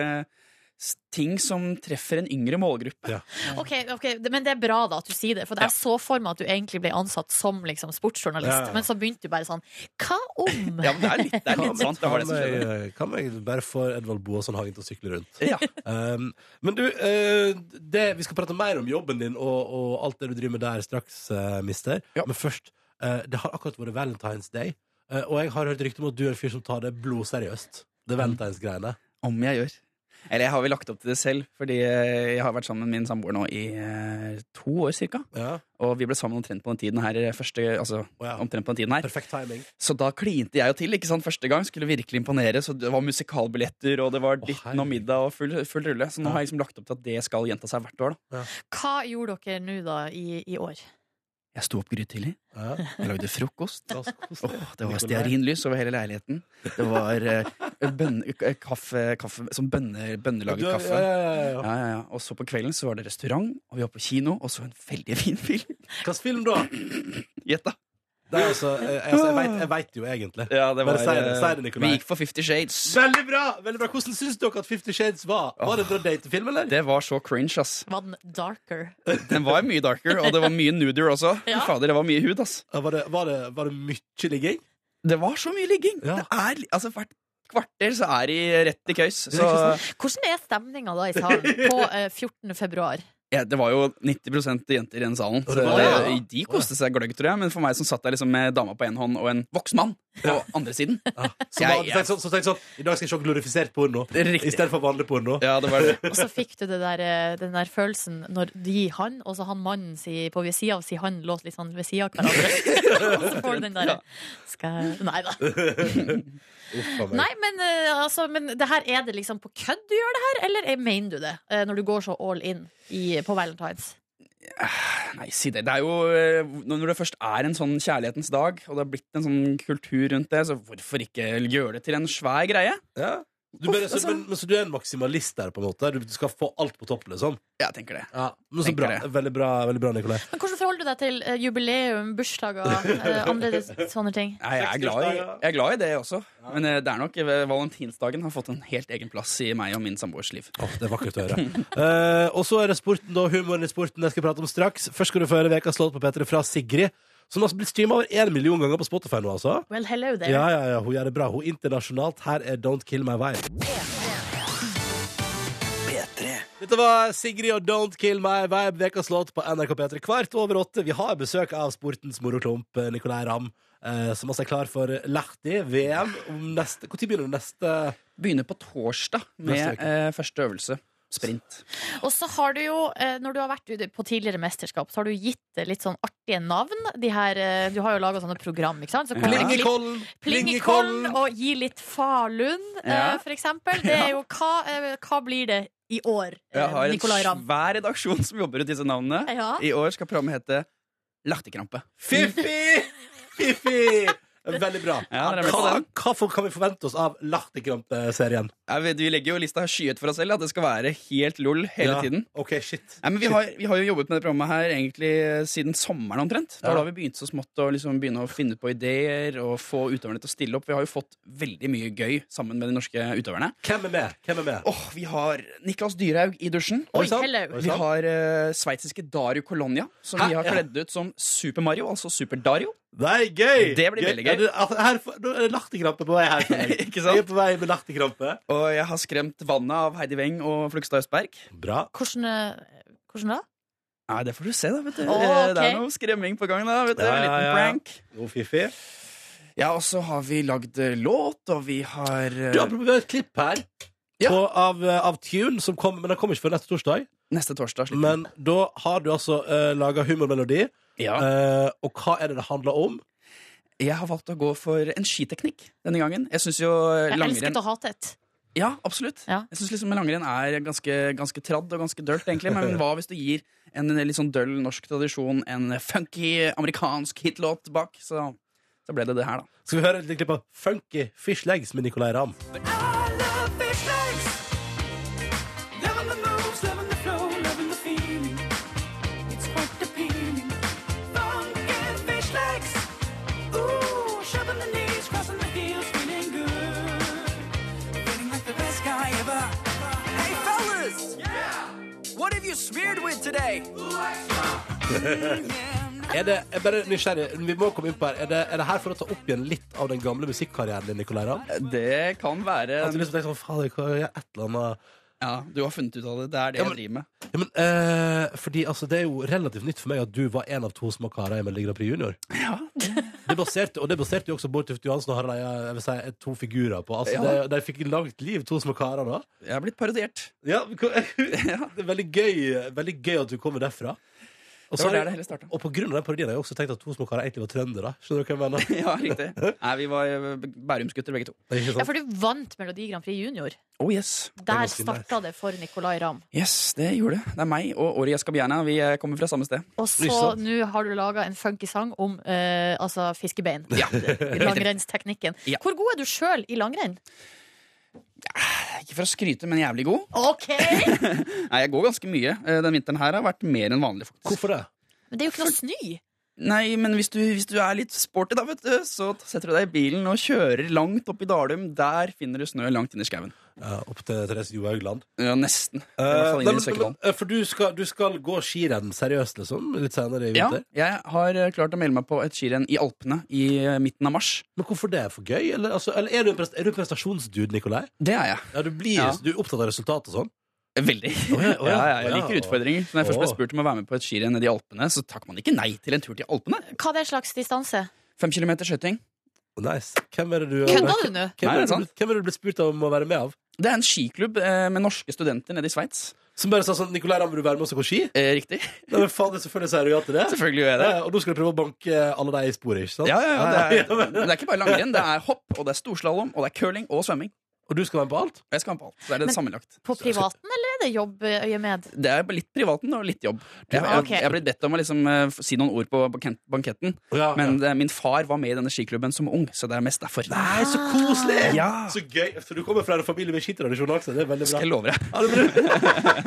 S13: s- ting som treffer en yngre målgruppe.
S5: Ok, ok, det- Men det er bra da at du sier det, for jeg så for meg at du egentlig ble ansatt som liksom, sportsjournalist,
S13: Ja, ja.
S5: men så begynte du bare sånn Hva om?
S13: Ja, men det er litt, det er litt sant. Det var det som
S2: Kan
S13: skjedde.
S2: jeg- Kan jeg bare få Edvald Boasson Hagen til å sykle rundt?
S13: Ja.
S2: Um, men du, eh, det, vi skal prate mer om jobben din og, og alt det du driver med der straks, eh, mister. Men først, eh, det har akkurat vært Valentine's Day, eh, og jeg har hørt rykte om at du er en fyr som tar det blodseriøst. Det er valentinsgreiene.
S13: Mm. Om jeg gjør. Eller jeg har vel lagt opp til det selv, fordi eh, jeg har vært sammen med min samboer nå i eh, to år cirka. Og vi ble sammen omtrent på den tiden her. eh, Første, altså, omtrent på den tiden her.
S2: Perfekt timing.
S13: Så da klinte jeg jo til, ikke sant? Første gang skulle virkelig imponere, så det var musikalbilletter, og det var ditten og middag og full, full rulle. Så nå har jeg liksom lagt opp til at det skal gjenta seg hvert år, da.
S5: Hva gjorde dere nå da i, i år?
S13: Jeg sto opp grytidlig. Jeg lagde frokost. Åh, det var
S14: Nicolai.
S13: stearinlys over hele leiligheten. Det var eh, bønne, eh, kaffe, kaffe Sånn bønne, bønnelaget
S14: Du- ja,
S13: kaffe.
S14: ja, ja, ja.
S13: Ja, ja, ja. Og så på kvelden så var det restaurant, og vi var på kino og så en veldig fin film.
S2: Hvilken film da?
S13: Gjett, da.
S2: Det er altså, jeg, altså, jeg, vet, jeg vet jo egentlig.
S13: Ja, det var, eh,
S2: Bare si det, eh, si det, Nikolai.
S13: Vi gikk for Fifty Shades.
S2: Veldig bra! veldig bra Hvordan syns dere at Fifty Shades var? Var det en bra datefilm, eller?
S13: Det var så cringe, ass.
S5: Var den darker?
S13: Den var mye darker, og det var mye nuder også.
S5: Ja.
S13: Fader, det var mye hud, ass.
S2: Var det, mye ligging?
S13: Det var så mye ligging. Det er, li- altså, hvert kvarter så er de rett i køys. Så
S5: Hvordan er stemninga da i salen på eh, 14. februar?
S13: ja, det var jo 90 jenter i den salen. Så
S2: det var det,
S13: eh, de koste seg gløgg, tror jeg. Men for meg som satt der liksom med dama på én hånd og en voksen mann på andre siden
S2: Så
S13: Jeg-
S2: bare- du tenkte sånn, så tenkte sånn I dag skal jeg se glorifisert porno
S13: Riktig.
S2: i stedet for vanlig porno.
S13: Ja, det var det.
S5: Og så fikk du det der, eh, den der følelsen når de, han, og så han mannen si, på ved sida av si han, låt litt sånn ved sida av hverandre. og så får du den derre Skal jeg Nei da. Nei, men, eh, altså, men det her er det liksom på kødd du gjør det her, eller eh, mener du det? eh, Når du går så all in i, på valentines?
S13: Nei, si det. Det er jo eh, Når det først er en sånn kjærlighetens dag, og det har blitt en sånn kultur rundt det, så hvorfor ikke gjøre det til en svær greie?
S2: Ja. Du bare, så, men, men, så du er en maksimalist der, på en måte? Du skal få alt på topp, liksom?
S13: Jeg tenker det.
S2: Ja, men så
S13: Tenker
S2: bra. Veldig bra, veldig bra Nikolai.
S5: Men hvordan forholder du deg til eh, jubileum, bursdager, eh, andre sånne ting?
S13: Nei, jeg, er glad i, jeg er glad i det også, men eh, det er nok eh, valentinsdagen har fått en helt egen plass i meg og min samboers liv.
S2: Det er vakkert å høre. Eh, og så er det sporten, da. Humoren i sporten jeg skal prate om straks. Først skal du få høre ukas låt på P3 fra Sigrid, som har blitt streama over én million ganger på Spotify nå, altså.
S5: Well, hello there.
S2: Ja, ja, ja, hun gjør det bra. Hun internasjonalt. Her er Don't Kill My Vibe. Dette var Sigrid og Don't Kill My Vibe, ukas låt på NRK P3 kvart over åtte. Vi har besøk av sportens moroklump Nicolay Ramm, eh, som altså er klar for Lahti-VM. Når begynner neste
S13: Begynner på torsdag
S2: Neste
S13: med
S2: uke.
S13: eh, første øvelse. Sprint.
S5: Og så har du jo, eh, når du har vært ute på tidligere mesterskap, så har du gitt det litt sånn artige navn. De her, eh, du har jo laga sånne program, ikke sant? Så kommer det klipp-
S2: Plingekollen!
S5: Plingekollen og gi litt Falun, eh,
S13: Ja.
S5: for eksempel. Det er jo hva, eh, hva blir det i år,
S13: Jeg
S5: eh,
S13: har en
S5: Nicolay Ramm?
S13: svær redaksjon som jobber ut disse navnene.
S5: Ja.
S13: I år skal programmet hete Lahtekrampe.
S2: Fiffi! Fiffi! Veldig bra.
S13: Ja, dere er med på
S2: hva,
S13: den.
S2: hva for- kan vi forvente oss av Lahti-serien?
S13: Jeg vet, Vi legger jo lista skyet for oss selv. At det skal være helt lol hele
S2: Ja.
S13: tiden.
S2: OK, shit.
S13: Nei, men vi har, vi har jo jobbet med det programmet her egentlig eh, siden sommeren omtrent. Det var
S2: Ja.
S13: da vi begynte så smått å liksom begynne å finne på ideer og få utøverne til å stille opp. Vi har jo fått veldig mye gøy sammen med de norske utøverne.
S2: Hvem er med? Hvem er med?
S13: Åh, Vi har Niklas Dyrhaug i dusjen.
S5: Oi, Oi, sant? hello. Oi,
S13: Vi
S5: sant.
S13: har eh, sveitsiske Dario Colonia, som
S2: Hæ?
S13: vi har
S2: Ja.
S13: kledd ut som Super Mario, altså Super Dario.
S2: Det er gøy!
S13: Det blir veldig gøy.
S2: Ja, det- altså, her, nå er det lahtekrampe på vei her. for meg.
S13: Ikke sant?
S2: Jeg er på vei med lahtekrampe.
S13: Og jeg har skremt vannet av Heidi Weng og Flugstad Østberg.
S2: Bra.
S5: Hvordan, eh, hvordan da?
S13: Nei, det får du se, da. vet du
S5: Å,
S13: Eh, Det
S5: ok.
S13: er noe skremming på gang, da. vet du
S2: Ja,
S13: En
S2: ja, ja.
S13: liten prank.
S2: God fiffi.
S13: Ja, og så har vi lagd eh, låt, og vi har eh,
S2: Du har prøvd et klipp her
S13: Ja.
S2: på, av, eh, av Tune, som kom, men den kom ikke før neste torsdag.
S13: Neste torsdag slipper
S2: Men da har du altså uh, laga humormelodi.
S13: vi. ja.
S2: Eh, og hva er det det handler om?
S13: Jeg har valgt å gå for en skiteknikk denne gangen. Jeg syns jo eh,
S5: Jeg elsket
S13: langrenn
S5: og hatet.
S13: Ja, absolutt.
S5: Ja.
S13: Jeg synes liksom langrenn er ganske, ganske tradd og ganske dølt, egentlig. Men hva hvis du gir en litt sånn døll norsk tradisjon en funky amerikansk hitlåt bak? Så, så ble det det her, da.
S2: Skal vi høre et lite klipp av Funky Fish Legs med Nicolay Ramm? Er det, jeg er bare nysgjerrig, vi må komme inn på her Er det, er det her for å ta opp igjen litt av den gamle musikkarrieren din, Nicolay Ramm?
S13: Det kan være
S2: At du liksom tenker sånn, fader, hva gjør jeg et eller annet
S13: Ja, du har funnet ut av det. Det er det
S2: Ja, men-
S13: jeg driver med.
S2: ja, men, eh, Fordi altså, det er jo relativt nytt for meg at du var en av to små karer i Melodi Grand Prix Junior det baserte, Og det baserte jo også Bård Tufte Johansen og Harald Eia jeg vil si, to figurer på Altså,
S13: Ja.
S2: det- de fikk langt liv, to små karer da
S13: Jeg er blitt parodiert.
S2: Ja, men hva- det er veldig gøy, veldig gøy at du kommer derfra og,
S13: Det
S2: så har
S13: var der
S2: jeg-
S13: det hele starta.
S2: og på grunn av den parodien har jeg også tenkt at to små karer egentlig var trønder da Skjønner du hva jeg mener?
S13: Ja, riktig. Nei, vi var eh, Bærumsgutter begge to.
S2: Det er ikke
S5: Ja,
S2: sant?
S5: for du vant Melodi Grand Prix Junior.
S13: Oh yes.
S5: Der
S2: ganske
S5: starta det for Nicolay Ramm.
S13: Yes, det gjorde det. Det er meg og Ori Escabiana. Vi eh, kommer fra samme sted.
S5: Og så
S2: sant.
S5: nå har du laga en funky sang om eh, altså fiskebein.
S13: Ja.
S5: I Langrennsteknikken.
S13: Ja.
S5: Hvor god er du sjøl i langrenn?
S13: Ikke for å skryte, men jævlig god.
S5: OK!
S13: Nei, jeg går ganske mye. Eh, Den vinteren her har vært mer enn vanlig, faktisk.
S2: Hvorfor det?
S5: Men det er jo ikke noe snø.
S13: Nei, men hvis du, hvis du er litt sporty, da, vet du, så setter du deg i bilen og kjører langt opp i Dalum. Der finner du snø langt inn i skauen.
S2: opp til Therese Johaugland?
S13: Ja, nesten. I hvert
S2: Eh,
S13: fall
S2: nei,
S13: inn i
S2: men-
S13: Søkkerdalen.
S2: men- eh, for du skal, du skal gå skirenn seriøst, liksom? Litt senere i
S13: Ja,
S2: vinter?
S13: jeg har eh, klart å melde meg på et skirenn i Alpene i eh, midten av mars.
S2: Men hvorfor det? Er for gøy? Eller, altså, eller er, du en prest, er du en prestasjonsdude, Nikolai?
S13: Det er jeg.
S2: Ja, du, blir,
S13: Ja.
S2: du er opptatt av resultat og sånn?
S13: Veldig.
S2: å ja,
S13: ja, ja,
S2: å
S13: jeg
S2: ja,
S13: liker
S2: å.
S13: utfordringer. Så når jeg først ble
S2: Å.
S13: spurt om å være med på et skirenn nede i Alpene, så takker man ikke nei til en tur til Alpene.
S5: Hva er det slags distanse?
S13: Fem kilometer skøyting.
S2: Nice. Hvem er det du
S5: Kødda du nå?
S2: Hvem
S13: Nei,
S2: er det
S13: det er
S2: du
S13: sant.
S2: blitt- hvem er det du blitt spurt om å være med av?
S13: Det er en skiklubb eh, med norske studenter nede i Sveits.
S2: Som bare sa sånn 'Nicolai, Ramm, vil du være med oss og gå ski?'
S13: Eh, riktig.
S2: Nei, men faen, det er selvfølgelig sier du ja til det.
S13: Selvfølgelig gjør jeg det.
S2: Ja, Eh, og nå skal du prøve å banke alle deg i sporet, ikke sant?
S13: Ja, ja, ja, det er,
S2: Ja,
S13: men
S2: men-
S13: det er ikke bare langrenn. Det er hopp, og det er storslalåm, og det er curling og svømming.
S2: Og du skal være med på alt?
S13: Jeg skal være med på alt. Så det er det
S5: Men-
S13: sammenlagt.
S5: På privaten, eller er det jobbøyemed?
S13: Det er litt privaten og litt jobb. Jeg, jeg,
S5: ok.
S13: jeg har blitt bedt om å liksom, eh, f- si noen ord på banken- banketten,
S2: Ja,
S13: men eh, min far var med i denne skiklubben som ung, så det er mest derfor.
S2: Nei, så koselig!
S13: Ja.
S2: Så gøy. Så du kommer fra en familie med skitradisjon også. Det er veldig bra.
S13: Skal jeg love deg.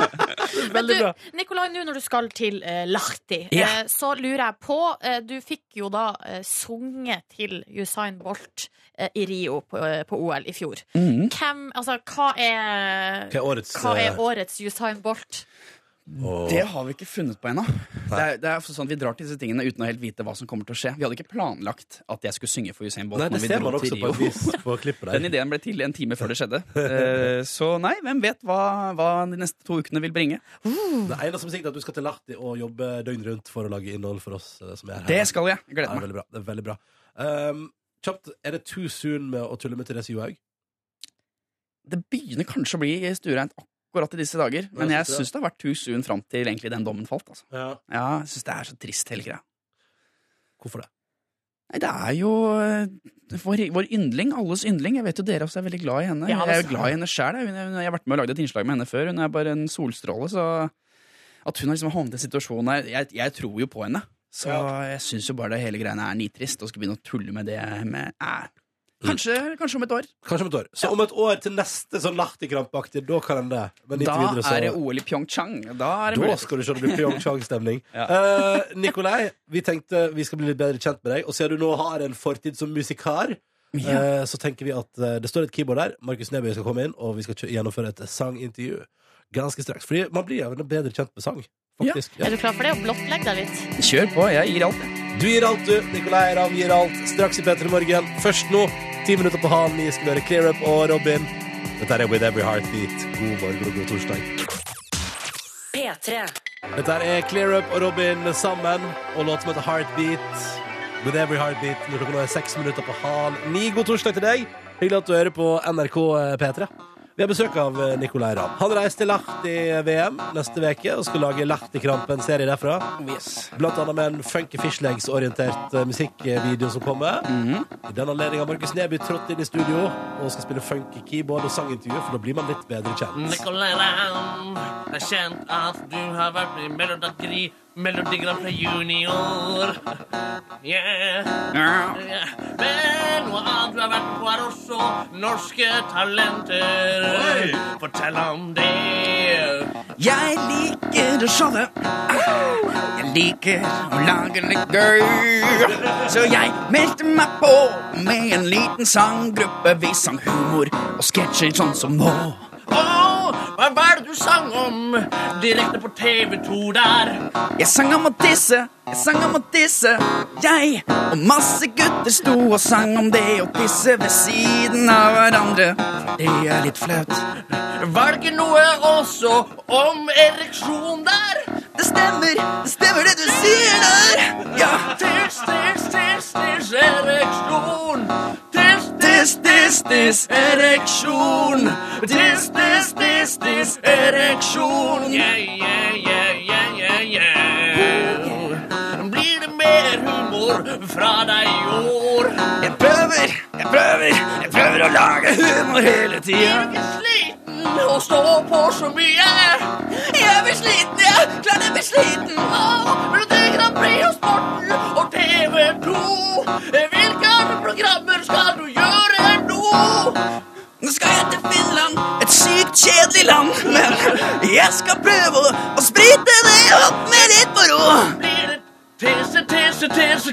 S5: Men du, Nikolai, nå når du skal til eh, Lahti,
S13: Ja.
S5: eh, så lurer jeg på eh, Du fikk jo da eh, sunget til Usain Bolt eh, i Rio på, eh, på OL i fjor.
S2: Mhm.
S5: Hvem, altså, hva er
S2: Hva er årets,
S5: hva er
S2: eh,
S5: årets Usain Bolt?
S13: Det har vi ikke funnet på ennå. Det er, det er sånn at Vi drar til disse tingene uten å helt vite hva som kommer til å skje. Vi hadde ikke planlagt at jeg skulle synge for Usain Bolt.
S2: Nei, det
S13: når vi
S2: ser
S13: dro
S2: man også
S13: til
S2: på et
S13: Rio.
S2: vis på klippet
S13: Den
S2: der.
S13: ideen ble til en time før det skjedde. Eh, Så nei, hvem vet hva, hva de neste to ukene vil bringe.
S2: Uh. Det eneste som er sikkert, er at du skal til Lahti og jobbe døgnet rundt for å lage innhold for oss eh, som er her.
S13: Det skal jeg. Jeg gleder
S2: meg. Det er veldig bra. Det er, veldig bra. Um, kjapt, er det too soon med å tulle med Therese Johaug?
S13: Det begynner kanskje å bli stuereint akkurat i disse dager, men
S2: Ja,
S13: jeg
S2: så bra.
S13: syns det har vært too soon fram til egentlig den dommen falt. Altså.
S2: Ja.
S13: Ja, jeg syns det er så trist, hele greia.
S2: Hvorfor det?
S13: Nei, det er jo eh, vår, vår yndling, alles yndling. Jeg vet jo dere også er veldig glad i henne.
S3: Ja,
S13: jeg er
S3: altså.
S13: jo glad i henne sjæl. Jeg, Hun- hun- jeg har vært med og lagd et innslag med henne før. Hun er bare en solstråle, så at hun har liksom havnet i en situasjon her jeg, jeg tror jo på henne. Så jeg syns jo bare det hele greiene er nitrist. Og skal begynne å tulle med det med eh. Kanskje, kanskje om et år.
S2: Mm. Kanskje om et år. Så om et år til neste sånn Lahti-krampaktig, da kan en det. Men
S13: Da
S2: inntil videre, så
S13: er det OL i Pyeongchang. Da, er det
S2: Da
S13: mulig.
S2: skal du se det blir Pyeongchang-stemning. Eh, Nikolai, vi tenkte vi skal bli litt bedre kjent med deg. Og siden du nå har en fortid som musikar, eh, så tenker vi at eh, det står et keyboard der. Markus Neby skal komme inn, og vi skal kjø- gjennomføre et sangintervju ganske straks. Fordi man blir gjerne bedre kjent med sang, faktisk. Ja.
S5: Er du klar for det? Å blottlegge deg litt?
S13: Kjør på, jeg gir alt.
S2: Du gir alt, du. Nikolai Ramm gir alt. Straks i P3 Morgen. Først nå, ti minutter på halv ni, skal vi høre Clear Up og Robin. Dette er With Every Heartbeat. God morgen og god torsdag.
S1: P3.
S2: Dette her er Clear Up og Robin sammen, og låt som heter Heartbeat. With every heartbeat når klokka nå er seks minutter på halv ni. God torsdag til deg. Hyggelig at du hører på NRK P3. Vi har besøk av eh, Nicolay Ramm. Han reiser til Lahti-VM neste veke og skal lage Lahti-krampen-serie derfra. Blant annet med en funky fishlegs-orientert eh, musikkvideo som kommer. I den anledning har Markus Neby trådt inn i studio og skal spille funky keyboard og sangintervju, for da blir man litt bedre kjent.
S12: Nicolay Ramm er kjent at du har vært med i Melodi Grand- Melodi Grand Prix Junior. Yeah.
S13: Ja.
S12: Yeah. Men noe annet du har vært med på, er også Norske Talenter. Fortell om det.
S13: Jeg liker å showe. Jeg liker å lage det gøy. Så jeg meldte meg på med en liten sanggruppe. Vi sang humor og sketsjer sånn som nå.
S12: Åh, hva var det du sang om direkte på TV2 der?
S13: Jeg sang om å tisse, jeg sang om å tisse, jeg. Og masse gutter sto og sang om det å tisse ved siden av hverandre. Det er litt flaut.
S12: Var det ikke noe også om ereksjon der?
S13: Det stemmer, det stemmer det du sier der. Ja.
S12: Tiss, tiss, tiss, tiss, ereksjon. Tiss, tiss, tiss, tiss, ereksjon. Tiss, tiss, tiss, tiss, ereksjon. Yeah, yeah, yeah, yeah, yeah, yeah. Blir det mer humor fra deg i år?
S13: Jeg prøver, jeg prøver, jeg prøver å lage humor hele tida.
S12: sliten å stå på så mye. Jeg blir sliten, jeg. Klart jeg blir sliten. Av Melodi Grand Prix og sporten og TV 2. Hvilke andre programmer skal du gjøre nå?
S13: Nå skal jeg til Finland, et sykt kjedelig land. Men jeg skal prøve å, å sprite det opp med litt moro.
S12: Blir det Tisse, tisse, tisse,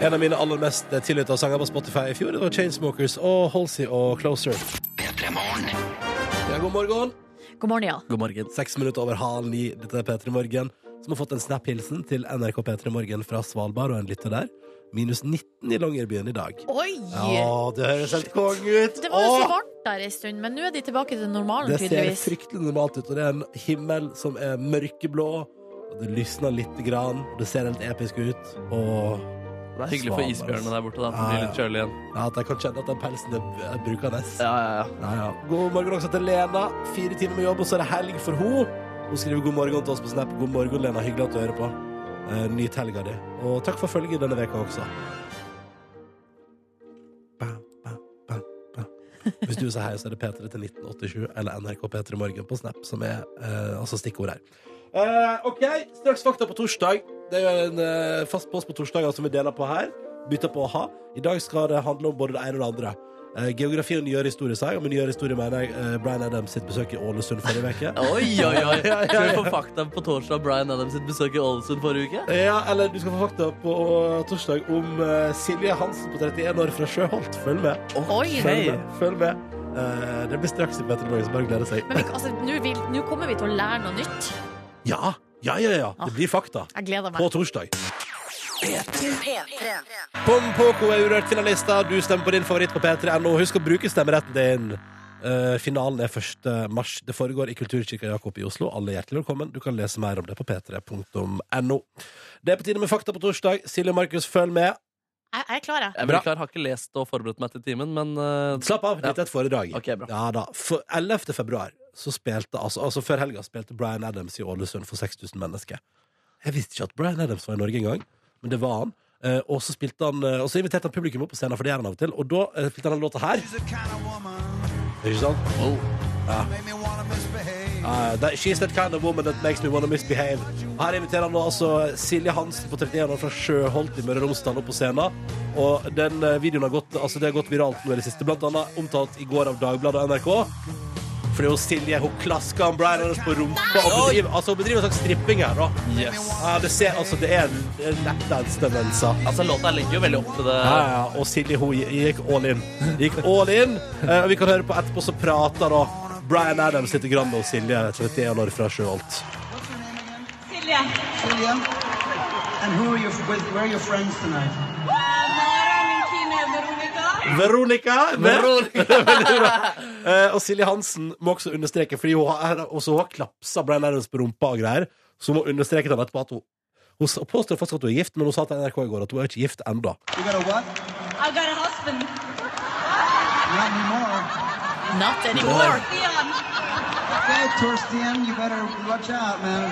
S2: En av mine aller mest tillytta sanger på Spotify i fjor det var Chainsmokers og Halsey og Closer. Ja, god morgen.
S5: God morgen, ja.
S3: God morgen.
S2: Seks minutter over halv ni. Dette er P3 Morgen, som har fått en snap-hilsen til NRK P3 Morgen fra Svalbard og en lytter der. Minus 19 i Longyearbyen i dag.
S5: Oi!
S2: Ja, det høres helt konge ut.
S5: Det var jo så
S2: Åh!
S5: varmt der en stund, men nå er de tilbake til normalen,
S2: Det ser
S5: tydeligvis.
S2: fryktelig normalt ut, og det er en himmel som er mørkeblå. Og det lysner lite grann. og Det ser helt episk ut. Og
S3: Det er hyggelig for isbjørnene der borte, da. At det
S2: Ja,
S3: blir
S2: ja.
S3: litt kjølig igjen.
S2: Ja, At jeg kan kjenne at den pelsen er er brukende. Ja, ja. God morgen også til Lena. Fire timer med jobb, og så er det helg for henne. Hun skriver god morgen til oss på Snap. God morgen, Lena. Hyggelig at du hører på. Eh, Nyt helga di. Og takk for følget denne veka også. Bam, bam, bam, bam. Hvis du vil si hei, så er det P3 til 1987 eller NRK P3 Morgen på Snap, som er eh, altså stikkord her. Eh, OK, straks fakta på torsdag. Det er jo en eh, fast post på torsdager som vi deler på her. Bytter på å ha. I dag skal det handle om både det ene og det andre. Eh, geografi og nyere historie, sa jeg. Og med nyere historie mener jeg eh, Bryan Adams sitt besøk i Ålesund forrige uke.
S3: Oi, oi, oi.
S2: ja, ja,
S3: Skal vi få
S2: ja.
S3: fakta på torsdag Bryan Adams sitt besøk i Ålesund forrige uke?
S2: ja, eller du skal få fakta på torsdag om eh, Silje Hansen på 31 år fra Sjøholt. Følg med.
S5: Oi.
S2: Følg med. Følg med. Eh, det blir straks i Petter Morgen, så bare gleder seg.
S5: Men vi, altså, nå vil- nå kommer vi til å lære noe nytt.
S2: Ja, ja, ja. ja. Det blir fakta.
S5: Ah. Jeg gleder meg.
S2: På torsdag.
S1: P3.
S2: Pompoko er urørt finalister. Du stemmer på din favoritt på p3.no. Husk å bruke stemmeretten din. Eh, finalen er 1. mars. Det foregår i Kulturkirka Jakob i Oslo. Alle er hjertelig velkommen. Du kan lese mer om det på p3.no. Det er på tide med fakta på torsdag. Silje og Markus, følg med.
S5: Jeg, jeg er klar, jeg.
S3: Jeg blir klar, har ikke lest og forberedt meg til timen, men eh,
S2: Slapp av, dette er et foredrag.
S3: Ok, bra.
S2: Ja da. For 11. februar, så spilte, altså, altså før helga, spilte Bryan Adams i Ålesund for 6000 mennesker. Jeg visste ikke at Bryan Adams var i Norge engang, men det var han. Eh, og så spilte han eh, Og så inviterte han publikum opp på scenen, for det gjør han av og til. Og da eh, spilte han den låta her. Ikke sant? Ja. Ja, that- she's that kind of woman that makes me wanna misbehave. Her inviterer han nå altså Silje Hansen på 31 år fra Sjøholt i Møre og Romsdal opp på scenen. Og den eh, videoen har gått, altså det har gått viralt nå i det siste. Blant annet omtalt i går av Dagbladet og NRK. Fordi hun Silje hun klasker han Brian Adams på rumpa og bedriver, altså, hun bedriver en slags stripping her. da. Ja, det, ser, altså, det er lapdance-tendenser.
S3: altså, låta legger jo veldig opp til det.
S2: Ja, ja, og Silje hun gikk all in. Gikk all in. Eh, og vi kan høre på etterpå så prater da Bryan Adams litt grann med Silje, 31 år fra Sjøholt.
S15: Silje.
S16: Julia, and who are you with? Where are your friends tonight?
S2: Veronica! vel-
S16: Veronica.
S2: Veldig bra. Eh, og Silje Hansen må også understreke, fordi hun har, også hun har klapsa Bryan Adams på rumpa og greier, så hun understreket han etterpå at hun hun s- påstår faktisk at hun er gift, men hun sa til NRK i går at hun er ikke gift ennå.
S16: You got a what?
S15: I've got a husband.
S16: Not anymore.
S5: Not
S16: anymore. Okay, Torsten, you better watch out, man.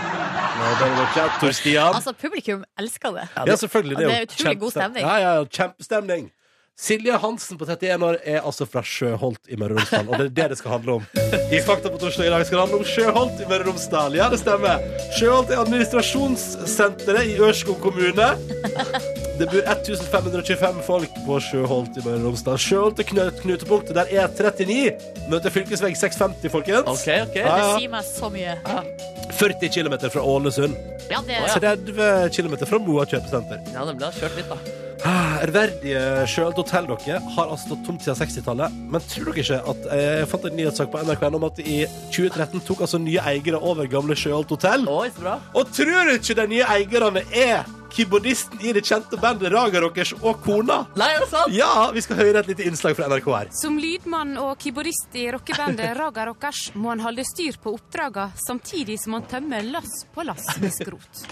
S5: Altså, publikum elsker det.
S2: Ja, selvfølgelig. Det er, jo
S5: utrolig god
S2: kjempestem-
S5: stemning.
S2: Ja, ja, ja, kjempestemning. Silje Hansen på 31 år er altså fra Sjøholt i Møre og Romsdal, og det er det det skal handle om. I Fakta på torsdag i dag skal det handle om Sjøholt i Møre og Romsdal. Ja, det stemmer. Sjøholt er administrasjonssenteret i Ørskog kommune. Det bor 1525 folk på Sjøholt i Møre og Romsdal. Sjøholt er knø- knutepunktet der E39 møter fylkesvei 650, folkens. Ja,
S5: Det
S2: ja.
S5: sier meg så mye.
S2: 40 km fra Ålesund.
S5: Ja, det
S2: Og 30 km fra Moa kjøpesenter.
S3: Ja, nemlig. Har kjørt litt, da.
S2: Ah, Ærverdige Sjøholt hotell dere har altså stått tomt siden 60-tallet. Men tror dere ikke at eh, jeg fant en nyhetssak på NRK om at i 2013 tok altså nye eiere over gamle Sjøholt hotell? Og tror du ikke de nye eierne er keyboardisten i det kjente bandet Raga Rockers og kona?
S3: Nei, er det sant?
S2: Ja, vi skal høre et lite innslag fra NRK her.
S17: Som lydmann og keyboardist i rockebandet Raga Rockers må han holde styr på oppdraga, samtidig som han tømmer lass på lass med skrot.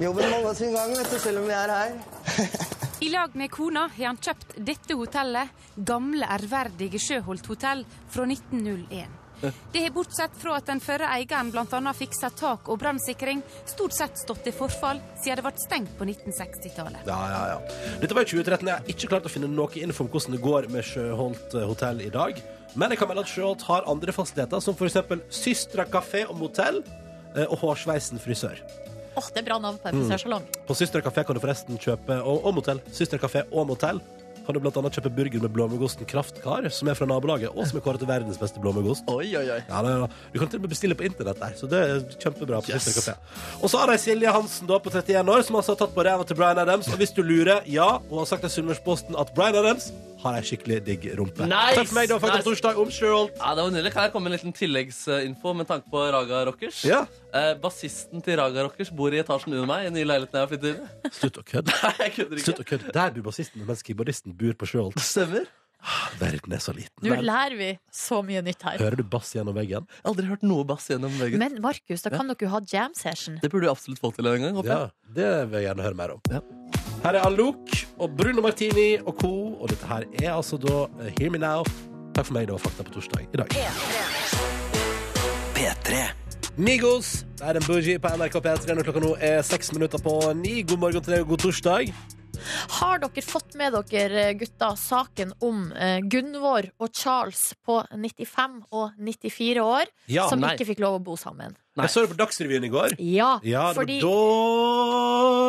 S16: Jobben må gå sin gang, vet du, selv om vi er her.
S17: I lag med kona har han kjøpt dette hotellet, gamle ærverdige Sjøholt hotell, fra 1901. Det har bortsett fra at den førre eieren bl.a. fiksa tak og brannsikring, stort sett stått i forfall siden det ble stengt på 1960-tallet.
S2: Ja, ja, ja. Dette var i 2013. Jeg har ikke klart å finne noe info om hvordan det går med Sjøholt eh, hotell i dag. Men jeg kan melde at Sjøholt har andre fasiliteter, som f.eks. Systra kafé og motell eh, og Hårsveisen frisør.
S5: Åh, det er bra navn på en
S2: Mm.
S5: frisørsalong.
S2: På Systra kafé kan du forresten kjøpe og, og motell. Systra kafé og motell kan du blant annet kjøpe burger med blåmuggosten Kraftkar, som er fra nabolaget, og som er kåret til verdens beste blåmuggost.
S3: Oi, oi, oi.
S2: Ja, da, Du kan til og med bestille på internett der, så det er kjempebra. på
S3: Yes.
S2: Twitter Café. Og så har de Silje Hansen da på 31 år, som altså har tatt på ræva til Bryan Adams. Og hvis du lurer, ja, hun har sagt til Sunnmørsposten at Bryan Adams har ei skikkelig digg rumpe.
S3: Nice!
S2: Takk for meg, det var Fakta på
S3: Nice.
S2: torsdag om Sherald.
S3: Ja, det var nydelig. Kan jeg komme med en liten tilleggsinfo med tanke på Raga Rockers?
S2: Ja.
S3: Eh, bassisten til Raga Rockers bor i etasjen under meg i den nye leiligheten jeg har flyttet inn i.
S2: Slutt å kødde.
S3: Nei, jeg kødder ikke.
S2: Slutt å kødde. Der bor bassisten, mens keyboardisten bor på Sherald.
S3: Stemmer.
S2: Verden er så liten.
S5: Nå lærer vi så mye nytt her.
S2: Hører du bass gjennom veggen?
S3: Jeg har aldri hørt noe bass gjennom veggen.
S5: Men Markus, da kan dere jo ha jam session.
S3: Det burde du absolutt få til en gang. håper
S2: Ja,
S3: jeg.
S2: det vil jeg gjerne høre mer om. Her er Alok og Bruno Martini og co. Og dette her er altså da eh, Hear Me Now. Takk for meg, det var Fakta på torsdag i dag.
S1: P3.
S2: Migos, det er en bougie på NRK P3 når klokka nå er seks minutter på ni. God morgen til deg og god torsdag.
S5: Har dere fått med dere, eh, gutta, saken om eh, Gunvor og Charles på 95 og 94 år
S2: Ja,
S5: som
S2: nei.
S5: ikke fikk lov å bo sammen?
S2: Jeg så det på Dagsrevyen i går.
S5: Ja,
S2: Ja, det
S5: fordi-
S2: var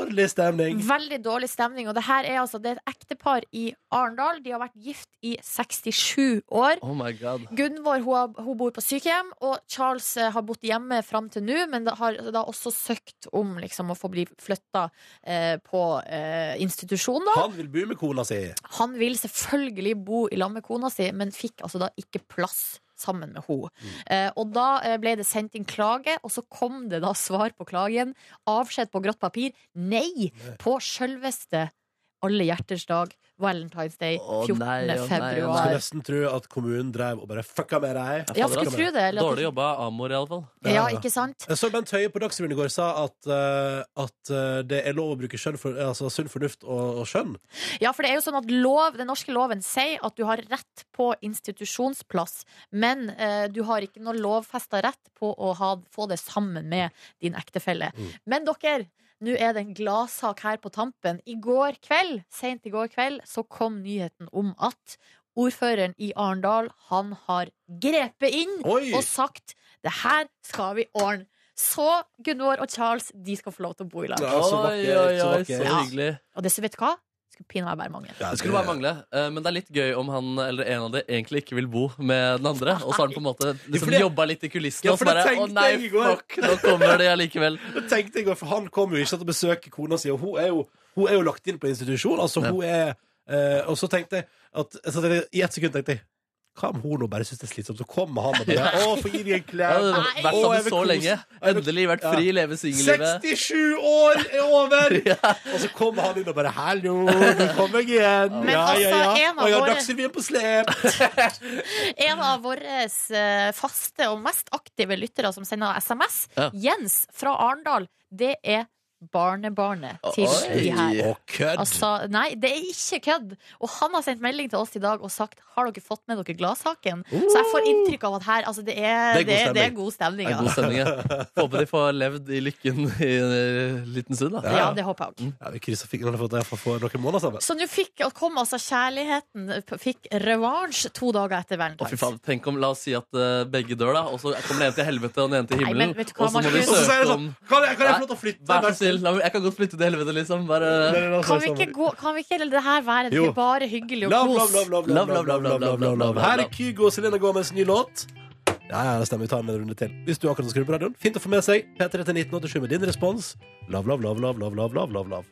S2: dårlig stemning.
S5: Veldig dårlig stemning. Og det her er altså det er et ektepar i Arendal. De har vært gift i 67 år.
S3: Oh my god.
S5: Gunvor hun, har- hun bor på sykehjem, og Charles eh, har bodd hjemme fram til nå, men da har da også søkt om liksom, å få bli flytta eh, på eh, institusjon. Da.
S2: Han vil bo med kona si.
S5: Han vil selvfølgelig bo i lag med kona si, men fikk altså da ikke plass sammen med henne. Eh, og da eh, ble det sendt inn klage, og så kom det da svar på klagen. Avskjed på grått papir. Nei! På sjølveste alle hjerters dag, Valentine's Day, 14.
S2: Skulle
S5: februar.
S2: nesten tro at kommunen drev og bare fucka med deg.
S5: Ja, skulle tro det, eller at-
S3: Dårlig jobba av Amor, iallfall.
S5: Ja, ikke sant?
S2: Jeg så Bent Høie på Dagsrevyen i går sa at, eh, at eh, det er lov å bruke skjønn for, altså, sunn fornuft og, og skjønn.
S5: Ja, for det er jo sånn at lov, den norske loven sier at du har rett på institusjonsplass, men eh, du har ikke noe lovfesta rett på å ha, få det sammen med din ektefelle.
S18: Mm.
S5: Men dere, nå er det en gladsak her på tampen. I går kveld, sent i går kveld, så kom nyheten om at ordføreren i Arendal, han har grepet inn
S18: Oi!
S5: og sagt det her skal vi ordne. Så Gunvor og Charles de skal få lov til å bo i lag.
S3: Ja, så Oi, vakkert, oi, så oi, vakkert. så hyggelig.
S5: Og det, vet du hva? Skulle pinadø være mange.
S3: Det skulle bare mangle. eh, Men det er litt gøy om han eller en av de egentlig ikke vil bo med den andre. Og så har han på en måte liksom
S2: det-
S3: jobba litt i kulissene,
S2: Ja,
S3: og
S2: for det
S3: så bare Å
S2: tenkte
S3: nei,
S2: jeg i går.
S3: fuck, nå kommer de allikevel.
S2: Det tenkte jeg, for han kommer jo ikke til å besøke kona si, og hun er jo, hun er jo lagt inn på institusjon. Altså, hun er, eh, og så tenkte jeg at så tenkte jeg- I ett sekund tenkte jeg hva om hun nå bare syns det er slitsomt? Så kommer han og bare
S3: Ja.
S2: Å, få gi deg en klem.
S3: Ja, det har vært
S2: Å,
S3: sammen
S2: jeg vil
S3: så
S2: kose-
S3: lenge. Endelig vært fri, leve singellivet.
S2: 67 år er over! Og så kommer han inn og bare 'Hallo, nå kommer jeg igjen'.
S5: Men
S2: ja, ja,
S5: altså,
S2: ja.
S5: en av
S2: Og jeg har
S5: våre-
S2: Dagsrevyen på slep.
S5: En av våre eh, faste og mest aktive lyttere som sender SMS,
S2: Ja.
S5: Jens fra Arendal, det er barnebarnet til
S2: Oi.
S5: de her.
S2: Å, kødd.
S5: Altså, nei, det er ikke kødd. Og han har sendt melding til oss i dag og sagt har dere fått med dere gladsaken. Så jeg får inntrykk av at her, altså, det er, det er, det er god stemning.
S3: Det er god
S5: altså.
S3: stemning, ja. Får Håper de får levd i lykken i en eh, liten stund. da
S5: Ja, det håper jeg òg.
S2: Ja, vi krysser fingrene for at jeg får få noen måneder sammen.
S5: Så nå fikk, kom altså kjærligheten, fikk revansj to dager etter
S3: Å, fy
S5: Valentine's.
S3: faen, tenk om, La oss si at eh, begge dør, da og så kommer den ene til helvete og den ene til
S5: Nei,
S3: himmelen.
S5: men vet du hva,
S3: og så må de
S5: Markus? Og så sier jeg
S3: søke
S5: sånn,
S3: om
S2: kan jeg- kan jeg få lov til å
S3: Nei,
S2: flytte?
S3: Vær så snill. la meg- Jeg kan godt flytte til helvete, liksom. Bare
S5: Kan vi
S8: sånn-
S5: ikke gå, kan vi ikke, eller det her være
S2: Jo.
S5: bare hyggelig og
S2: Love,
S5: kos?
S2: love, love, love, love, love, love, love, love, love, love. Her er Kygo og Selena Gomez ny låt. Ja, ja, det stemmer. Vi tar med en runde til. Hvis du akkurat har skrudd på radioen, fint å få med seg. P3 til 1987 med din respons. Love, love, love, love, love, love, love, love, love.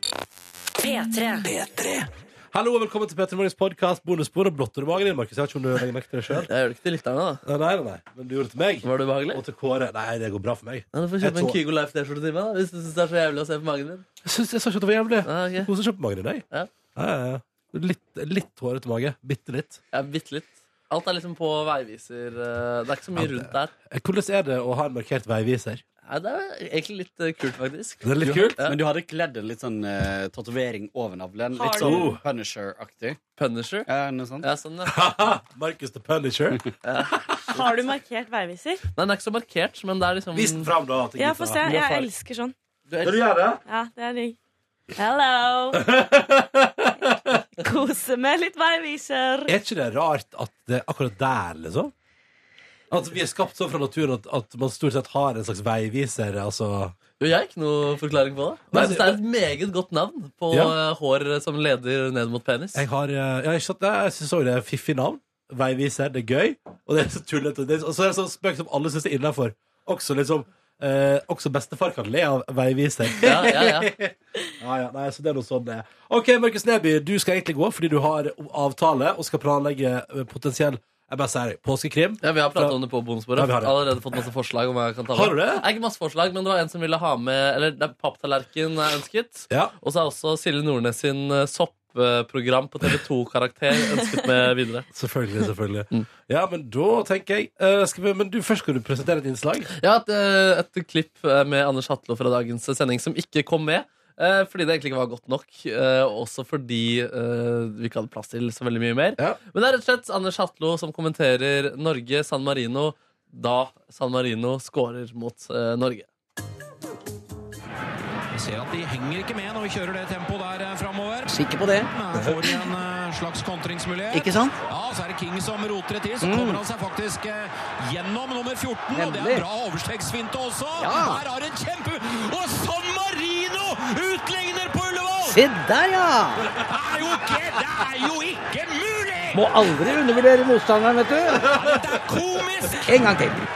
S1: P3.
S2: Hallo og velkommen til P3 Morgens podkast Bonusbord. Og blotter du magen din, Markus? Jeg vet ikke om du legger merke til det sjøl.
S3: Jeg gjør det ikke til lytterne, da.
S2: Nei, nei, nei, men du gjorde det til meg.
S3: Var det ubehagelig?
S2: Og til Kåre. Nei, det går bra for meg.
S3: Ja, du får kjøpe
S2: Jeg
S3: en
S2: tå-
S3: Kygo Life T-skjorte til meg da, hvis du syns det er så jævlig å se på magen din.
S2: Jeg syns jeg sa ikke at det var jævlig.
S3: Ah, ok.
S2: Kos deg ikke på magen din, jeg.
S3: Ja.
S2: Ja, ja, ja. Litt, litt hårete mage. Bitte litt.
S3: Ja, bitte litt. Alt er liksom på veiviser. eh, Det er ikke så mye rundt der.
S2: Hvordan er det å ha en markert veiviser?
S3: Ja, det er egentlig litt eh, kult, faktisk.
S18: Det er litt
S3: Du har-
S18: kult.
S3: Ja.
S18: Men du hadde kledd en litt sånn uh, tatovering over navlen.
S3: Har
S18: Litt
S3: du?
S18: sånn Punisher-aktig.
S3: Punisher?
S18: Ja, noe sånt.
S3: Ja, sånn, ja.
S2: Markus the Punisher.
S19: Har du markert veiviser?
S3: Nei, den er ikke så markert, men det er liksom
S19: Vis den
S2: fram, da.
S19: Ja, få se. Jeg elsker sånn.
S3: Du elsker- Vil du gjøre det?
S19: Ja, det er digg. Hello! Kose med litt veiviser.
S2: Er ikke det rart at det er akkurat der, liksom? At vi er skapt sånn fra naturen at, at man stort sett har en slags veiviser, altså
S3: Jo, jeg har ikke noe forklaring på det. Men jeg synes det er et meget godt navn på
S2: Ja.
S3: eh, hår som leder ned mot penis.
S2: Jeg har eh, Jeg, har ikke satt- jeg syns òg det er fiffig navn. Veiviser. Det er gøy. Og det er så tullete. Det er- Og så er det sånn spøk som alle syns er innafor. Også liksom eh, Også bestefar kan le av veiviser.
S12: Ja, ja, ja.
S2: Ja, ja, nei, så det er noe sånn det er. OK, Markus Neby, du skal egentlig gå fordi du har avtale og skal planlegge eh, potensiell jeg bare sier påskekrim.
S3: Ja, Vi har pratet om det på bonusbordet.
S2: Ja, vi har det.
S3: Allerede fått masse forslag. om hva jeg kan ta med.
S2: Har du det?
S3: Nei, ikke masse forslag, men det var en som ville ha med Eller det er papptallerken er ønsket.
S2: Ja.
S3: Og så er også Silje Nordnes sin eh, soppprogram på TV2-karakter ønsket med videre.
S2: Selvfølgelig, selvfølgelig.
S6: Mm.
S2: Ja, men da tenker jeg eh, skal vi, Men du, først skal du presentere et innslag.
S3: Ja, et, eh, et klipp eh, med Anders Hatlo fra dagens eh, sending som ikke kom med. eh, Fordi det egentlig ikke var godt nok. eh, og Også fordi eh, vi ikke hadde plass til så veldig mye mer. Men det er rett og slett Anders Hatlo som kommenterer Norge-San Marino da San Marino scorer mot eh, Norge.
S20: Vi ser at de henger ikke med når vi kjører det tempoet der eh, framover.
S6: Sikker på det.
S20: Her Får de en eh, slags kontringsmulighet.
S6: Ikke sant?
S20: Ja, så er det King som roter det til. Så
S6: Mm.
S20: kommer han seg faktisk eh, gjennom nummer 14, og det
S6: Nemlig.
S20: er bra overstegsfinte også.
S6: Ja.
S20: Her har en kjempe... Og San Marino utligner på Ullevål!
S6: Se der, ja!
S20: Det er jo ikke, det er jo ikke mulig!
S6: Må aldri undervurdere motstanderen, vet du. En gang til.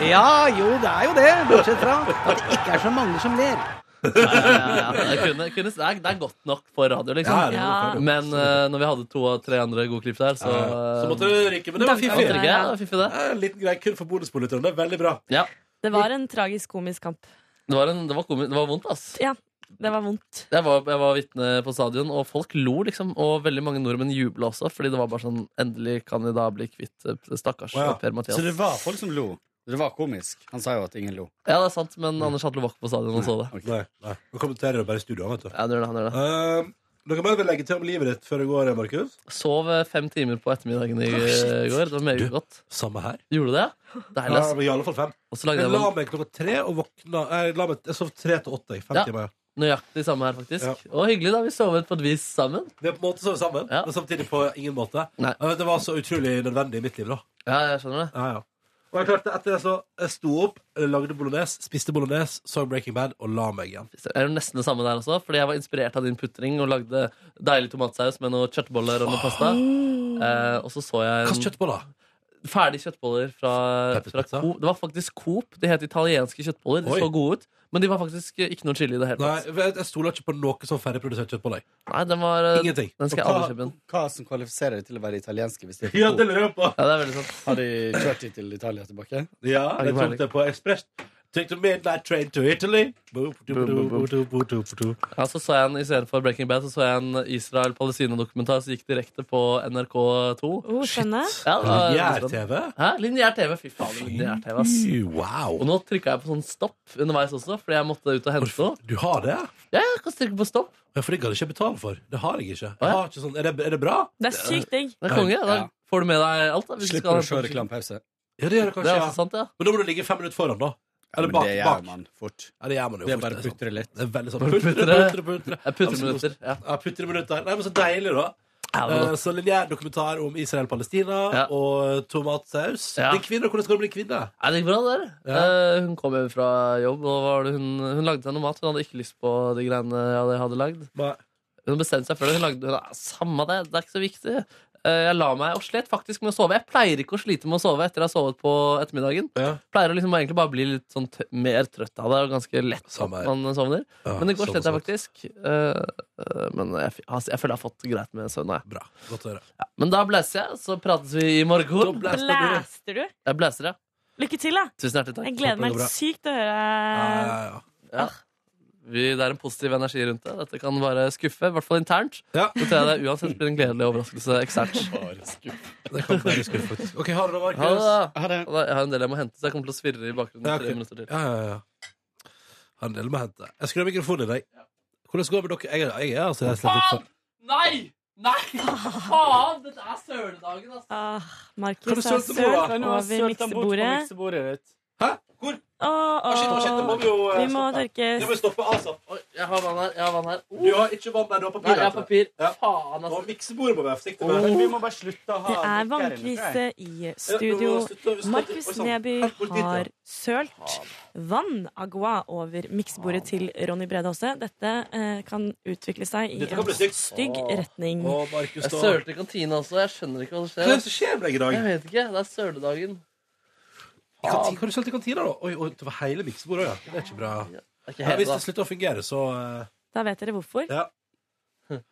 S6: Ja, jo, det er jo det. Bortsett fra at det ikke er så mange som ler.
S3: Ja, det, kunne, kunne, det, er, det er godt nok for radio, liksom.
S6: Ja, det er godt for radio.
S3: Men eh, når vi hadde to av tre andre gode klipp der, så
S2: Så måtte du rykke, men det var
S3: Ja,
S2: fiffig.
S3: måtte rykke, ja, det var fiffig, det.
S2: Ja, En liten greie kun for bonuspolitikerne. Det er veldig bra.
S3: Ja.
S19: Det var en tragisk komisk kamp.
S3: Det var, en, det var, komi- det var vondt, ass.
S19: Ja, det var vondt.
S3: Jeg var, jeg var vitne på stadion, og folk lo, liksom. Og veldig mange nordmenn jubla også, fordi det var bare sånn Endelig kan vi da bli kvitt eh, stakkars Per Mathias.
S18: Så det var folk som lo. Det var komisk. Han sa jo at ingen lo.
S3: Ja, det er sant,
S2: Mm.
S3: men Anders Hatlo var ikke på stadion og så det.
S2: Nei, nei. Han kommenterer det bare i studio, han, vet du.
S3: Ja, det gjør det, han gjør det.
S2: Eh, dere må vel legge til om livet ditt før det går, Markus?
S3: Sov eh, fem timer på ettermiddagen i eh,
S2: Ah, shit.
S3: går. Det var meget godt.
S2: Samme her.
S3: Gjorde du det? Deilig, ass.
S2: Ja, men i alle fall fem.
S3: Og så lagde
S2: jeg
S3: jeg
S2: la
S3: vel-
S2: meg klokka tre og våkna Jeg, la meg, jeg sov tre til åtte. i Fem
S3: Ja.
S2: timer.
S3: Nøyaktig samme her, faktisk. Og hyggelig, da. Vi sovet på et vis sammen.
S2: Vi har på en måte sovet sammen, men samtidig på ingen måte. Eh, Det var så utrolig nødvendig i mitt liv, da.
S3: Ja, jeg skjønner det.
S2: Ja, ja. Og jeg klarte etter det så Jeg sto opp, lagde bolognese, spiste bolognese, så Breaking Bad og la meg igjen.
S3: Det er jo nesten det samme der også, fordi jeg var inspirert av din putring og lagde deilig tomatsaus med noen kjøttboller og noe pasta. Eh, og så så jeg Hvilke
S2: kjøttboller?
S3: Ferdige kjøttboller fra, fra Coop. Det var faktisk Coop. De het italienske kjøttboller. De
S2: Oi.
S3: så gode ut, men de var faktisk eh, ikke noe chili i det hele
S2: Nei,
S3: tatt.
S2: jeg, jeg stoler ikke på noe sånn ferdigprodusert kjøtt på deg.
S3: Nei, den var eh,
S2: Ingenting.
S3: Den skal jeg aldri kjøpe igjen.
S18: Hva som kvalifiserer til å være italienske? Hvis det er
S2: Ja,
S18: på
S2: det
S18: Coop?
S2: lurer jeg på.
S3: Ja, det er veldig sant.
S18: Har de kjørt de til Italia tilbake?
S2: Ja, jeg tok det på Ekspress. Take the midnight train to Italy. Boop, doop, doop, doop, doop, doop, doop, doop.
S3: Ja, så så jeg en, I stedet for Breaking Bad så så jeg en Israel-Palestina-dokumentar som gikk direkekte på NRK2.
S19: Oh, skjønner.
S3: Ja, det var-
S2: Lineær-TV?
S3: Hæ? Lineær TV. Fy faen, lineær TV. ass.
S2: Fy, wow.
S3: Og nå trykka jeg på sånn stopp underveis også, fordi jeg måtte ut og hente noe.
S2: Du har det?
S3: Ja, jeg kan trykke på stopp.
S2: Ja, for det kan jeg ikke betale for. Det har jeg ikke. Jeg har ikke sånn, er, det, er det bra?
S19: Det er sykt digg.
S3: Det er konge. Da får du med deg alt. Da, hvis
S18: Slipper å
S3: du skal
S18: kjøre klampause.
S2: Ja, det gjør det kanskje.
S3: Det er
S2: ja.
S3: også sant, ja.
S2: Men da må du ligge fem minutter foran, da. Eller
S18: men
S2: bak.
S18: det gjør
S2: bak.
S18: man fort.
S2: Ja, det gjør man jo
S18: Det er
S2: fort.
S18: bare
S2: sant.
S18: putre litt.
S2: Det er veldig sånn
S18: Bare
S2: putre,
S18: putre.
S2: putre, putre.
S18: Ja, putreminutter,
S2: Ja, putreminutter. Nei, men så deilig, da.
S3: Ja, det var
S2: Eh,
S3: godt.
S2: Så lineær dokumentar om Israel-Palestina og tomatsaus.
S3: Ja.
S2: Det er kvinner, Hvordan skal du bli kvinne?
S3: Nei, det gikk bra, det der. Eh, hun kom hjem fra jobb, og var det hun, hun lagde seg noe mat. Hun hadde ikke lyst på de greiene jeg hadde lagd. Hun bestemte seg for det. Hun lagde, hun, "Ah, Samme det, det er ikke så viktig. Eh, jeg la meg og slet faktisk med å sove. Jeg pleier ikke å slite med å sove etter jeg har sovet på ettermiddagen. Pleier å liksom egentlig bare bli litt sånn t mer trøtt av det, og ganske lett at man sovner.
S2: Ja,
S3: men i går
S2: samme
S3: slet jeg faktisk. Eh, eh, men jeg, f- altså, jeg føler jeg har fått greit med søvn. jeg.
S2: Godt å høre.
S3: Men da blæser jeg, så prates vi i morgen.
S19: Blæster du?
S3: Jeg blæser, ja.
S19: Lykke til, da.
S3: Tusen hjertelig takk.
S19: Jeg gleder meg
S3: Håper det går bra.
S19: sykt til å høre
S3: Ja. vi, det er en positiv energi rundt det. Dette kan bare skuffe, i hvert fall internt. Så tror jeg det uansett blir en gledelig overraskelse eksternt.
S2: Det kan bli skuffet. Ok, ha det da, Markus.
S3: Ha det, da. Og da- Jeg har en del jeg må hente, så jeg kommer til å svirre i bakgrunnen i
S2: Ja, ok.
S3: tre minutter til.
S2: Ja, ja, ja. Har en del med å hente. Jeg skrur av mikrofonen i deg. Hvordan går det med dere? Jeg, er- jeg er altså rett og slett litt sånn
S3: Nei! Nei! Faen! Dette er søledagen,
S8: Kan du
S3: altså.
S19: Ah, Markus har
S8: sølte på, da?
S19: sølt
S8: Kan du ha
S19: over
S8: sølt den bort på
S19: miksebordet.
S21: miksebordet ditt?
S19: Åh,
S8: Ah, shit, ah, shit, det må vi jo, eh,
S19: vi må
S8: stoppe.
S19: tørkes.
S8: Det må vi stoppe, altså.
S3: Oi, Jeg har vann her. Jeg har vann her.
S8: Du har ikke vann der, du har papir.
S3: Nei, jeg har
S8: heter det.
S3: papir. Faen, altså.
S8: Og miksebordet må være forsiktig med.
S19: Åh.
S8: Vi må bare slutte å ha
S19: Det
S8: mikker
S19: er
S8: her inne, tror
S19: vannkrise
S8: jeg.
S19: i
S8: Ja,
S19: studio.
S8: nå slutter vi- slutter-
S19: Markus
S8: Oi, sant.
S19: Neby
S8: Her, hvor dit, ja.
S19: har sølt vann, agua, over miksebordet til Ronny Brede Aase. Dette eh, kan utvikle seg i
S3: Dette kan
S19: en
S3: bli stygt.
S19: stygg retning.
S3: Jeg sølte i kantina også. Jeg skjønner ikke hva som skjer.
S2: Hva er det som skjer med deg i dag?
S3: Jeg vet ikke. Det er søledagen.
S2: I kanti- Hva har du sølt i kantina, da? Oi, oi, det var hele miksebordet òg, ja. Det er ikke bra.
S3: ikke
S2: Ja,
S3: hele,
S2: hvis
S3: da.
S2: det slutter å fungere, så eh,
S19: Da vet dere hvorfor.
S2: Ja. Det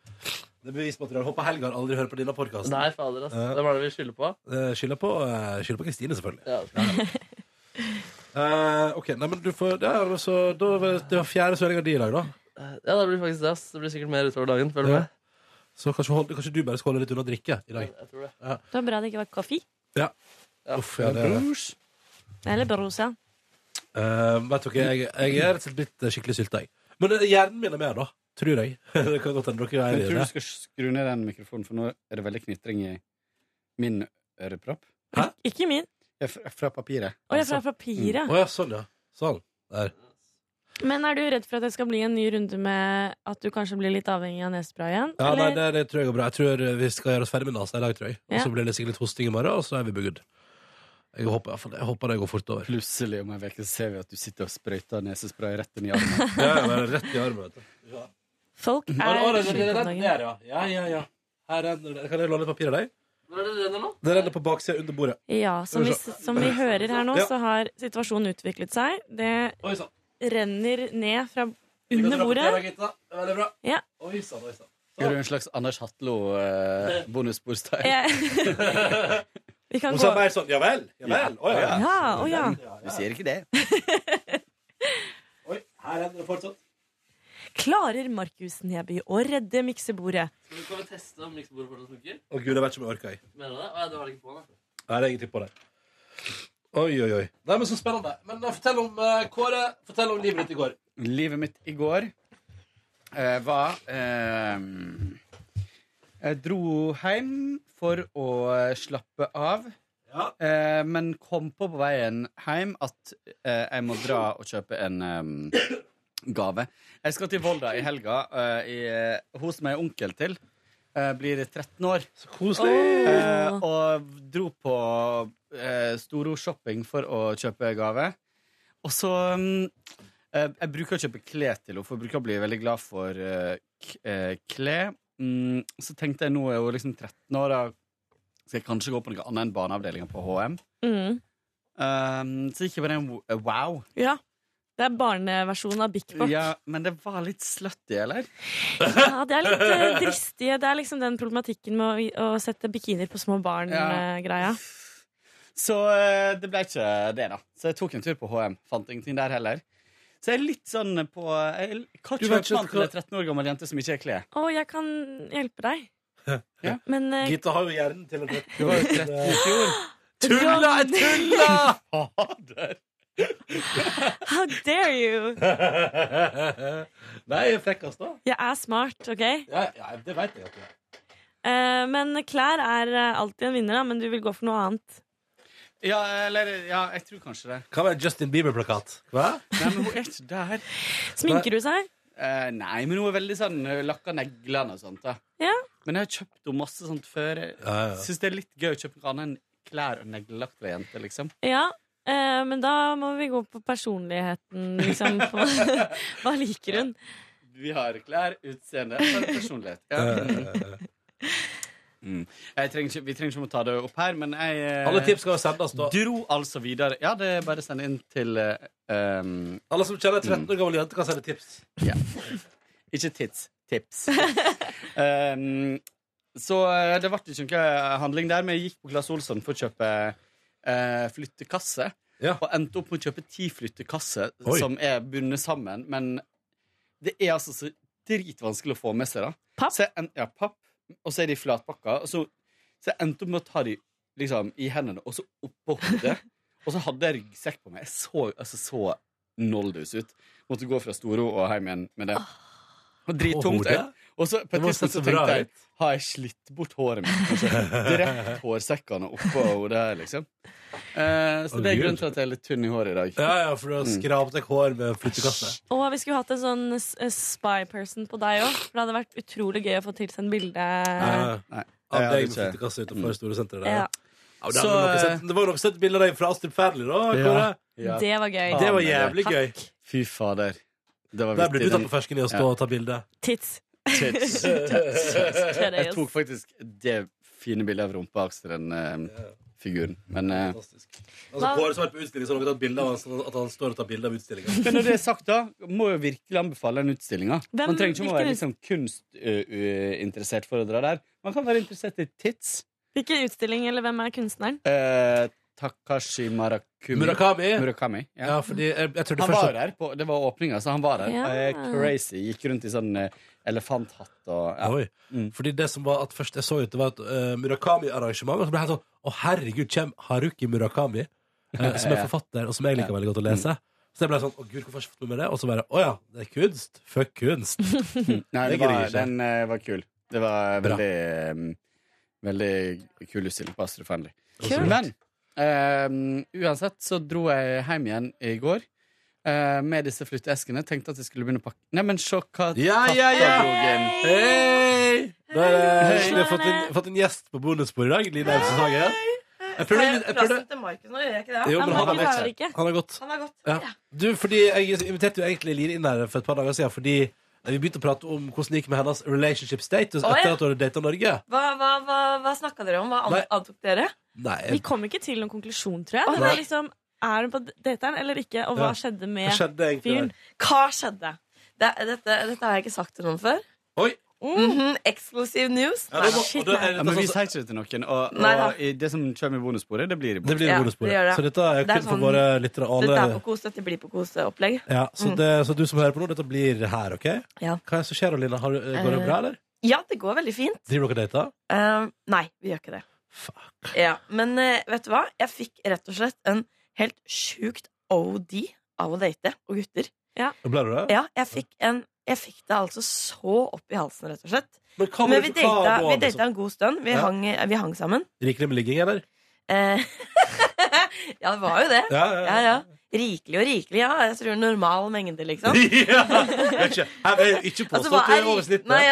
S2: er bevismateriale. Håper Helgar aldri hører på denne podkasten.
S3: Nei, fader, altså.
S2: Ja.
S3: Det var det vi skylder på.
S2: Skylder på eh, skylder på Kristine, selvfølgelig.
S3: Ja.
S2: Eh, OK, nei, men du får ja, altså, da, var- Det var fjerde søling av de i dag, da.
S3: Eh, Ja, det blir faktisk det. ass. Det blir sikkert mer utover dagen. Følg
S2: Ja.
S3: med.
S2: Så kanskje, hold, kanskje du bare skal holde litt unna drikke i dag.
S3: Jeg tror det.
S2: Ja.
S19: Det var bra det ikke var kaffe.
S2: ja. Uff, ja, det er det.
S19: Eller brosa.
S2: Eh, vet dere, jeg, jeg er rett og slett blitt eh, skikkelig sylta, jeg. Men eh, hjernen min er med, da. Tror jeg. det kan godt hende dere er
S21: Men
S2: enig i
S21: tror du
S2: det.
S21: du skal skru ned den mikrofonen, for nå er det veldig knitring i min ørepropp.
S19: Ikke min.
S21: Jeg er fra, fra papiret.
S19: Å, jeg er fra papiret.
S21: Mm.
S2: Å ja, sånn, ja. Sånn. Der.
S19: Men er du redd for at det skal bli en ny runde med at du kanskje blir litt avhengig av nesespray igjen?
S2: Ja, nei,
S19: Eller-
S2: det, det tror jeg går bra. Jeg tror eh, vi skal gjøre oss ferdig med nesa i dag, tror jeg. Og
S19: Ja.
S2: så blir det sikkert litt hosting i morgen, og så er vi bugd. Jeg håper, i hvert fall- jeg håper det går fort over.
S21: Plutselig om en uke ser vi at du sitter og sprøyter nesespray rett inn i armen.
S2: Ja, ja, det er rett i armen, vet du.
S19: Folk
S2: Mm. Å, å, det- det- det- det-
S19: sjuke om dagen.
S2: der, ja. Ja, ja, ja. Her renner det. Kan jeg låne papir av deg?
S3: Hvor er det renner nå?
S2: Det renner på baksida under bordet.
S19: Ja, som vi,
S2: Skal vi se.
S19: som vi hører her nå,
S2: Ja.
S19: så har situasjonen utviklet seg. Det
S2: Oi, sann.
S19: renner ned fra
S2: Vi kan
S19: under
S2: dra på
S19: bordet.
S2: fjerde, gutta. Veldig bra.
S19: Ja.
S2: Oi sann, oi sann.
S21: Gjør du en slags Anders eh, Hatlo-bonusbordstein?
S19: Ja. Vi kan
S21: Og
S19: gå.
S21: så
S2: Bare sånn, ja vel, ja vel. Å, ja.
S19: Ja, å ja.
S21: Du sier ikke det.
S2: Oi, her renner det fortsatt.
S19: Klarer Markus Neby å redde miksebordet?
S3: Skal vi kan vi teste om miksebordet fortsatt funker?
S2: Å gud, jeg vet ikke om jeg orker. jeg.
S3: Mener du det? Å, ja, det var det ikke på, da.
S2: Nei, det er egentlig på det. Oi, oi, oi. Nei, men Så spennende. Men eh, fortell om eh, Kåre. Fortell om livet ditt i går.
S21: Livet mitt i går eh, var eh, Jeg dro hjem for å eh, slappe av, eh, men kom på på veien hjem at eh, jeg må dra og kjøpe en eh, gave. Jeg skal til Volda i helga, eh, i, eh, hos meg onkel til. Eh, blir 13 år. Så
S2: koselig!
S21: Eh, og dro på eh, Storo shopping for å kjøpe gave. Og så mm, eh, Jeg bruker å kjøpe klær til henne, for jeg bruker å bli veldig glad for eh, k- eh, klær. Mm, så tenkte jeg nå er hun liksom 13 år, da skal jeg kanskje gå på noe annet enn barneavdelinga på HM.
S19: Mm.
S21: Um, så ikke bare en wo- eh, wow.
S19: Ja. Det er barneversjonen av Bik Bok.
S21: Ja, men det var litt slutty, eller?
S19: Ja, det er litt eh, dristige. Det er liksom den problematikken med å, å sette bikinier på små
S21: Ja.
S19: barn-greia.
S21: Så eh, det ble ikke det, da. Så jeg tok en tur på HM. Fant ingenting der heller. Så jeg er litt sånn på jeg, Hva
S19: Du vet ikke
S21: kjøper man til
S19: hva-
S21: en 13 år gammel jente som ikke er klær?
S19: Å, jeg kan hjelpe deg.
S21: Ja.
S19: Men eh,
S2: Gitta har jo hjernen til å
S21: Du var jo 13 i fjor.
S19: Tulla, jeg tulla!
S21: Fader.
S19: how dare you?
S2: Nei, jeg er frekkast, da.
S19: Jeg er smart, OK?
S2: Ja, ja, det veit jeg at du er.
S19: Eh, men klær er eh, alltid en vinner, da, men du vil gå for noe annet.
S21: Ja, eller Ja, jeg tror kanskje det.
S2: Hva med en Justin Bieber-plakat? Hva?
S21: Nei, men hun er ikke der.
S19: Sminker du seg?
S21: Eh, nei, men hun er veldig sånn hun Lakker neglene og sånt. Da.
S19: Ja.
S21: Men jeg har kjøpt henne masse sånt før. Jeg
S2: Ja, ja.
S21: Syns det er litt gøy å kjøpe noe annet enn klær og neglelakk til ei jente, liksom.
S19: Ja, eh, men da må vi gå på personligheten, liksom. På, hva liker hun?
S21: Vi har klær, utseende og personlighet. Ja. Mm. Jeg trenger ikke, vi trenger ikke å ta det opp her, men jeg eh,
S2: Alle tips skal sendes, da.
S21: Dro altså videre. Ja, det er bare å sende inn til eh, um,
S2: Alle som kjenner en 13 år gammel jente, kan sende tips.
S21: Ja. Ikke tits. Tips. um, så eh, det ble ikke noe handling der, men jeg gikk på Glass Olsson for å kjøpe eh, flyttekasse. Og endte opp med å kjøpe ti flyttekasser
S2: Oi.
S21: som er bundet sammen, men Det er altså så dritvanskelig å få med seg. da Papp? Så jeg, en- ja, papp, og så er de flatpakka. Og så, så jeg endte opp med å ta de liksom, i hendene og så oppå hodet. og så hadde jeg ryggsekk på meg. Jeg så altså, så noldus ut. Måtte gå fra Storo og hjem igjen med det. Og
S12: På
S21: Drittungt.
S12: hodet?
S21: jeg.
S2: eh.
S21: Og så på
S12: Det
S21: et
S12: må ha
S21: tidspunkt
S12: sett
S21: så
S12: så bra
S21: tenkte jeg
S12: ut.
S21: Har jeg slitt bort håret mitt? Kanskje Drept hårsekkene oppå hodet her, liksom. Eh, så det er
S2: Herregud.
S21: grunnen til at jeg er litt tynn i håret i dag. Mm.
S2: Ja, ja, for du har skrapt deg hår med flyttekasse.
S19: Og vi skulle hatt en sånn s- spy person på deg òg, for det hadde vært utrolig gøy å få tilsendt bilde.
S2: Nei. Eh, Av deg
S21: jeg
S2: med
S21: hadde ikke. Mm.
S2: flyttekasse utenfor store senteret der.
S19: Ja.
S2: Ja. men det,
S21: Så, eh,
S2: var nok sett, det var nok sett bilder av deg fra Astrup Fearnley, da. Kåre.
S21: Ja.
S19: Det var gøy.
S2: Det var jævlig
S19: Takk.
S2: gøy.
S21: Fy fader. Det var
S2: Der ble
S21: viktig,
S2: du tatt
S21: den-
S2: på fersken i å stå
S21: Ja.
S2: og ta bilde.
S19: Tits.
S21: Tits, tits, tits. Jeg tok faktisk det fine bildet av rumpa til den eh, figuren. Men eh,
S2: Altså, Kåre som har vært på utstilling, så har dere tatt bilde av han, sånn at han står og tar bilde av utstillinga.
S21: men når det er sagt, da, må jeg virkelig anbefale den utstillinga.
S2: Hvem-
S21: Man trenger ikke å være
S2: hvilken-
S21: liksom, kunstinteressert for å dra der. Man kan være interessert i tits.
S19: Hvilken utstilling, eller hvem er kunstneren?
S21: Eh, Takashi Marakumi.
S2: Murakami?
S21: Murakami ja.
S2: Ja, fordi jeg, jeg trodde
S21: han
S2: først
S21: var her på, Det var åpninga, så han var her.
S2: Ja.
S21: Eh, crazy. Gikk rundt i sånn eh, elefanthatt og ja. Mm.
S2: Oi. Fordi det som var at først jeg så ut, det var et eh, Murakami-arrangement. Og så ble jeg helt sånn Å, herregud, kjem Haruki Murakami, eh, som er
S21: Ja.
S2: forfatter, og som jeg liker veldig godt å lese.
S21: Mm.
S2: Så jeg ble sånn Å, gud, hvorfor har jeg ikke fått med meg det? Og så bare Å ja, det er kunst. Fuck kunst.
S21: Nei, det
S2: Det gidder
S21: var,
S2: jeg ikke.
S21: den eh, var kul. Det var
S2: Bra.
S21: veldig um, Veldig kul utstilling på Astrid Fearnley.
S2: Kult.
S21: Men ehm, uansett så dro jeg hjem igjen i går. eh, med disse flytteeskene. Tenkte at jeg skulle begynne å pakke Neimen, se hva
S2: Ja, ja, ja!
S21: kattalogen-
S2: Hei! Da er det, vi har fått en, fått en gjest på bonusbordet i dag. Line Elvsen Hagen. Jeg prøvde,
S8: Jeg
S2: jeg prøvde
S8: plassen til Markus nå, gjør jeg ikke det?
S2: Jo, men han har gått. Han har gått.
S8: Han har gått.
S2: Ja. Du, fordi jeg inviterte jo egentlig Line inn her for et par dager siden fordi eh, vi begynte å prate om hvordan det gikk med hennes relationship status
S8: Å,
S2: etter
S8: ja.
S2: at hun hadde data Norge.
S8: Hva, hva, hva, hva snakka dere om? Hva an-
S2: Nei.
S8: antok dere?
S2: Nei,
S19: Vi kom ikke til noen konklusjon, tror jeg.
S8: Å,
S19: Det var
S8: nei.
S19: liksom, er hun på dateren eller ikke, og hva
S8: Ja.
S19: skjedde med
S8: Hva skjedde egentlig
S19: fyren?
S8: der? Hva skjedde? Det, dette, dette har jeg ikke sagt til noen før.
S2: Oi.
S5: Mm.
S8: Exclusive news.
S21: Ja,
S8: Nei,
S21: det var-
S8: Ah, shit,
S21: og da er
S8: nei.
S21: det-
S2: altså,
S21: ja, men vi sier ikke det til noen. Og,
S8: Nei da.
S21: og i det som kommer i bonussporet, det blir i
S2: Det blir
S8: Ja,
S2: ja,
S8: det gjør det.
S2: Så dette er
S8: Det er
S2: kun for
S8: sånn-
S2: våre lyttere.
S8: Så dette er på
S2: Alle.
S8: kos, dette blir på koseopplegg.
S2: Ja, så,
S8: Mm.
S2: det, så du som hører på nå, dette blir her, OK?
S8: Ja. Eh.
S2: Hva er det som skjer, Line? Har, du- går det bra, eller?
S8: Ja, det går veldig fint.
S2: Driver dere og dater?
S8: Eh, nei, vi gjør ikke det. Ja, men eh, vet du hva? Jeg fikk rett og slett en helt sjukt OD av å date og gutter.
S19: Ja.
S2: Ble du det?
S8: Ja, jeg fikk, en, jeg fikk det altså så opp i halsen, rett og slett.
S2: Men hva var
S8: Men vi
S2: det- hva
S8: data,
S2: var
S8: vi
S2: det som-
S8: data en god stund. Vi,
S2: Ja.
S8: hang, vi hang sammen.
S2: Riker det med ligging, eller?
S8: Eh, ja, det var jo det.
S2: Ja, ja, ja.
S8: Rikelig og rikelig, ja. Jeg tror normal mengde, liksom.
S2: ja! Vet ikke. Her er jo
S8: Altså,
S2: ikke påstått
S8: hva
S2: at du
S8: er
S2: er over
S8: rik-
S2: snittet.
S8: Nei,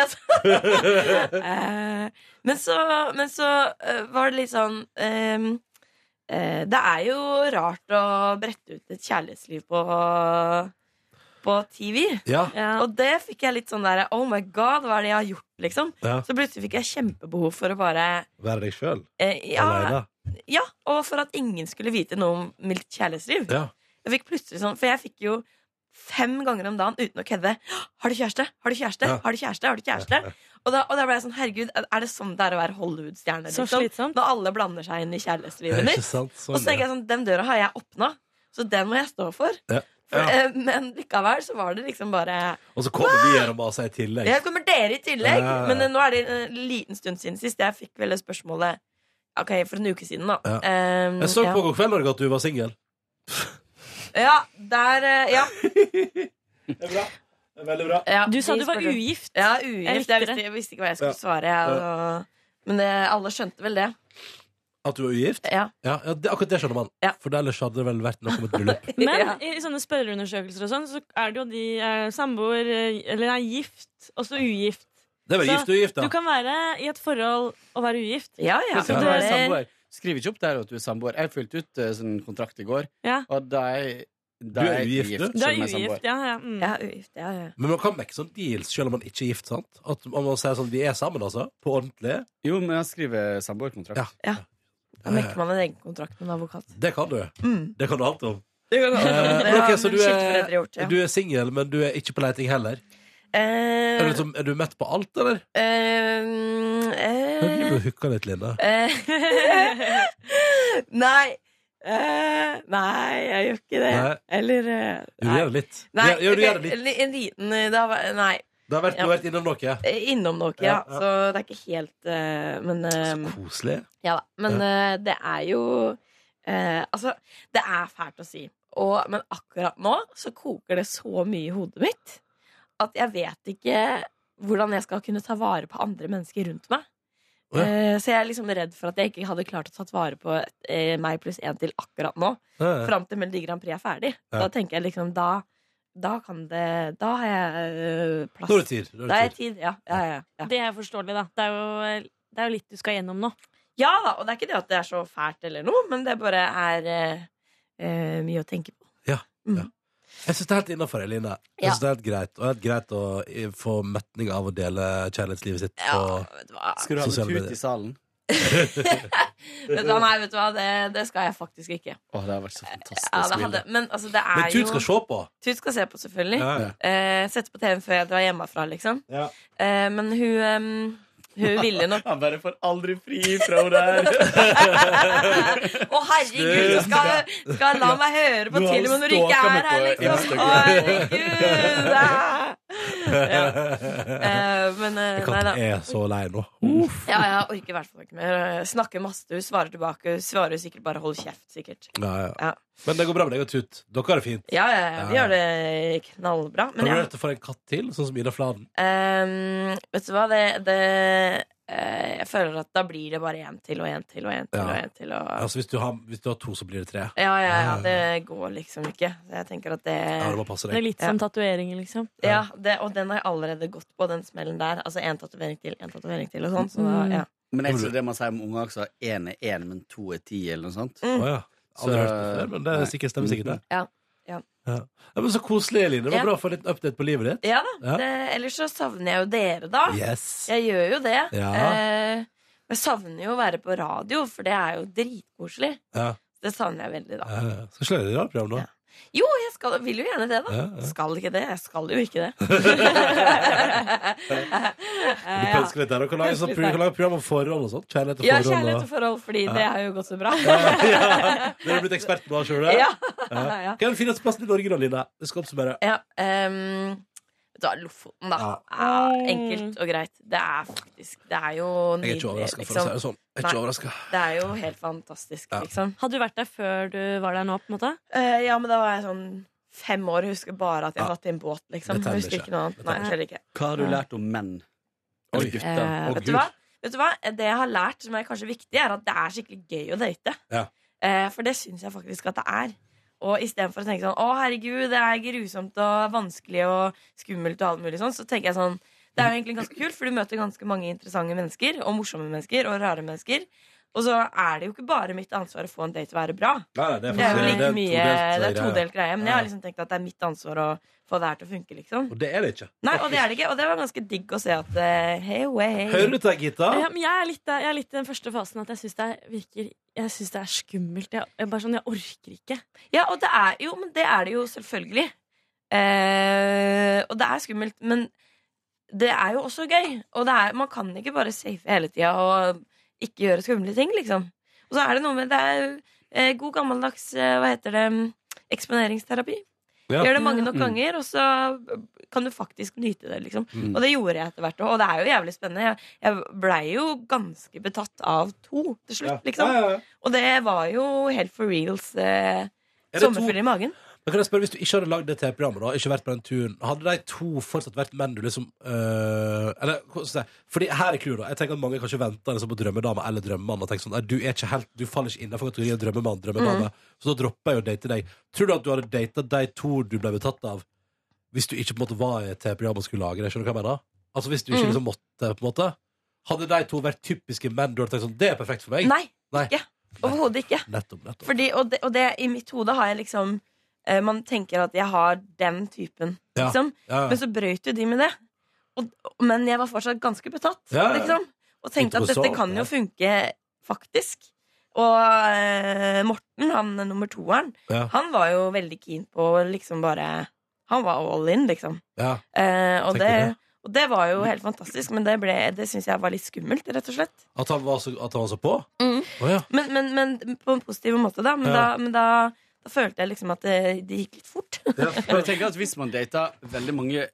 S8: altså. Eh, men så, men så eh, var det litt sånn ehm, eh, Det er jo rart å brette ut et kjærlighetsliv på på TV.
S2: Ja.
S8: Og det fikk jeg litt sånn der Oh my god, hva er det jeg har gjort? liksom
S2: Ja.
S8: Så plutselig fikk jeg kjempebehov for å bare
S2: Være deg sjøl.
S8: eh, ja,
S2: Alene.
S8: ja, og for at ingen skulle vite noe om mitt kjærlighetsliv.
S2: Ja.
S8: Jeg fikk plutselig sånn, For jeg fikk jo fem ganger om dagen uten å kødde. Har du kjæreste? Har du kjæreste?
S19: Ja.
S8: Har du kjæreste? Har du kjæreste? Og da, og da ble jeg sånn, herregud, er det sånn det er å være Hollywood-stjerne?
S19: Så
S8: Liksom? Når alle blander seg inn i kjærlighetslivet
S2: Ja, ikke
S8: mitt.
S2: sant? Sånn,
S8: og så tenker jeg sånn, den døra har jeg åpna, så den må jeg stå for.
S2: Ja.
S8: For, eh, Men likevel så var det liksom bare
S2: Og så kommer vi her og maser i tillegg.
S8: Jeg kommer dere i tillegg!
S2: Ja, ja, ja.
S8: Men eh, nå er det en liten stund siden sist. Jeg fikk vel det spørsmålet Ok, for en uke siden, da.
S2: Ja.
S8: Eh,
S2: Jeg så
S8: ja.
S2: på God kveld Norge at du var singel.
S8: Ja, der eh, Ja.
S2: Veldig bra.
S8: ja
S19: Du sa
S8: de
S19: du var
S8: spurte.
S19: ugift.
S8: Ja,
S19: Jeg
S8: ugift.
S19: likte
S8: Jeg visste, jeg visste ikke hva jeg skulle svare. Jeg, og- men eh, alle skjønte vel det.
S2: At du er ugift?
S8: Ja.
S2: Ja, det, akkurat det skjønner man. For ellers hadde det vel vært noe om et bryllup.
S19: Men i i sånne spørreundersøkelser og sånn, så er det jo de eh, samboer eh, Eller nei, gift, og så ugift.
S2: Det er vel
S19: så
S2: gift og ugift, da.
S19: Du kan være i et forhold og være ugift.
S21: Plutselig
S19: Så
S21: du er
S19: det-
S21: samboer. Skriv ikke opp der at du er samboer. Jeg fylte ut eh, sånn kontrakt i går,
S19: Ja.
S21: og da er jeg da
S2: Du er
S21: jeg
S2: ugift, du?
S21: selv
S19: Du
S21: om
S19: er
S21: jeg
S19: ugift, ja. ja. Mm.
S8: Jeg er ugift, ja, ja.
S2: Men man kan mekke sånn deals selv om man ikke er gift, sant? At man må si sånn, vi er sammen, altså. På ordentlig.
S21: Jo, men jeg skriver samboerkontrakt.
S8: Ja. Da mekker man en egen kontrakt med en advokat.
S2: Det kan du.
S8: Mm.
S2: Det kan du alt om. Eh,
S8: Det kan du alt om. Det har
S2: ok, så du er,
S8: skiltforeldre gjort, ja.
S2: du er singel, men du er ikke på leiting heller.
S8: Eh,
S2: Er du, liksom, er du mett på alt, eller?
S8: eh,
S2: Du
S8: eh,
S2: hooka litt, Line.
S8: eh, Nei. Eh, nei, jeg gjør ikke det.
S2: Nei.
S8: Eller eh,
S2: Jo,
S8: nei.
S2: gjør det litt.
S8: Nei,
S2: Ja, jo, du
S8: ok,
S2: gjør det litt.
S8: li- En liten eh, det har, vært- Nei.
S2: Det har vært, du har vært innom noe.
S8: Eh, Innom noe, ja.
S2: Ja, ja.
S8: Så det er ikke helt eh, Men eh,
S2: Koselig.
S8: ja da. Men eh, det er jo eh, Altså, det er fælt å si. Og, men akkurat nå så koker det så mye i hodet mitt at jeg vet ikke hvordan jeg skal kunne ta vare på andre mennesker rundt meg.
S12: Å ja.
S8: Eh, så jeg er liksom redd for at jeg ikke hadde klart å ta vare på eh, meg pluss én til akkurat nå.
S12: Ja, ja.
S8: Fram til Melodi Grand Prix er ferdig.
S12: Ja.
S8: Da tenker jeg liksom da, da kan det Da har jeg eh, plass.
S2: Da er det tid, da er det
S8: Da har jeg tid, ja. ja, ja, ja.
S19: Det er forståelig, da. Det er jo, det er jo litt du skal gjennom nå.
S8: Ja da, og det er ikke det at det er så fælt eller noe, men det bare er eh, eh, mye å tenke på.
S2: Ja. ja. Jeg syns det er helt innafor, Eline. Jeg
S8: Ja.
S2: synes det er helt greit. Og det er helt greit å eh, få metning av å dele kjærlighetslivet sitt på
S18: Skal du ha
S2: sosiale
S18: med tut i
S2: medier.
S18: salen?
S8: Vet du hva, nei, vet du hva, det, det skal jeg faktisk ikke.
S18: Å, det har vært så fantastisk.
S8: Ja, det hadde,
S18: Vilde.
S8: men altså, det er
S18: Men Tut skal
S8: jo
S18: se på.
S8: Tut skal se på, selvfølgelig.
S18: Ja, ja.
S8: Eh, sette på TV-en før jeg drar hjemmefra, liksom. Eh, men hun em, hun ville nok
S18: Han bare får aldri fri fra henne der.
S8: Å, herregud, du skal, skal la meg høre på
S18: Du har
S8: til og med når du ikke
S18: stalka
S8: er
S18: meg
S8: her,
S18: på
S8: liksom. Å,
S18: Instagram.
S8: herregud! ah. Ja. Eh, men eh, nei da.
S2: Katten er så lei nå.
S8: Ja, jeg orker i hvert fall ikke mer. Eh, Snakker masse, hun svarer tilbake. Hun svarer sikkert bare 'hold kjeft', sikkert.
S2: Ja, ja. Men det går bra med deg og Tut. Dere har det fint.
S8: Ja, ja, ja, vi gjør det knallbra. Men
S2: Har du
S8: jeg,
S2: vurdert å få en katt til, sånn som Ida Fladen?
S8: Ehm, vet du hva, det, det eh, Jeg føler at da blir det bare én til og én til og én til.
S2: Ja.
S8: og en til og...
S2: Altså, hvis, du har, hvis du har to, så blir det tre.
S8: Ja, ja, ja, det går liksom ikke. Så Jeg tenker at det
S2: Eh. Ja, det må passe deg. Det er litt
S19: som
S8: tatoveringer, liksom. Ja, det, og den har jeg allerede gått på, den smellen der. Altså én tatovering til, én tatovering til og sånn. Så
S2: Mm.
S8: da, ja.
S18: Mm. Men jeg tror det man sier om unger også, én er én, men to er ti, eller noe sånt.
S8: Mm. Å, ja.
S2: Aldri hørt det før, men det er sikkert- stemmer sikkert, det.
S8: Ja, ja.
S2: Ja. Ja, men Så koselig, Eline. Det var
S8: Ja.
S2: bra å få en liten update på livet ditt.
S8: Ja da.
S2: Ja.
S8: Det, ellers så savner jeg jo dere, da.
S2: Yes.
S8: Jeg gjør jo det.
S2: Ja.
S8: Eh, jeg savner jo å være på radio, for det er jo dritkoselig.
S2: Ja.
S8: Det savner jeg veldig, da.
S2: Ja, ja. Skal ikke lage radioprogram nå?
S8: Jo, jeg skal, vil jo gjerne det, da.
S2: Ja, ja.
S8: Skal ikke det. Jeg skal jo ikke det.
S2: Du
S8: Eh,
S2: kan elske litt der. Du kan lage,
S8: Kanskje
S2: sånn,
S8: litt
S2: pro- du kan lage program om forhold og sånt. Kjærlighet og
S8: Ja,
S2: forhold.
S8: kjærlighet og
S2: og-
S8: forhold, fordi
S2: Ja.
S8: det har jo gått så bra.
S2: ja. Dere har blitt ekspert nå, skjønner du? det?
S8: Ja.
S2: Ja.
S8: Ja. Eh,
S2: Hva er den fineste plassen i Norge, da, Line? Vi skal oppsummere.
S8: Ja, ehm, vet du hva, Lofoten, da. Ah, enkelt og greit. Det er faktisk Det er jo liksom.
S2: Jeg er ikke overraska, for å si det sånn. Jeg er ikke
S8: Nei.
S2: overraska.
S8: Det er jo helt fantastisk, liksom.
S19: Hadde du vært der før du var der nå, på en måte?
S8: Eh, ja, men da var jeg sånn fem år. Husker bare at jeg satt i en båt, liksom.
S18: Det teller
S8: Husker
S18: ikke.
S8: ikke noe annet.
S18: Det
S8: Nei,
S18: teller
S8: skjer ikke.
S18: Hva har du lært om menn? Eller gutter?
S8: Eh, vet, du hva? vet du hva? Det jeg har lært, som er kanskje viktig, er at det er skikkelig gøy å date.
S2: Ja.
S8: Eh, for det syns jeg faktisk at det er. Og istedenfor å tenke sånn 'Å, herregud, det er grusomt og vanskelig og skummelt' og alt mulig sånn, så tenker jeg sånn Det er jo egentlig ganske kult, for du møter ganske mange interessante mennesker, og morsomme mennesker, og rare mennesker. Og så er det jo ikke bare mitt ansvar å få en date til å være bra.
S2: Nei, nei, det er
S8: det er jo
S2: faktisk- det
S8: like
S2: er en
S8: mye
S2: todelt,
S8: Det er
S2: eh,
S8: todelt
S2: greie.
S8: greie. Men jeg har liksom tenkt at det er mitt ansvar å få det her til å funke, liksom.
S2: Og det er det ikke.
S8: Nei, og det er det ikke. Og det var ganske digg å se at eh, Hei, hei, hei.
S2: Hører du til deg, Gitta?
S19: Ja, men jeg er litt, der- jeg er litt i den første fasen at jeg syns det er- virker Jeg synes det er skummelt. Jeg, jeg, bare sånn, jeg orker ikke.
S8: Ja, og det er jo, men det er det jo selvfølgelig. Eh, og det er skummelt, men det er jo også gøy. Og det er, man kan ikke bare safe hele tida og ikke gjøre skumle ting, liksom. Og så er det noe med Det er eh, god gammeldags eh, Hva heter det? Eksponeringsterapi.
S12: Ja.
S8: Gjør det mange nok
S12: Mm.
S8: ganger, og så kan du faktisk nyte det. liksom
S12: Mm.
S8: Og det gjorde jeg etter hvert. Og det er jo jævlig spennende. Jeg, jeg blei jo ganske betatt av to til slutt, liksom.
S2: Ja, ja, ja.
S8: Og det var jo helt for reals. Eh,
S2: Er det to-
S8: Sommerfugler i magen.
S2: Men kan jeg spørre, Hvis du ikke hadde lagd det TV-programmet, da, ikke vært på den turen, hadde de to fortsatt vært menn du liksom øh, Eller hvordan skal jeg si? Fordi her er clouet, da. Jeg tenker at mange kanskje venter liksom, på drømmedame eller drømmemann. Og tenker sånn, nei, du, er ikke helt, du faller ikke innenfor kategorien drømmemann, drømmedame.
S8: Mm.
S2: Så da dropper jeg å date deg. Tror du at du hadde data de to du ble betatt av, hvis du ikke på en måte var i et TV-program og skulle lage det? Skjønner du hva jeg mener? Altså Hvis du ikke
S8: Mm.
S2: liksom måtte, på en måte. Hadde de to vært typiske menn du hadde tenkt sånn, det er perfekt for meg?
S8: Nei,
S2: Nei.
S8: ikke. Overhodet ikke.
S2: Nettopp, nettopp.
S8: Fordi, og, det, og det i mitt hode har jeg liksom eh, Man tenker at jeg har den typen,
S2: Ja.
S8: liksom.
S2: Ja, ja.
S8: Men så brøyt jo de med det. Og, men jeg var fortsatt ganske betatt,
S2: Ja, ja.
S8: liksom. Og tenkte at
S2: Ikke på
S8: dette
S2: så,
S8: kan
S2: ja.
S8: jo funke, faktisk. Og eh, Morten, han nummer toeren,
S2: Ja.
S8: han var jo veldig keen på å liksom bare Han var all in, liksom.
S2: Ja.
S8: Eh, og,
S2: Tenker
S8: det,
S2: det.
S8: Og det var jo helt fantastisk, men det, ble- det syns jeg var litt skummelt, rett og slett.
S2: At han var så, at han var så på? Å ja.
S8: Men, men, men på en positiv måte, da. Men,
S2: Ja.
S8: da, men da, da følte jeg liksom at det, det gikk litt fort.
S21: Men jeg tenker at hvis man dater veldig mange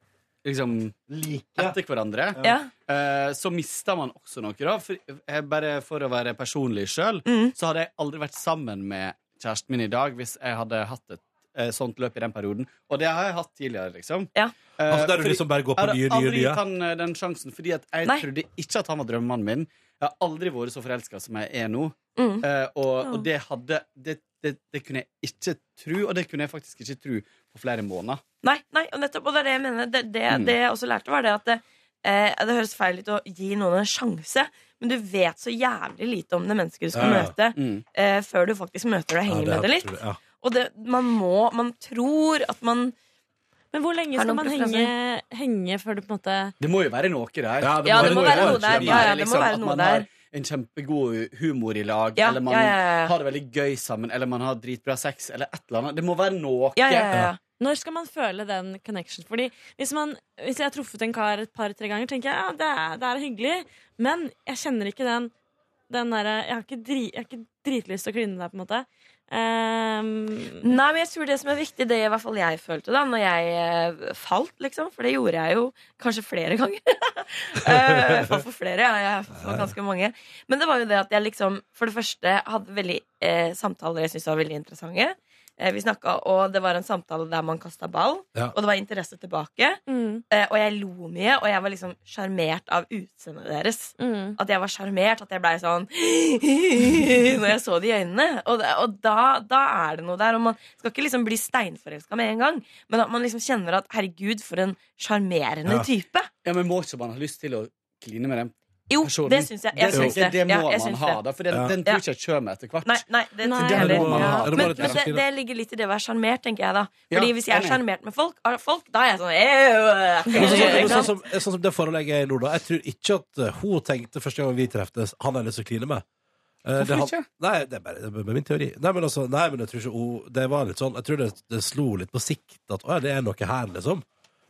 S21: liksom, etter hverandre,
S8: Ja.
S21: eh, så mister man også noe. Da. For, jeg, bare for å være personlig sjøl, så hadde jeg aldri vært sammen med kjæresten min i dag hvis jeg hadde hatt et eh, sånt løp i den perioden. Og det har jeg hatt tidligere, liksom. Eh,
S2: Altså, der du
S21: fordi-
S2: liksom bare går på
S21: Jeg hadde
S2: nye, nye,
S21: aldri
S2: nye?
S21: gitt han eh, den sjansen, fordi at jeg
S2: Nei.
S21: trodde ikke at han var drømmemannen min. Jeg har aldri vært så forelska som jeg er nå.
S2: Mm.
S21: Eh, og,
S2: Ja.
S21: og det hadde det, det, det kunne jeg ikke tro, og det kunne jeg faktisk ikke tro på flere måneder.
S8: Nei, nei, og nettopp, og det er det jeg mener. Det, det,
S21: Mm.
S8: det jeg også lærte, var det at det, eh, det høres feil ut å gi noen en sjanse, men du vet så jævlig lite om det mennesket du skal
S21: Ja, ja.
S8: møte,
S21: Mm.
S8: eh, før du faktisk møter det og henger
S21: Ja, det
S8: med det litt.
S21: tror jeg, ja.
S8: Og det, man må Man tror at man
S19: Men hvor lenge
S8: Har
S19: skal
S8: noen
S19: man henge,
S8: preferanser?
S19: henge før du på en måte
S21: Det må jo være noe der.
S19: det må Ja, være det må noe være der. noe der. Ja, ja, det må
S21: Liksom
S19: være
S21: at
S19: noe
S21: man
S19: der.
S21: har en kjempegod humor i lag,
S8: Ja,
S21: eller man
S8: ja, ja, ja.
S21: har det veldig gøy sammen, eller man har dritbra sex, eller et eller annet. Det må være noe.
S19: Når skal man føle den connection? Fordi hvis, man, hvis jeg har truffet en kar et par-tre ganger, tenker jeg ja, det er, det er hyggelig, men jeg kjenner ikke den, den derre jeg, har ikke dri- jeg har ikke dritlyst til å kline deg, på en måte. Ehm,
S8: Nei, men jeg tror det som er viktig, det i hvert fall jeg følte da Når jeg eh, falt, liksom. For det gjorde jeg jo kanskje flere ganger. Eh, jeg falt for flere, ja. Jeg falt for ganske mange. Men det var jo det at jeg liksom for det første hadde veldig eh, samtaler jeg syntes var veldig interessante. Eh, vi snakka, og det var en samtale der man kasta ball,
S12: Ja.
S8: og det var interesse tilbake. Eh, og jeg lo mye, og jeg var liksom sjarmert av utseendet deres. At jeg var sjarmert, at jeg blei sånn når jeg så det i øynene. Og, det, og da, da er det noe der. Og man skal ikke liksom bli steinforelska med en gang, men at man liksom kjenner at herregud, for en sjarmerende
S21: Ja.
S8: type.
S21: Ja, men må ikke man ha lyst til å kline med den
S8: Jo,
S21: personen?
S8: det syns jeg. Jeg
S21: det,
S8: syns
S21: tenker
S8: det.
S21: jeg, det
S8: Ja,
S21: må
S8: jeg
S21: man
S8: syns
S21: ha,
S8: det.
S21: da, for den,
S8: Ja.
S21: den tror ikke jeg kommer etter hvert.
S8: Nei, nei, det,
S21: Nei,
S8: det,
S21: er det
S8: det,
S21: må man ha. Er
S8: Men,
S21: det bare et
S8: men det,
S21: perspektiv, da?
S8: det ligger litt i det å være sjarmert, tenker jeg da.
S2: Ja,
S8: Fordi hvis jeg er
S2: enig.
S8: sjarmert med folk, av folk, da er jeg sånn «Ew».
S2: Men Sånn, som-
S8: Ikke
S2: sånn,
S8: sant?
S2: som, sånn som det forholdet jeg er i nå, da. Jeg tror ikke at eh, hun tenkte første gang vi treftes, han er lyst til å kline med. Eh, det
S21: Hvorfor
S2: han-
S21: ikke?
S2: Nei, det er bare det er min teori. Nei, men, altså, nei, men jeg tror ikke hun Det var litt sånn Jeg tror det, det slo litt på sikt at å ja, det er noe her, liksom.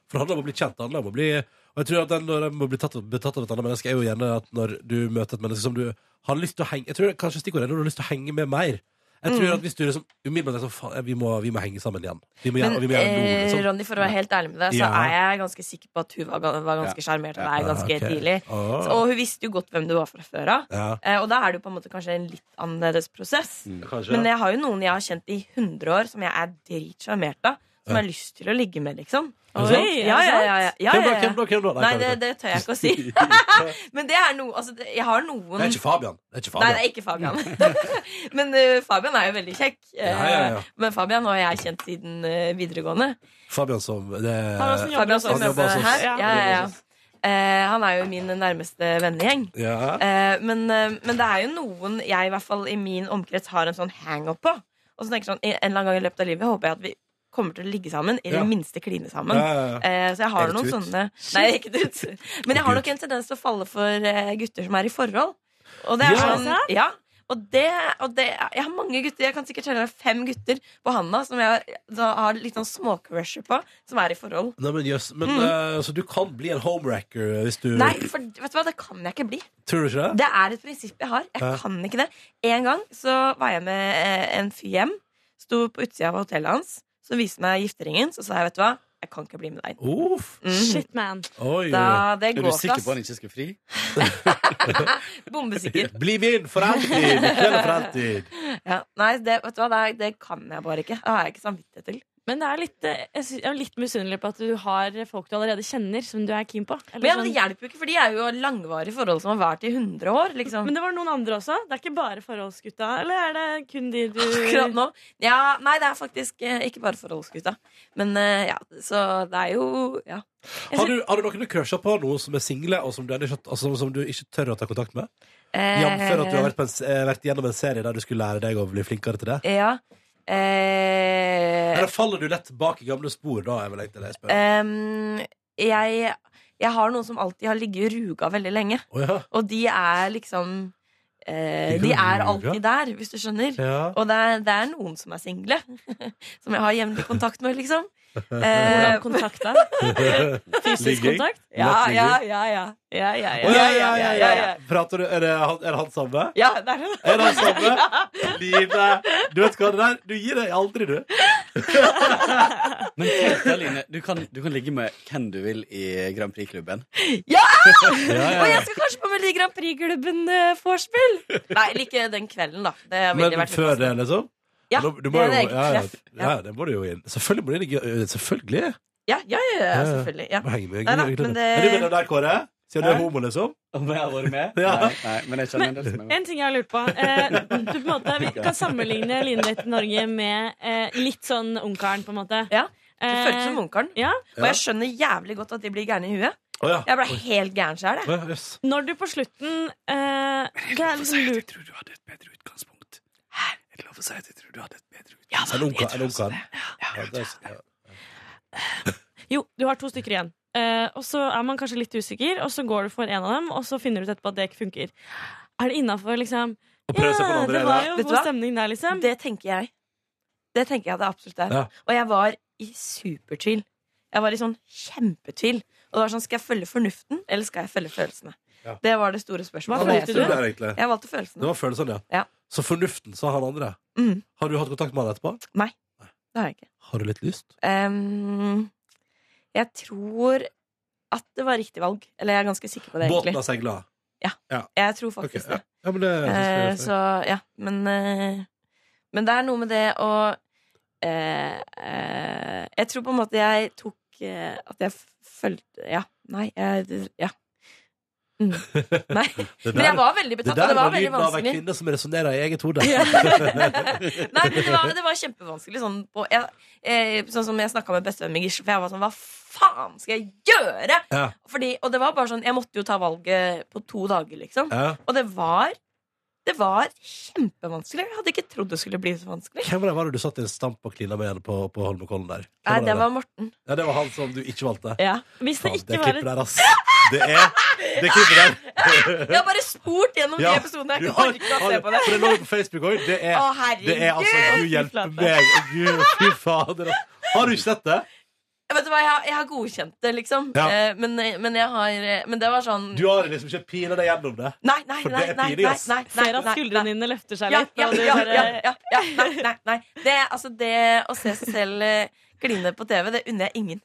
S2: For det handler om å bli kjent. Det handler om å bli Og jeg tror at den, når en må bli tatt, betatt av et annet menneske, er jo gjerne at når du møter et menneske som du har lyst til å henge Jeg tror kanskje stikkordet er når du har lyst til å henge med mer. Jeg tror
S8: Mm.
S2: at hvis du liksom umiddelbart er sånn faen, vi, må- vi må henge sammen igjen. Vi må gjøre,
S8: Men
S2: vi må gjøre noe,
S8: eh,
S2: liksom.
S8: Ronny, for å være helt ærlig med deg, så
S2: Ja.
S8: er jeg ganske sikker på at hun var, ga- var ganske sjarmert av deg
S2: Ja,
S8: ganske
S2: ok.
S8: tidlig.
S2: Ah.
S8: Så, og hun visste jo godt hvem du var fra før av.
S2: Ja.
S8: Eh, og da er det jo på en måte kanskje en litt annerledes prosess.
S2: Mm, kanskje.
S8: Men jeg har jo noen jeg har kjent i 100 år, som jeg er dritsjarmert av. Som
S2: Ja.
S8: jeg har lyst til å ligge med, liksom.
S2: Er det
S8: Så-
S2: sant?
S8: ja, ja, ja, ja, ja,
S2: Hvem da,
S8: ja, ja.
S2: hvem da, hvem da? Nei,
S8: Nei,
S2: kan
S8: det,
S2: jeg
S8: det tør jeg ikke å si. Men det er noe altså, det, Jeg har noen
S2: Det er ikke Fabian. Det er ikke
S8: Nei,
S2: Fabian. Mm.
S8: det er ikke Fabian. men eh, Fabian er jo veldig kjekk. Eh,
S2: Ja, ja, ja.
S8: Men Fabian har jeg kjent siden eh, videregående.
S2: Fabian som det,
S8: Fabian som
S2: Han jobber
S8: jobber
S2: hos oss.
S8: her. Ja, ja, ja. Eh, han er jo min nærmeste vennegjeng.
S2: Ja.
S8: Eh, men, eh, men det er jo noen jeg i hvert fall i min omkrets har en sånn hang-up på. Og så tenker jeg sånn, En eller annen gang i løpet av livet håper jeg at vi kommer til å ligge sammen. I
S12: Ja.
S8: det minste kline sammen.
S12: Ja, ja, ja.
S8: Eh, så jeg
S12: Er
S8: har
S12: det
S8: noen
S12: tut?
S8: sånne Nei, ikke tut. Men jeg har nok en tendens til å falle for eh, gutter som er i forhold. Og det er
S12: Ja.
S8: sånn,
S12: Er det sant?
S8: ja og det, og det, jeg har mange gutter Jeg kan sikkert telle fem gutter på handa som jeg da har litt sånn småcrusher på, som er i forhold.
S2: Nei, men jøss. Men,
S8: Mm.
S2: eh, så du kan bli en homewrecker hvis du
S8: Nei, for vet du hva, det kan jeg ikke bli.
S2: Tror du ikke det?
S8: Det er et prinsipp jeg har. Jeg
S2: Ja.
S8: kan ikke det. En gang så var jeg med eh, en fyr hjem. Sto på utsida av hotellet hans. Så viste meg gifteringen. Så sa jeg, vet du hva, jeg kan ikke bli med deg.
S2: Uff.
S8: Mhm.
S19: Shit, man.
S2: Oi,
S8: Da, det
S21: er
S8: går
S21: du sikker
S8: plass.
S21: på at han ikke skal fri?
S8: Bombesikker.
S2: Bli min for alltid! I kveld og for alltid.
S8: Ja. Nei, det, eh, vet du hva, det, er- det kan jeg bare ikke. Det har jeg ikke samvittighet til.
S19: Men det er litt, eh, jeg sy- jeg er litt misunnelig på at du har folk du allerede kjenner, som du er keen på. Eller
S8: Men ja, men
S19: sånn-
S8: det hjelper jo ikke, for de er jo langvarige forhold som har vært i 100 år. liksom
S19: Men det var noen andre også? Det er ikke bare forholdsgutta? Eller er det kun de du
S8: Akkurat nå? Ja, nei, det er faktisk eh, ikke bare forholdsgutta. Men eh, ja, så det er jo Ja.
S2: Har du, har du noen du crusher på nå som er single, og som du, ennå ikke, altså, som du ikke tør å ta kontakt med?
S8: Eh.
S2: Jamfør at du har vært, på en, s- eh, vært gjennom en serie der du skulle lære deg å bli flinkere til det?
S8: Ja. Eh,
S2: Eller faller du lett bak i gamle spor da? Jeg vil egentlig det jeg spør.
S8: Ehm, jeg, jeg har noen som alltid har ligget i ruga veldig lenge.
S2: Å, ja.
S8: Og de er liksom eh,
S12: De
S8: de
S12: kan
S8: er
S12: lure.
S8: alltid der, hvis du skjønner.
S12: Ja.
S8: Og det er, det er noen som er single, som jeg har jevnlig kontakt med, liksom. Eh,
S19: Hvordan kontakt da?
S8: Fysisk
S2: Ligging?
S8: kontakt? Ja,
S2: Nattligging?
S8: ja, ja. ja. Ja, ja,
S2: Å,
S8: ja, ja, ja, ja, ja, ja.
S2: Prater du, er, det han, er det han samme?
S8: Ja, det er
S2: Er det han samme? Line, du vet hva det der Du gir deg aldri, du.
S21: Men tenk deg, Line, du kan, du kan ligge med hvem du vil i Grand Prix-klubben.
S8: Ja!
S21: Ja, ja, ja.
S8: Og jeg skal kanskje på Melodi Grand Prix-klubben eh, vorspiel. Nei, eller ikke den kvelden, da. Det ville
S2: Men
S8: vært
S2: før det, liksom?
S8: Ja,
S2: Da- du
S8: det
S2: må
S8: er
S2: jo-
S8: et eget
S2: ja, ja,
S8: treff.
S2: Ja, det må du jo inn. Selvfølgelig må det ligge øh, Selvfølgelig.
S8: Ja, ja, ja, ja, selvfølgelig. Ja.
S2: Må henge med.
S8: Nei, da,
S2: Gleder
S8: men
S2: meg. Er du med
S8: det...
S2: der, Kåre? Siden du
S21: Hæ?
S2: er homo, liksom?
S21: Om jeg har vært med?
S2: Ja.
S21: Nei, nei, men jeg kjenner en del som er med.
S19: En ting jeg har lurt på. Eh, du på en måte, vi kan sammenligne Linet i Norge med eh, litt sånn Ungkaren, på en måte. Eh,
S8: Ja, Det føles som Ungkaren.
S19: Ja.
S8: Og jeg skjønner jævlig godt at de blir gærne i huet.
S2: Å, ja.
S8: Jeg ble
S2: Oi.
S8: helt gæren sjøl, jeg.
S2: Ja, jøss.
S19: Når du på slutten eh, Det er liksom lurt
S21: Jeg lover å si at jeg tror du hadde et bedre
S2: Er
S21: utgangspunkt.
S2: det ungkar- er det ungkar? Ja, det er- ja.
S19: Jo, du har to stykker igjen. Eh, og så er man kanskje litt usikker, og så går du for en av dem, og så finner du ut etterpå at det ikke funker. Er det innafor, liksom?
S8: Å prøve seg på den andre,
S19: det
S8: ja.
S19: var jo
S8: Vet du
S19: god
S8: hva?
S19: stemning der, liksom.
S8: Det tenker jeg. Det tenker jeg det absolutt er.
S19: Ja.
S8: Og jeg var i supertvil. Jeg var i sånn kjempetvil. Og det var sånn, Skal jeg følge fornuften, eller skal jeg følge følelsene?
S2: Ja.
S8: Det var det store spørsmålet.
S2: Hva valgte du der, egentlig?
S8: Jeg valgte
S2: Det
S8: følelsene.
S2: var følelsene, ja.
S8: Ja.
S2: Så fornuften, sa han andre.
S8: Mm.
S2: Har du hatt kontakt med han etterpå?
S8: Nei. Det har jeg ikke.
S2: Har du litt lyst?
S8: Ehm, jeg tror at det var riktig valg. Eller jeg er ganske sikker på det, egentlig.
S2: Båten har seila?
S8: Ja.
S2: Ja.
S8: Jeg tror faktisk
S2: Ok, ja.
S8: det.
S2: Ja, men det-
S8: Eh, så ja, men eh, Men det er noe med det å eh, eh, Jeg tror på en måte jeg tok eh, At jeg fulgte Ja, nei jeg, det- Ja. Mm. Nei.
S2: Det
S8: Men jeg var veldig
S2: det
S8: betatt, og
S2: der
S8: det var
S2: var
S8: veldig
S2: lyden av ei
S8: vanskelig.
S2: kvinne som resonnerer i eget hode.
S8: Nei, men det var, det var kjempevanskelig. Sånn, på, jeg, eh, sånn som jeg snakka med bestevennen min Gisle, for jeg var sånn Hva faen skal jeg gjøre?!
S2: Ja.
S8: Fordi, og det var bare sånn Jeg måtte jo ta valget på to dager, liksom.
S2: Ja.
S8: Og det var Det var kjempevanskelig. Jeg hadde ikke trodd det skulle bli så vanskelig.
S2: Hvem var det, var det du satt i en stamp og klina med igjen på, på Holmenkollen der? Hvem
S8: Nei, det var Morten.
S2: Ja, det var han som du ikke valgte?
S8: Ja. Hvis det
S2: Faen,
S8: ikke
S2: det
S8: var et-
S2: klippet der, ass. Det er det klippet der.
S8: Jeg har bare spurt gjennom
S2: Ja.
S8: de episodene. Jeg
S2: Du
S8: har
S2: har-
S8: ikke orket å
S2: har
S8: se på det.
S2: For det lå jo på Facebook òg. Det, er-
S8: Å, herregud,
S2: det er altså Gud hjelpe
S8: fy flate.
S2: meg. Gud, fy fader. ass. Har du ikke sett det?
S8: Jeg Vet du hva, jeg har, jeg har godkjent det, liksom.
S2: Ja.
S8: Eh, men, men jeg har Men det var sånn
S2: Du har liksom ikke pina deg gjennom det?
S8: Nei, nei,
S2: For
S8: nei,
S2: det er
S8: nei,
S2: pinlig,
S8: nei,
S2: ass.
S8: nei,
S19: Ser at
S8: nei,
S19: skuldrene dine løfter seg
S8: Ja,
S19: litt.
S8: ja,
S19: og du
S8: ja,
S19: bare-
S8: ja, ja, ja, nei, nei, nei. Det, altså, det å se seg selv eh, kline på TV, det unner jeg ingen.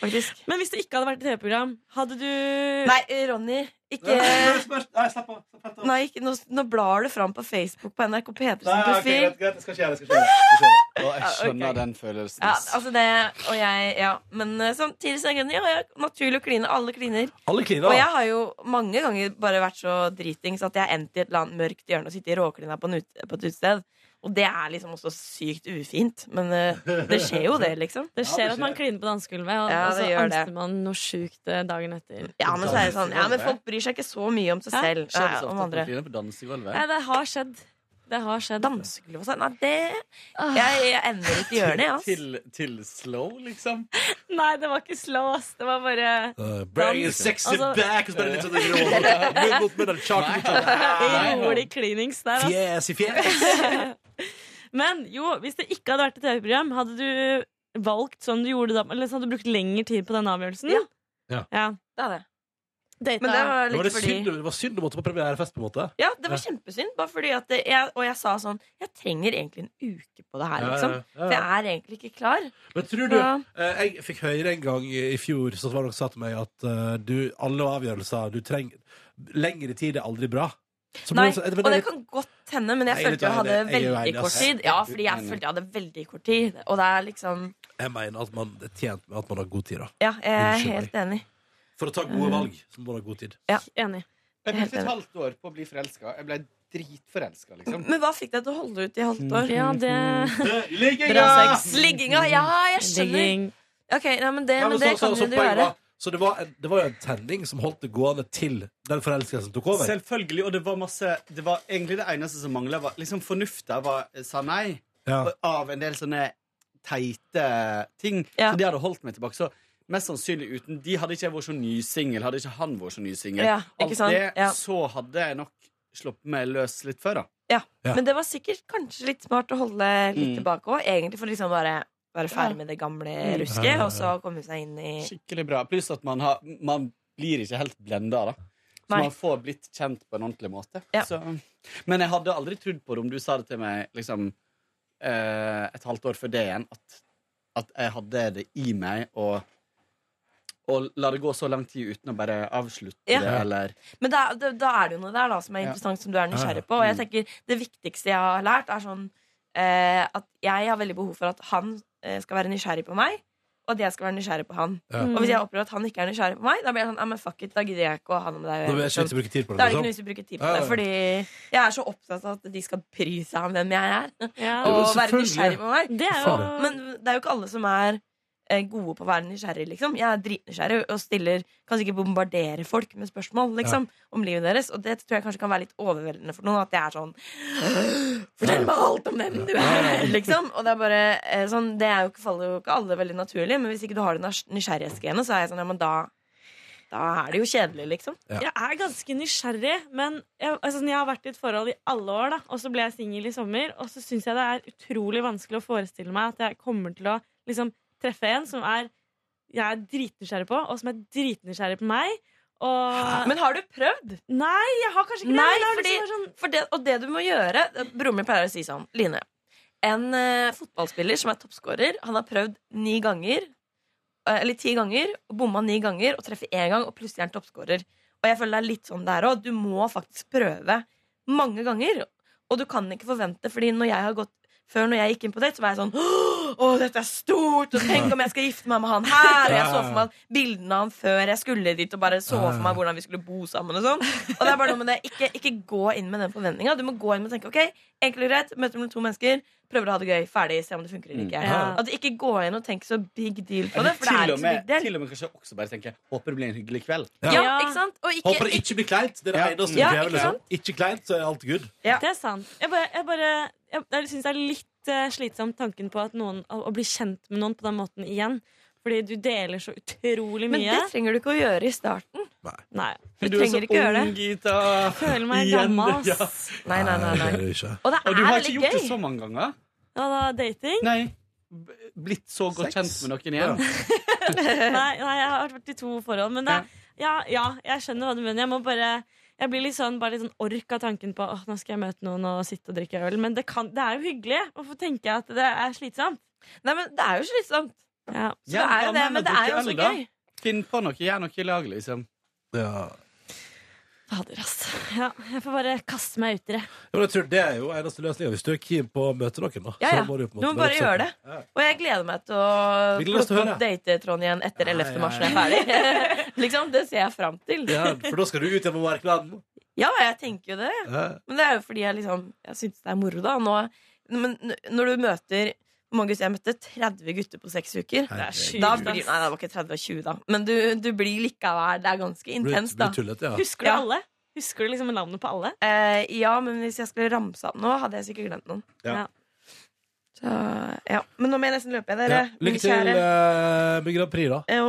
S8: Faktisk.
S19: Men hvis det ikke hadde vært et TV-program, hadde du
S8: Nei, eh, Ronny, ikke
S2: Nei, slapp av.
S8: Nei, ikke, nå, nå blar du fram på Facebook på NRK P3
S21: Nei,
S8: sin
S21: ok,
S8: profil.
S21: greit, greit, det skal ikke gjøre det. Skal ikke gjøre det. Å, jeg
S8: Ja, ok.
S21: skjønner den følelsen.
S8: Ja,
S21: ass.
S8: altså det, og jeg, ja. Men eh, samtidig så er jeg enig, ja, jeg er naturlig å kline. Alle kliner.
S2: Alle kliner,
S8: Og
S2: da.
S8: jeg har jo mange ganger bare vært så dritings at jeg har endt i et eller annet mørkt hjørne og sittet i råklina på, en ut- på et utested. Og det er liksom også sykt ufint, men eh, det skjer jo det, liksom.
S19: Det skjer at man kliner på dansegulvet, og,
S8: Ja,
S19: og så
S8: det gjør det.
S19: angster man noe sjukt eh, dagen etter.
S8: Ja, men så er det sånn Ja, men folk bryr seg ikke så mye om seg
S19: Hæ?
S8: selv.
S19: Skjer det
S8: Nei,
S19: så ofte
S8: om
S19: at
S8: andre.
S19: folk griner
S21: på dansegulvet?
S19: Nei, det har skjedd. Det har skjedd.
S8: Dansegulv og sånn. Nei, det Jeg, jeg ender ikke gjør det, ass.
S21: Til, til slow, liksom?
S19: Nei, det var ikke slow, ass. Det var bare
S2: Uh, bring your
S19: Dans.
S2: sexy
S19: Altså-
S2: back Og så bare litt sånn grå. Munn mot munn, eller kjak mot kjak.
S19: rolig klinings der, ass.
S2: Fjes i fjes.
S19: Men jo, hvis det ikke hadde vært et TV-program, hadde du valgt sånn du gjorde da Eller så hadde du brukt lengre tid på den avgjørelsen? Ja.
S2: Ja.
S8: Det hadde jeg.
S19: Data.
S8: Men det var
S2: Det var,
S8: litt
S2: det
S8: fordi
S2: synd, det var synd du måtte på premierefest, på en måte.
S8: Ja, det var kjempesynd. Bare fordi at det, jeg, og jeg sa sånn Jeg trenger egentlig en uke på det her,
S2: Ja, ja,
S8: liksom.
S2: ja, ja.
S8: For jeg er egentlig ikke klar.
S2: Men tror du
S8: Ja.
S2: eh, Jeg fikk høre en gang i i fjor Så var det noen som sa til meg at eh, du, alle avgjørelser du trenger Lengre tid er aldri bra Så
S8: Nei,
S2: blir det sånn- men
S8: og
S2: det
S8: det
S2: er litt-
S8: kan godt hende, men jeg
S2: Nei, vet
S8: følte
S2: du
S8: jeg
S2: hva,
S8: hadde
S2: det- jeg er jo
S8: veldig
S2: enig,
S8: kort
S2: ass.
S8: tid. Ja,
S2: Jeg er
S8: fordi jeg
S2: enig.
S8: følte jeg hadde veldig kort tid. Og det er liksom
S2: Jeg mener at man er tjent med at man har god tid da
S8: Ja, jeg er
S2: Unnskyld
S8: helt
S2: meg.
S8: enig.
S2: For å ta gode valg Så må man ha god tid
S8: Ja.
S19: Enig.
S21: Jeg brukte et halvt år på å bli forelska. Jeg ble dritforelska, liksom.
S8: Men hva fikk deg til å holde ut i halvt år?
S21: Ja,
S8: det
S21: Ligginga!
S8: Bra sex. Ligginga, ja, jeg skjønner.
S19: Ligging.
S8: Ok, nei, men det,
S2: Nei, men
S8: men det
S2: så- så-
S8: kan
S2: så
S8: jo du
S2: poenget
S8: gjøre.
S2: var- Så det var, en, det var jo en tenning som holdt det gående til Den forelskelsen tok over
S21: Selvfølgelig. Og det var masse Det var egentlig det eneste som mangla, var liksom fornufta var, sa nei.
S2: Ja.
S21: Og av en del sånne teite ting. Så de hadde holdt meg tilbake. Så mest sannsynlig uten de hadde ikke jeg vært så nysingel. Hadde ikke han vært så nysingel.
S8: Ja, ikke
S21: Alt
S8: sant?
S21: det,
S8: Ja.
S21: så hadde jeg nok sluppet meg løs litt før, da.
S8: Ja.
S21: Ja.
S8: Men det var sikkert kanskje litt smart å holde litt
S21: Mm.
S8: tilbake òg, egentlig, for liksom bare være ferdig med det gamle
S21: Mm.
S8: rusket,
S21: Ja, ja, ja.
S8: og så komme seg inn i
S21: Skikkelig bra. Pluss at man, har, man blir ikke helt blenda, da. Så
S8: Nei.
S21: man får blitt kjent på en ordentlig måte.
S8: Ja.
S21: Så, men jeg hadde aldri trodd på det om du sa det til meg liksom, eh, et halvt år før det igjen, at, at jeg hadde det i meg å å la det gå så lang tid uten å bare avslutte
S8: Ja.
S21: det, eller
S8: Men da, da, da er det jo noe der da som er
S21: Ja.
S8: interessant, som du er nysgjerrig på.
S21: Ja,
S8: Og
S2: Mm.
S21: ja.
S8: jeg tenker Det viktigste jeg har lært, er sånn eh, at jeg har veldig behov for at han eh, skal være nysgjerrig på meg. Og at jeg skal være nysgjerrig på han.
S2: Ja.
S8: Og hvis jeg opplever at han ikke er nysgjerrig på meg, da blir jeg sånn, ja, men fuck it, da gidder jeg ikke å ha noe med deg å
S2: Da
S8: gjøre,
S2: vil jeg ikke
S8: liksom.
S2: vits i å bruke tid på det,
S8: Da er det
S2: liksom.
S8: ikke noe vits i å bruke tid på
S2: Ja, ja, ja.
S8: det. Fordi jeg er så opptatt av at de skal bry seg om hvem jeg er.
S2: Ja,
S8: Og
S2: men
S8: være
S2: selvfølgelig.
S8: nysgjerrig på meg.
S2: er jo- Faen.
S8: Men det er jo ikke alle som er eh, gode på å være nysgjerrig, liksom. Jeg er dritnysgjerrig og stiller Kan sikkert bombardere folk med spørsmål liksom, om livet deres. Og det tror jeg kanskje kan være litt overveldende for noen. At det er sånn Fortell meg alt om hvem du er! Liksom. Og det er bare eh, sånn Det er jo ikke, faller jo ikke alle veldig naturlig, men hvis ikke du har det nys- nysgjerrighetsgenet, så er jeg sånn Ja, men da Da er det jo kjedelig, liksom.
S2: Ja.
S19: Jeg er ganske nysgjerrig, men jeg, altså, jeg har vært i et forhold i alle år, da, og så ble jeg singel i sommer, og så syns jeg det er utrolig vanskelig å forestille meg at jeg kommer til å liksom, treffe en som er jeg er dritnysgjerrig på, og som er dritnysgjerrig på meg. Og...
S8: Men har du prøvd?
S19: Nei, jeg har kanskje ikke det.
S8: Nei,
S19: men det har
S8: fordi,
S19: liksom vært sånn-
S8: for det, og det du må gjøre Broren min pleier å si sånn Line, en eh, fotballspiller som er toppskårer Han har prøvd ni ganger eh, Eller ti ganger Og bomma ni ganger Og treffer en gang Og plutselig er han toppskårer Og jeg føler det er litt sånn der også Du må faktisk prøve mange ganger Og du kan ikke forvente Fordi når jeg har gått før når jeg gikk inn på date, så var jeg sånn Å, dette er stort! Og tenk om jeg skal gifte meg med han
S19: sånn-
S8: her! Og jeg så for meg bildene av han før jeg skulle dit, og bare så for meg hvordan vi skulle bo sammen. Og sånn Og det er bare noe med det ikke, ikke gå inn med den forventninga. Du må gå inn med og tenke OK, enkelt og greit, møter mellom to mennesker, prøver å ha det gøy, ferdig, se om det funker eller
S2: Mm.
S8: ikke.
S21: Ja.
S8: At du ikke går inn og tenker så big deal på det,
S21: Eller
S8: for det er
S21: til, og
S8: ikke så
S21: med,
S8: big deal.
S21: til og med kanskje også bare tenke 'håper det blir en hyggelig kveld'.
S8: Ja, ikke sant? Og ikke,
S2: Håper det ikke blir kleint. Det er det
S21: Ja.
S2: eneste du
S21: Ja,
S2: krever.
S21: ikke
S2: Liksom.
S21: sant?
S2: Ikke kleint, så er alt good.
S19: Det er sant. Jeg, bare, jeg, bare, jeg, jeg syns det er litt eh, slitsomt tanken på at noen, å, å bli kjent med noen på den måten igjen. Fordi du deler så utrolig mye.
S8: Men det trenger du ikke å gjøre i starten.
S19: Nei.
S8: Du trenger ikke gjøre det.
S21: Gita.
S19: Føler meg
S21: Igjen,
S19: gammel, ass.
S21: ja.
S8: Nei, nei, nei. nei. Og det
S21: Og du
S8: er
S21: har ikke
S8: veldig
S21: gjort det
S8: gøy.
S21: så mange ganger.
S19: Ja, da, dating?
S21: Nei. Blitt så godt kjent med noen igjen.
S19: nei, nei, jeg har vært i to forhold. Men det, ja, ja, jeg skjønner hva du mener. Jeg må bare jeg blir litt sånn, bare litt sånn ork av tanken på at nå skal jeg møte noen og sitte og drikke øl. Men det, kan, det er jo hyggelig. Hvorfor tenker jeg at det er slitsomt?
S8: Nei, men det er jo slitsomt.
S19: Ja.
S8: Så det er jo det, men det er jo også gøy.
S21: Finn på noe, gjør noe i lag, liksom.
S19: Fader, ass. Ja, jeg får bare kaste meg uti det.
S2: Ja, men jeg tror det er jo eneste løsninga. Hvis du er keen på å møte noen, da.
S8: Ja, ja.
S2: så må du, på en
S8: Du må
S2: måte
S8: bare gjøre det.
S2: oppsøke.
S8: Og jeg gleder meg til å
S2: Vi gleder oss til
S8: plukke
S2: å
S8: opp date-Trond igjen etter 11. mars når jeg er ferdig. liksom, Det ser jeg fram til.
S2: Ja, for da skal du ut igjen på markedet. Eh,
S8: Ja, jeg tenker jo det.
S2: Ja.
S8: Men det er jo fordi jeg liksom Jeg syns det er moro, da. Nå, men n- når du møter hvor mange gutter jeg møtte? 30 gutter på seks uker.
S2: Det er sjukt,
S8: Da
S2: ass.
S8: blir, nei, det var ikke 30 og 20, da. Men du, du blir likevel Det er ganske intenst, da.
S2: blir tullete, ja.
S19: Husker du alle? Husker du liksom navnet på alle?
S8: Eh, ja, men hvis jeg skulle ramse opp nå, hadde jeg sikkert glemt noen.
S2: Ja. Ja.
S8: Så, ja. Men nå må jeg nesten løpe, jeg, dere.
S2: Ja.
S8: mine
S2: Lykke til
S8: kjære. oh,
S2: eh, med Grand Prix, da.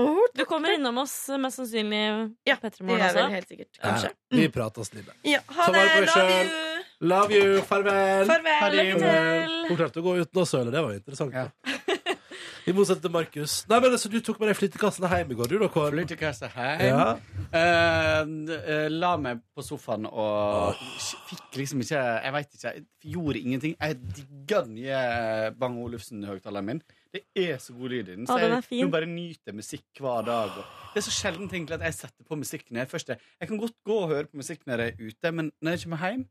S19: Du kommer innom oss eh, mest sannsynlig ja, på Petremorgen
S8: det gjør jeg
S19: også.
S8: vel helt sikkert,
S2: Ja, vi prates, Lille.
S8: Ja, Mm. ha
S2: Ta
S8: det.
S2: vare på deg
S8: Love
S2: sjøl.
S8: you.
S2: Love you. Farvel.
S8: Farvel,
S2: Ha det.
S8: lykke til.
S2: Hun klarte å gå uten å søle. Det var jo interessant. da. I motsetning til Markus. Nei, men altså, Du tok med deg flyttekassene hjem i går, du da, Kåre?
S21: Flyttekasse hjem.
S2: Ja.
S21: Eh, eh, la meg på sofaen og fikk liksom ikke Jeg veit ikke. Jeg gjorde ingenting. Jeg digger den nye Bang Olufsen-høgtaleren min. Det er så god lyd i
S19: Å,
S21: den. Så
S19: den er
S21: jeg
S19: fin.
S21: nå bare nyter musikk hver dag. Og det er så sjelden egentlig at jeg setter på musikk når jeg først er Jeg kan godt gå og høre på musikk når jeg er ute, men når jeg kommer hjem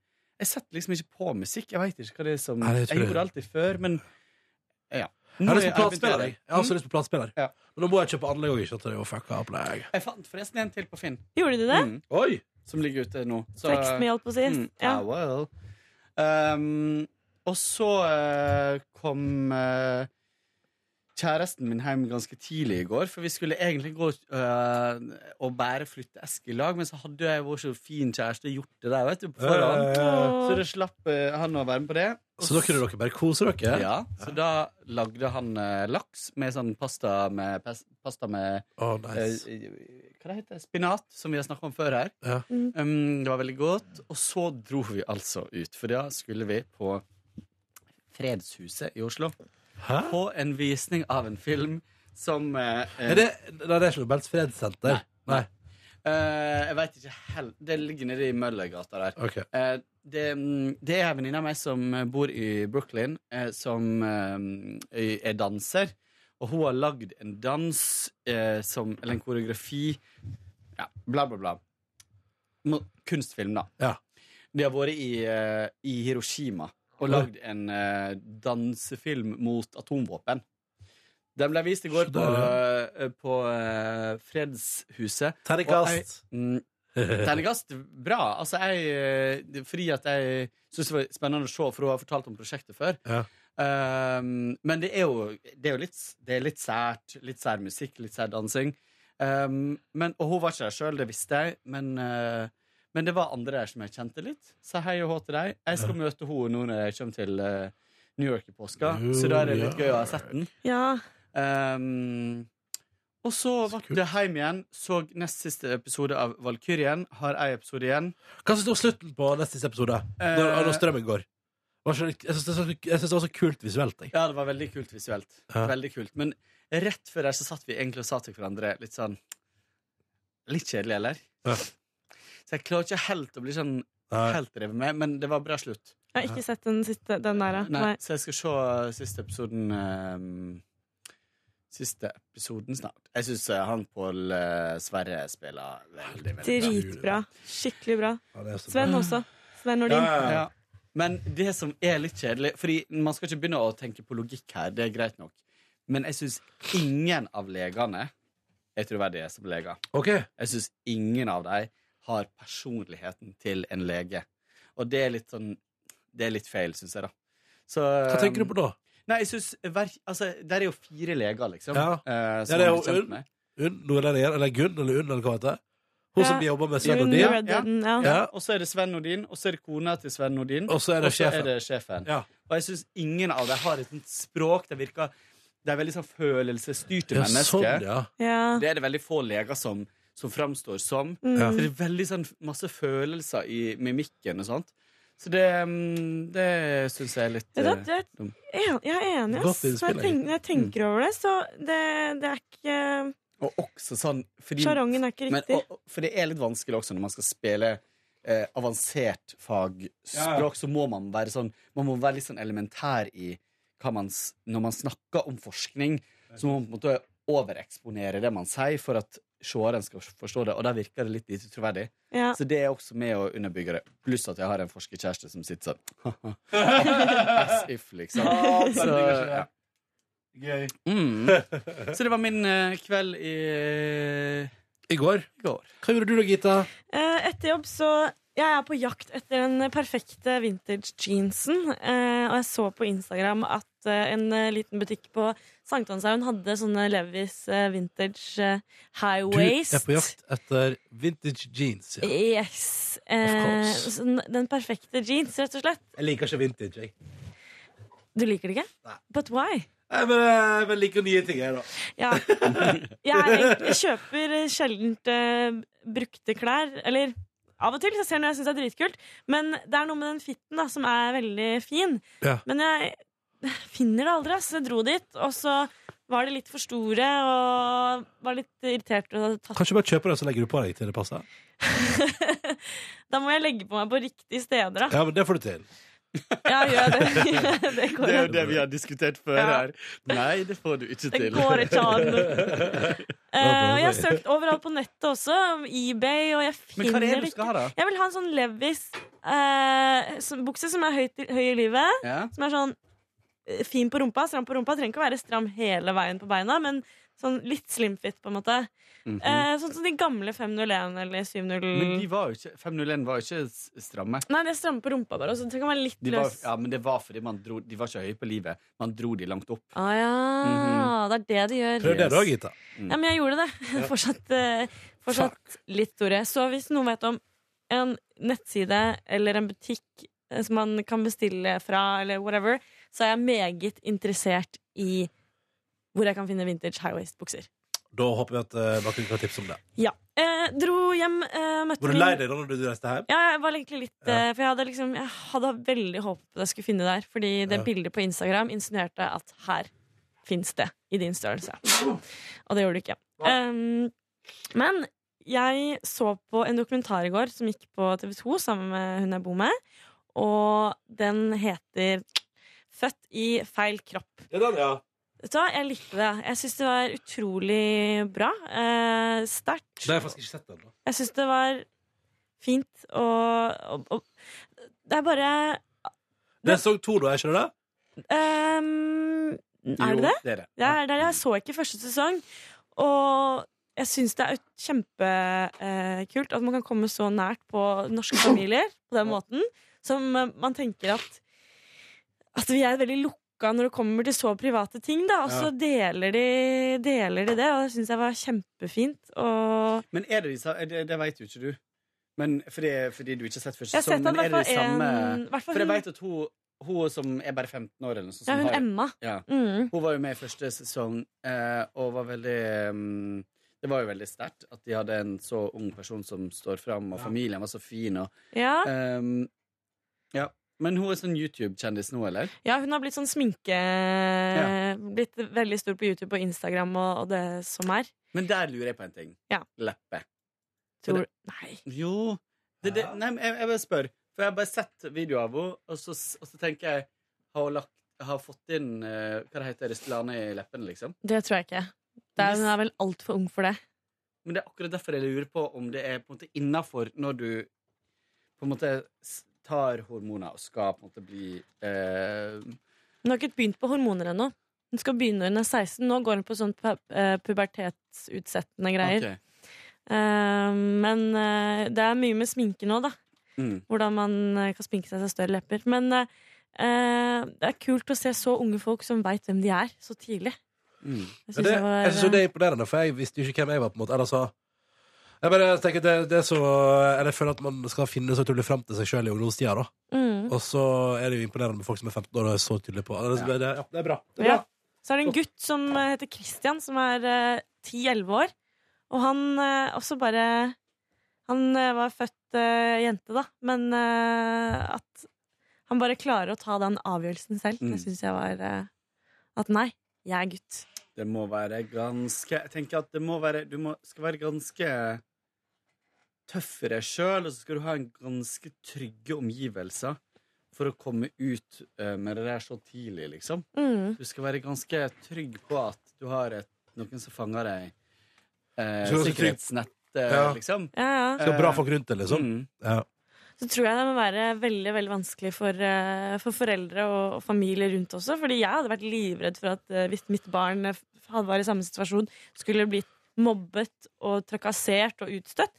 S21: Jeg setter liksom ikke på musikk. Jeg veit ikke hva det er som
S2: Nei, det tror
S21: Jeg
S2: jeg.
S21: gjorde det alltid før, men
S2: Jeg
S21: ja.
S2: har lyst på
S21: Nå er jeg-
S2: platespiller. Jeg. Jeg har også
S21: Mm.
S2: lyst på platespiller. Men da må jeg kjøpe anlegg òg, ikke at det er jo fucka opplegg.
S21: Jeg fant forresten en til på Finn.
S19: Gjorde du det?
S21: Mm. Oi! Som ligger ute nå.
S19: Teksten vi holdt på sist, ja.
S21: ah, well. um, og så eh, kom eh, kjæresten min hjem ganske tidlig i går, for vi skulle egentlig gå eh, og bære flytteeske i lag, men så hadde jeg vår så fin kjæreste gjort det der, vet du, på forhånd.
S2: Ja, ja, ja, ja.
S21: Så da slapp eh, han å være med på det.
S2: Så da kunne dere bare kose dere?
S21: Ja, så da lagde han eh, laks med sånn pasta med, pas- pasta med
S2: Å, nice.
S21: eh, Hva det heter det? Spinat, som vi har snakket om før her.
S2: Ja.
S21: Mm. Um, det var veldig godt. Og så dro vi altså ut, for da skulle vi på Fredshuset i Oslo. På en visning av en film som eh, eh,
S2: Er det, nei, det er ikke Nobels fredssenter? Nei.
S21: Eh, jeg veit ikke helt Det ligger nede i Møllergata der.
S2: Ok.
S21: Eh, det, mm, det er en venninne av meg som bor i Brooklyn, eh, som eh, er danser. Og hun har lagd en dans eh, som Eller en koreografi. Ja, bla, bla, bla. Mo- Kunstfilm, da. De har vært i, eh, i Hiroshima og lagd en eh, dansefilm mot atomvåpen. Den ble vist i går på, eh, på eh, Fredshuset.
S2: Terningkast.
S21: Og jeg- mm, Terningkast bra. Altså, jeg, eh, fordi at jeg syns det var spennende å se, for hun har fortalt om prosjektet før.
S2: Ja.
S21: Um, men det er jo, det er jo litt, det er litt sært. Litt sær musikk, litt sær dansing. Um, men, og hun var ikke der sjøl, det visste jeg, men, uh, men det var andre der som jeg kjente litt. Så hei og hå til deg. Jeg skal møte henne nå når jeg kommer til uh, New York i påska, så da er det litt gøy å ha sett den. Um, og så ble det hjem igjen. Så nest siste episode av Valkyrien. Har ei episode igjen. Eh,
S2: Hva syns du om slutten på nest siste episode? Når, når strømmen går? Var ikke det- Jeg syns det, var så- jeg synes det var så kult visuelt. Jeg.
S21: Ja, det var veldig kult visuelt.
S2: Ja.
S21: Veldig kult. Men rett før der så satt vi egentlig og sa til hverandre litt sånn Litt kjedelig, eller?
S2: Ja.
S21: Så jeg klarer ikke helt å bli sånn
S2: Nei.
S21: helt revet med, men det var bra slutt.
S19: Jeg har ikke sett den, siste, den der.
S21: Nei,
S19: Nei.
S21: Så jeg skal se siste episoden ehm, Siste episoden snart. Jeg syns han Pål eh, Sverre spiller veldig, veldig bra.
S19: Dritbra. Skikkelig bra.
S21: Ja, det er så bra.
S19: Sven også. Sven Nordin.
S21: Ja. Men det som er litt kjedelig Fordi man skal ikke begynne å tenke på logikk her, det er greit nok. Men jeg syns ingen av legene er troverdige som leger. Jeg syns ingen av dem har personligheten til en lege. Og det er litt sånn Det er litt feil, syns jeg, da. Så,
S2: Hva tenker du på da?
S21: Nei, jeg synes, hver, altså, Der er jo fire leger, liksom.
S2: Ja.
S21: eh,
S2: ja,
S21: som
S2: det er
S21: man
S2: jo
S21: blir kjent
S2: Unn,
S21: med.
S2: Unn Nordlendinger, eller Gunn, eller Unn, eller hva heter det? Hun som jobber med Sven
S21: Unn
S2: Nordin.
S21: Reddington,
S2: Ja.
S21: ja.
S2: Ja.
S21: Og så er det Sven Nordin, og så er det kona til Sven Nordin.
S2: Og så er det sjefen.
S21: sjefen.
S2: Ja.
S21: Og jeg syns ingen av dem har et sånt språk. Det virker Det er veldig sånn følelsesstyrte
S2: Ja,
S21: mennesker.
S2: sånn, ja.
S19: Ja.
S21: Det er det veldig få leger som, som framstår som.
S19: Mm.
S21: Så det er veldig sånn masse følelser i mimikken og sånt. Så det, mm, det syns jeg er litt
S19: Vet du hva,
S21: eh,
S19: det er-
S21: dumt.
S19: Jeg jeg er enig.
S21: Godt Mm.
S19: ass.
S21: innspill,
S19: Når jeg tenker,
S21: egentlig.
S19: når jeg tenker over det, så det, det er ikke
S21: Og også sånn fordi,
S19: Sjarongen er ikke
S21: men-
S19: riktig.
S21: og- og- for det er litt vanskelig også når man skal spille eh, avansert fagspråk,
S19: Ja, ja.
S21: så må man være sånn Man må være litt sånn elementær i hva man s- Når man snakker om forskning, så må man på en måte overeksponere det man sier, for at seeren skal forstå det, og da virker det litt lite troverdig.
S19: Ja.
S21: Så det er også med å underbygge det. Pluss at jeg har en forskerkjæreste som sitter sånn As if, liksom. Ja, det Så, ligger ikke ja. det.
S2: Gøy.
S21: Mm. Så det var min eh, kveld eh, i
S2: I går. Hva gjorde du da, Gita?
S19: Eh, etter jobb så Jeg er på jakt etter den perfekte vintage jeansen. Eh, og jeg så på Instagram at eh, en eh, liten butikk på Sankthanshaugen hadde sånne Levis eh, vintage eh, high
S2: Du
S19: waist.
S2: er på jakt etter vintage jeans. Ja.
S19: Yes. Eh,
S2: course.
S19: så den- den perfekte jeans, rett og slett.
S2: Jeg liker ikke vintage, jeg.
S19: Du liker det ikke? But why?
S2: Nei, men eh, men jeg liker nye ting, jeg, da.
S19: Ja. Jeg, er egentlig- jeg kjøper sjelden brukte klær. Eller av og til så ser jeg når jeg syns det er dritkult. Men det er noe med den fitten da, som er veldig fin.
S2: Ja.
S19: Men jeg finner det aldri. ass. Så jeg dro dit, og så var de litt for store og var litt irritert. Og hadde tatt.
S2: Kanskje bare kjøpe det, så legger du på deg til det passer?
S19: Da må jeg legge på meg på riktige steder, da.
S2: Ja, men det får du til.
S19: Ja, gjør det. det går
S21: Det er jo
S19: an.
S21: det vi har diskutert før
S19: Ja.
S21: her. Nei, det får du ikke
S19: Det
S21: til.
S19: går ikke an. Eh, og jeg har søkt overalt på nettet også, om eBay, og jeg
S21: Men
S19: finner
S21: hva er det du skal ha, da?
S19: Jeg vil ha en sånn Levis eh, som- bukse som er høyt, i- høy i livet.
S21: Ja.
S19: Som er sånn eh, fin på rumpa, stram på rumpa. Trenger ikke å være stram hele veien på beina, men sånn litt slimfit, på en måte.
S21: Mhm.
S19: Eh, sånn som de gamle 501 eller 701
S21: Men de var jo ikke, 501 var jo ikke s- stramme.
S19: Nei, de er stramme på rumpa bare, så det kan være litt
S21: De var,
S19: løs.
S21: ja, men det var fordi man dro, de var ikke høye på livet. Man dro de langt opp.
S19: Ah, ja,
S21: Mhm.
S19: det er det de gjør.
S21: Prøv det da, Gita.
S19: Ja, men jeg gjorde det.
S21: Mm. Ja.
S19: Fortsatt, eh, fortsatt litt store. Så hvis noen vet om en nettside eller en butikk eh, som man kan bestille fra, eller whatever, så er jeg meget interessert i hvor jeg kan finne vintage high-waist-bukser.
S2: Da håper vi at eh, dere kan tipse om det.
S19: Ja. Eh, dro hjem, eh, møtte
S2: Var du
S19: min-
S2: lei deg da når du reiste hjem?
S19: Ja, jeg var egentlig litt eh, For jeg hadde liksom Jeg hadde veldig håpet at jeg skulle finne det der, fordi det
S2: Ja.
S19: bildet på Instagram insinuerte at her fins det i din størrelse. Og det gjorde det ikke. Um, men jeg så på en dokumentar i går som gikk på TV2 sammen med hun jeg bor med, og den heter Født i feil kropp.
S2: Det er den, ja.
S19: Vet du hva, jeg likte det. Jeg syns det var utrolig bra. Eh, Sterkt.
S2: Det har jeg faktisk ikke sett den. da.
S19: Jeg syns det var fint og, og, og Det er bare
S2: Det er sesong to, da, er ikke det det?
S19: ehm, Er det
S2: Jo,
S19: det?
S2: det er det.
S19: er det. Jeg så ikke første sesong. Og jeg syns det er kjempekult at man kan komme så nært på norske familier på den måten. Som eh, man tenker at At vi er veldig lukka når det kommer til så private ting, da. Og så deler, de, deler de det, og det syns jeg var kjempefint. Og
S21: Men er det de sa- eh, Det, det veit jo ikke du. Men fordi, fordi du ikke har sett første
S19: Jeg har sett
S21: sesong, men
S19: han
S21: er det de
S19: hvertfall
S21: samme
S19: en- hvertfall
S21: For jeg
S19: hun-
S21: veit at hun, hun som er bare 15 år,
S2: Sånn
S21: eller noe sånt
S19: Ja,
S21: som
S19: hun
S21: har-
S19: Emma.
S21: Ja.
S19: Mm.
S21: Hun var jo med i første sesong, eh, og var veldig mm, Det var jo veldig sterkt at de hadde en så ung person som står fram, og familien var så fin, og
S19: Ja.
S21: ehm, ja. Men hun er sånn YouTube-kjendis nå, eller?
S19: Ja, hun har blitt sånn sminke Blitt veldig stor på YouTube og Instagram og, og det som er.
S21: Men der lurer jeg på en ting.
S19: Ja.
S21: Leppe. For
S19: Tror,
S21: det-
S19: nei.
S21: Jo det, det, Nei, men jeg, jeg bare spør. For jeg har bare sett video av henne, og så, og så tenker jeg Har hun lagt, har hun fått inn eh, Hva det heter det? Restylane i leppene, liksom?
S19: Det tror jeg ikke. Det er, hun er vel altfor ung for det.
S21: Men det er akkurat derfor jeg lurer på om det er på en måte innafor når du på en måte s- tar hormoner og skal på en måte bli eh,
S19: Hun har ikke begynt på hormoner ennå. Hun skal begynne når hun er 16. Nå går hun på sånn pu eh, pubertetsutsettende greier.
S21: Ok.
S19: Eh, men eh, det er mye med sminke nå, da.
S2: Mm.
S21: Mm.
S19: Hvordan man eh, kan sminke seg til større lepper. Men eh, eh, det er kult å se så unge folk som veit hvem de er, så tidlig. Jeg
S2: Men
S19: synes
S2: det, eh,
S19: det var-
S2: jeg synes jo det er imponerende, for jeg visste jo ikke hvem jeg var. på en måte Eller så Jeg bare tenker det, det er så Eller jeg føler at man skal finne så utrolig fram til seg sjøl i ungdomstida. da
S19: Mm.
S2: Og så er det jo imponerende med folk som er 15 år og er så tydelige på eller, det, det, ja, det er bra. Det er bra.
S19: Ja. Så er det en gutt som eh, heter Christian, som er eh, 10-11 år. Og han eh, også bare Han eh, var født eh, jente, da, men eh, at han bare klarer å ta den avgjørelsen selv.
S21: Mm.
S19: Det syns jeg var eh, At nei, jeg er gutt.
S21: Det må være ganske Jeg tenker at det må være Du må, skal være ganske tøff i deg sjøl, og så skal du ha en ganske trygge omgivelser for å komme ut eh, med det der så tidlig, liksom.
S19: Mm.
S21: Du skal være ganske trygg på at du har et, noen som fanger deg
S2: Du skal
S21: eh,
S2: være så trygg.
S21: Sikkerhetsnett, eh,
S2: Ja.
S21: liksom.
S19: Ja, ja.
S2: Skal ha bra folk rundt deg, liksom.
S21: Mm.
S2: Ja.
S19: Så tror jeg det må være veldig veldig vanskelig for, eh, for foreldre og, og familie rundt også. Fordi jeg hadde vært livredd for at eh, hvis mitt barn eh, hadde vært i samme situasjon, skulle blitt mobbet og trakassert og utstøtt.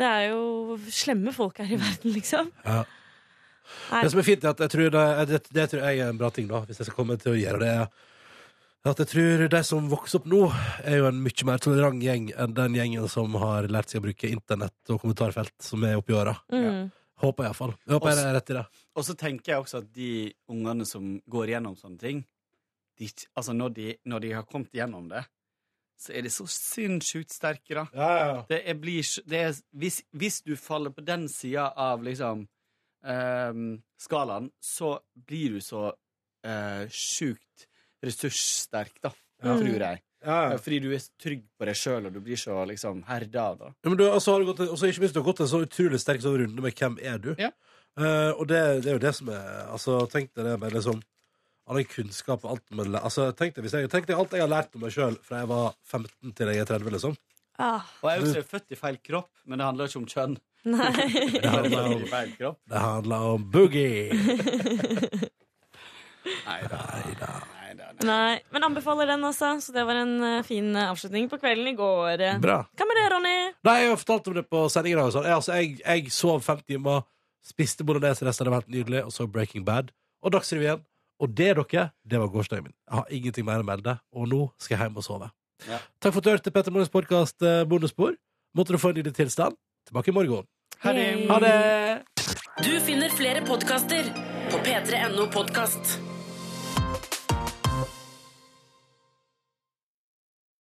S19: Det er jo slemme folk her i verden, liksom.
S2: Ja.
S19: Nei.
S2: Det som er fint, er at jeg tror det, det, det tror jeg er en bra ting, da, hvis jeg skal komme til å gjøre det. er At jeg tror de som vokser opp nå, er jo en mye mer tolerant gjeng enn den gjengen som har lært seg å bruke internett og kommentarfelt, som er oppi åra.
S19: Mm.
S2: Håper jeg iallfall. Håper jeg er rett i det.
S21: Og så tenker jeg også at de ungene som går gjennom sånne ting, de, ikke- altså når, de, når de har kommet gjennom det, så er de så sinnssykt sterke, da. Det er, blir, s- det er, hvis, hvis du faller på den sida av liksom ehm, skalaen, så blir du så eh, sjukt ressurssterk, da,
S2: Ja.
S21: tror jeg.
S2: Ja, ja.
S21: Fordi du er så trygg på deg sjøl, og du blir så liksom herda av det.
S2: Ja, men du, og så har du gått, og så ikke minst du har gått en så utrolig sterk sånn runde med hvem er du. Eh, og det, det er jo det som er altså, Tenk deg det med liksom all den kunnskap og alt med, altså, tenk, deg, hvis jeg, tenk deg alt jeg har lært om meg sjøl fra jeg var 15 til jeg er 30, liksom.
S21: Og jeg er jo ikke født i feil kropp, men det handler ikke om kjønn.
S19: Nei.
S21: det handler om feil kropp.
S2: Det handler om boogie.
S19: Nei, Men anbefaler den, altså. Så det var en eh, fin eh, avslutning på kvelden i går.
S2: Bra.
S19: Hva med det, Ronny?
S2: Nei, jeg har fortalt om det på sendingen. og sånn. Jeg, altså, jeg, jeg sov fem timer, spiste bolognese resten av det var helt nydelig, og så Breaking Bad og Dagsrevyen. Og det, dere, det var gårsdagen min. Jeg har ingenting mer å melde, og nå skal jeg hjem og sove.
S21: Ja.
S2: Takk for at du hørte Petter Morgens eh, podkast Bonusspor. Måtte du få en nydelig tilstand. Tilbake i morgen.
S21: Ha det.
S2: Ha det.
S19: Du finner flere podkaster på p3.no podkast.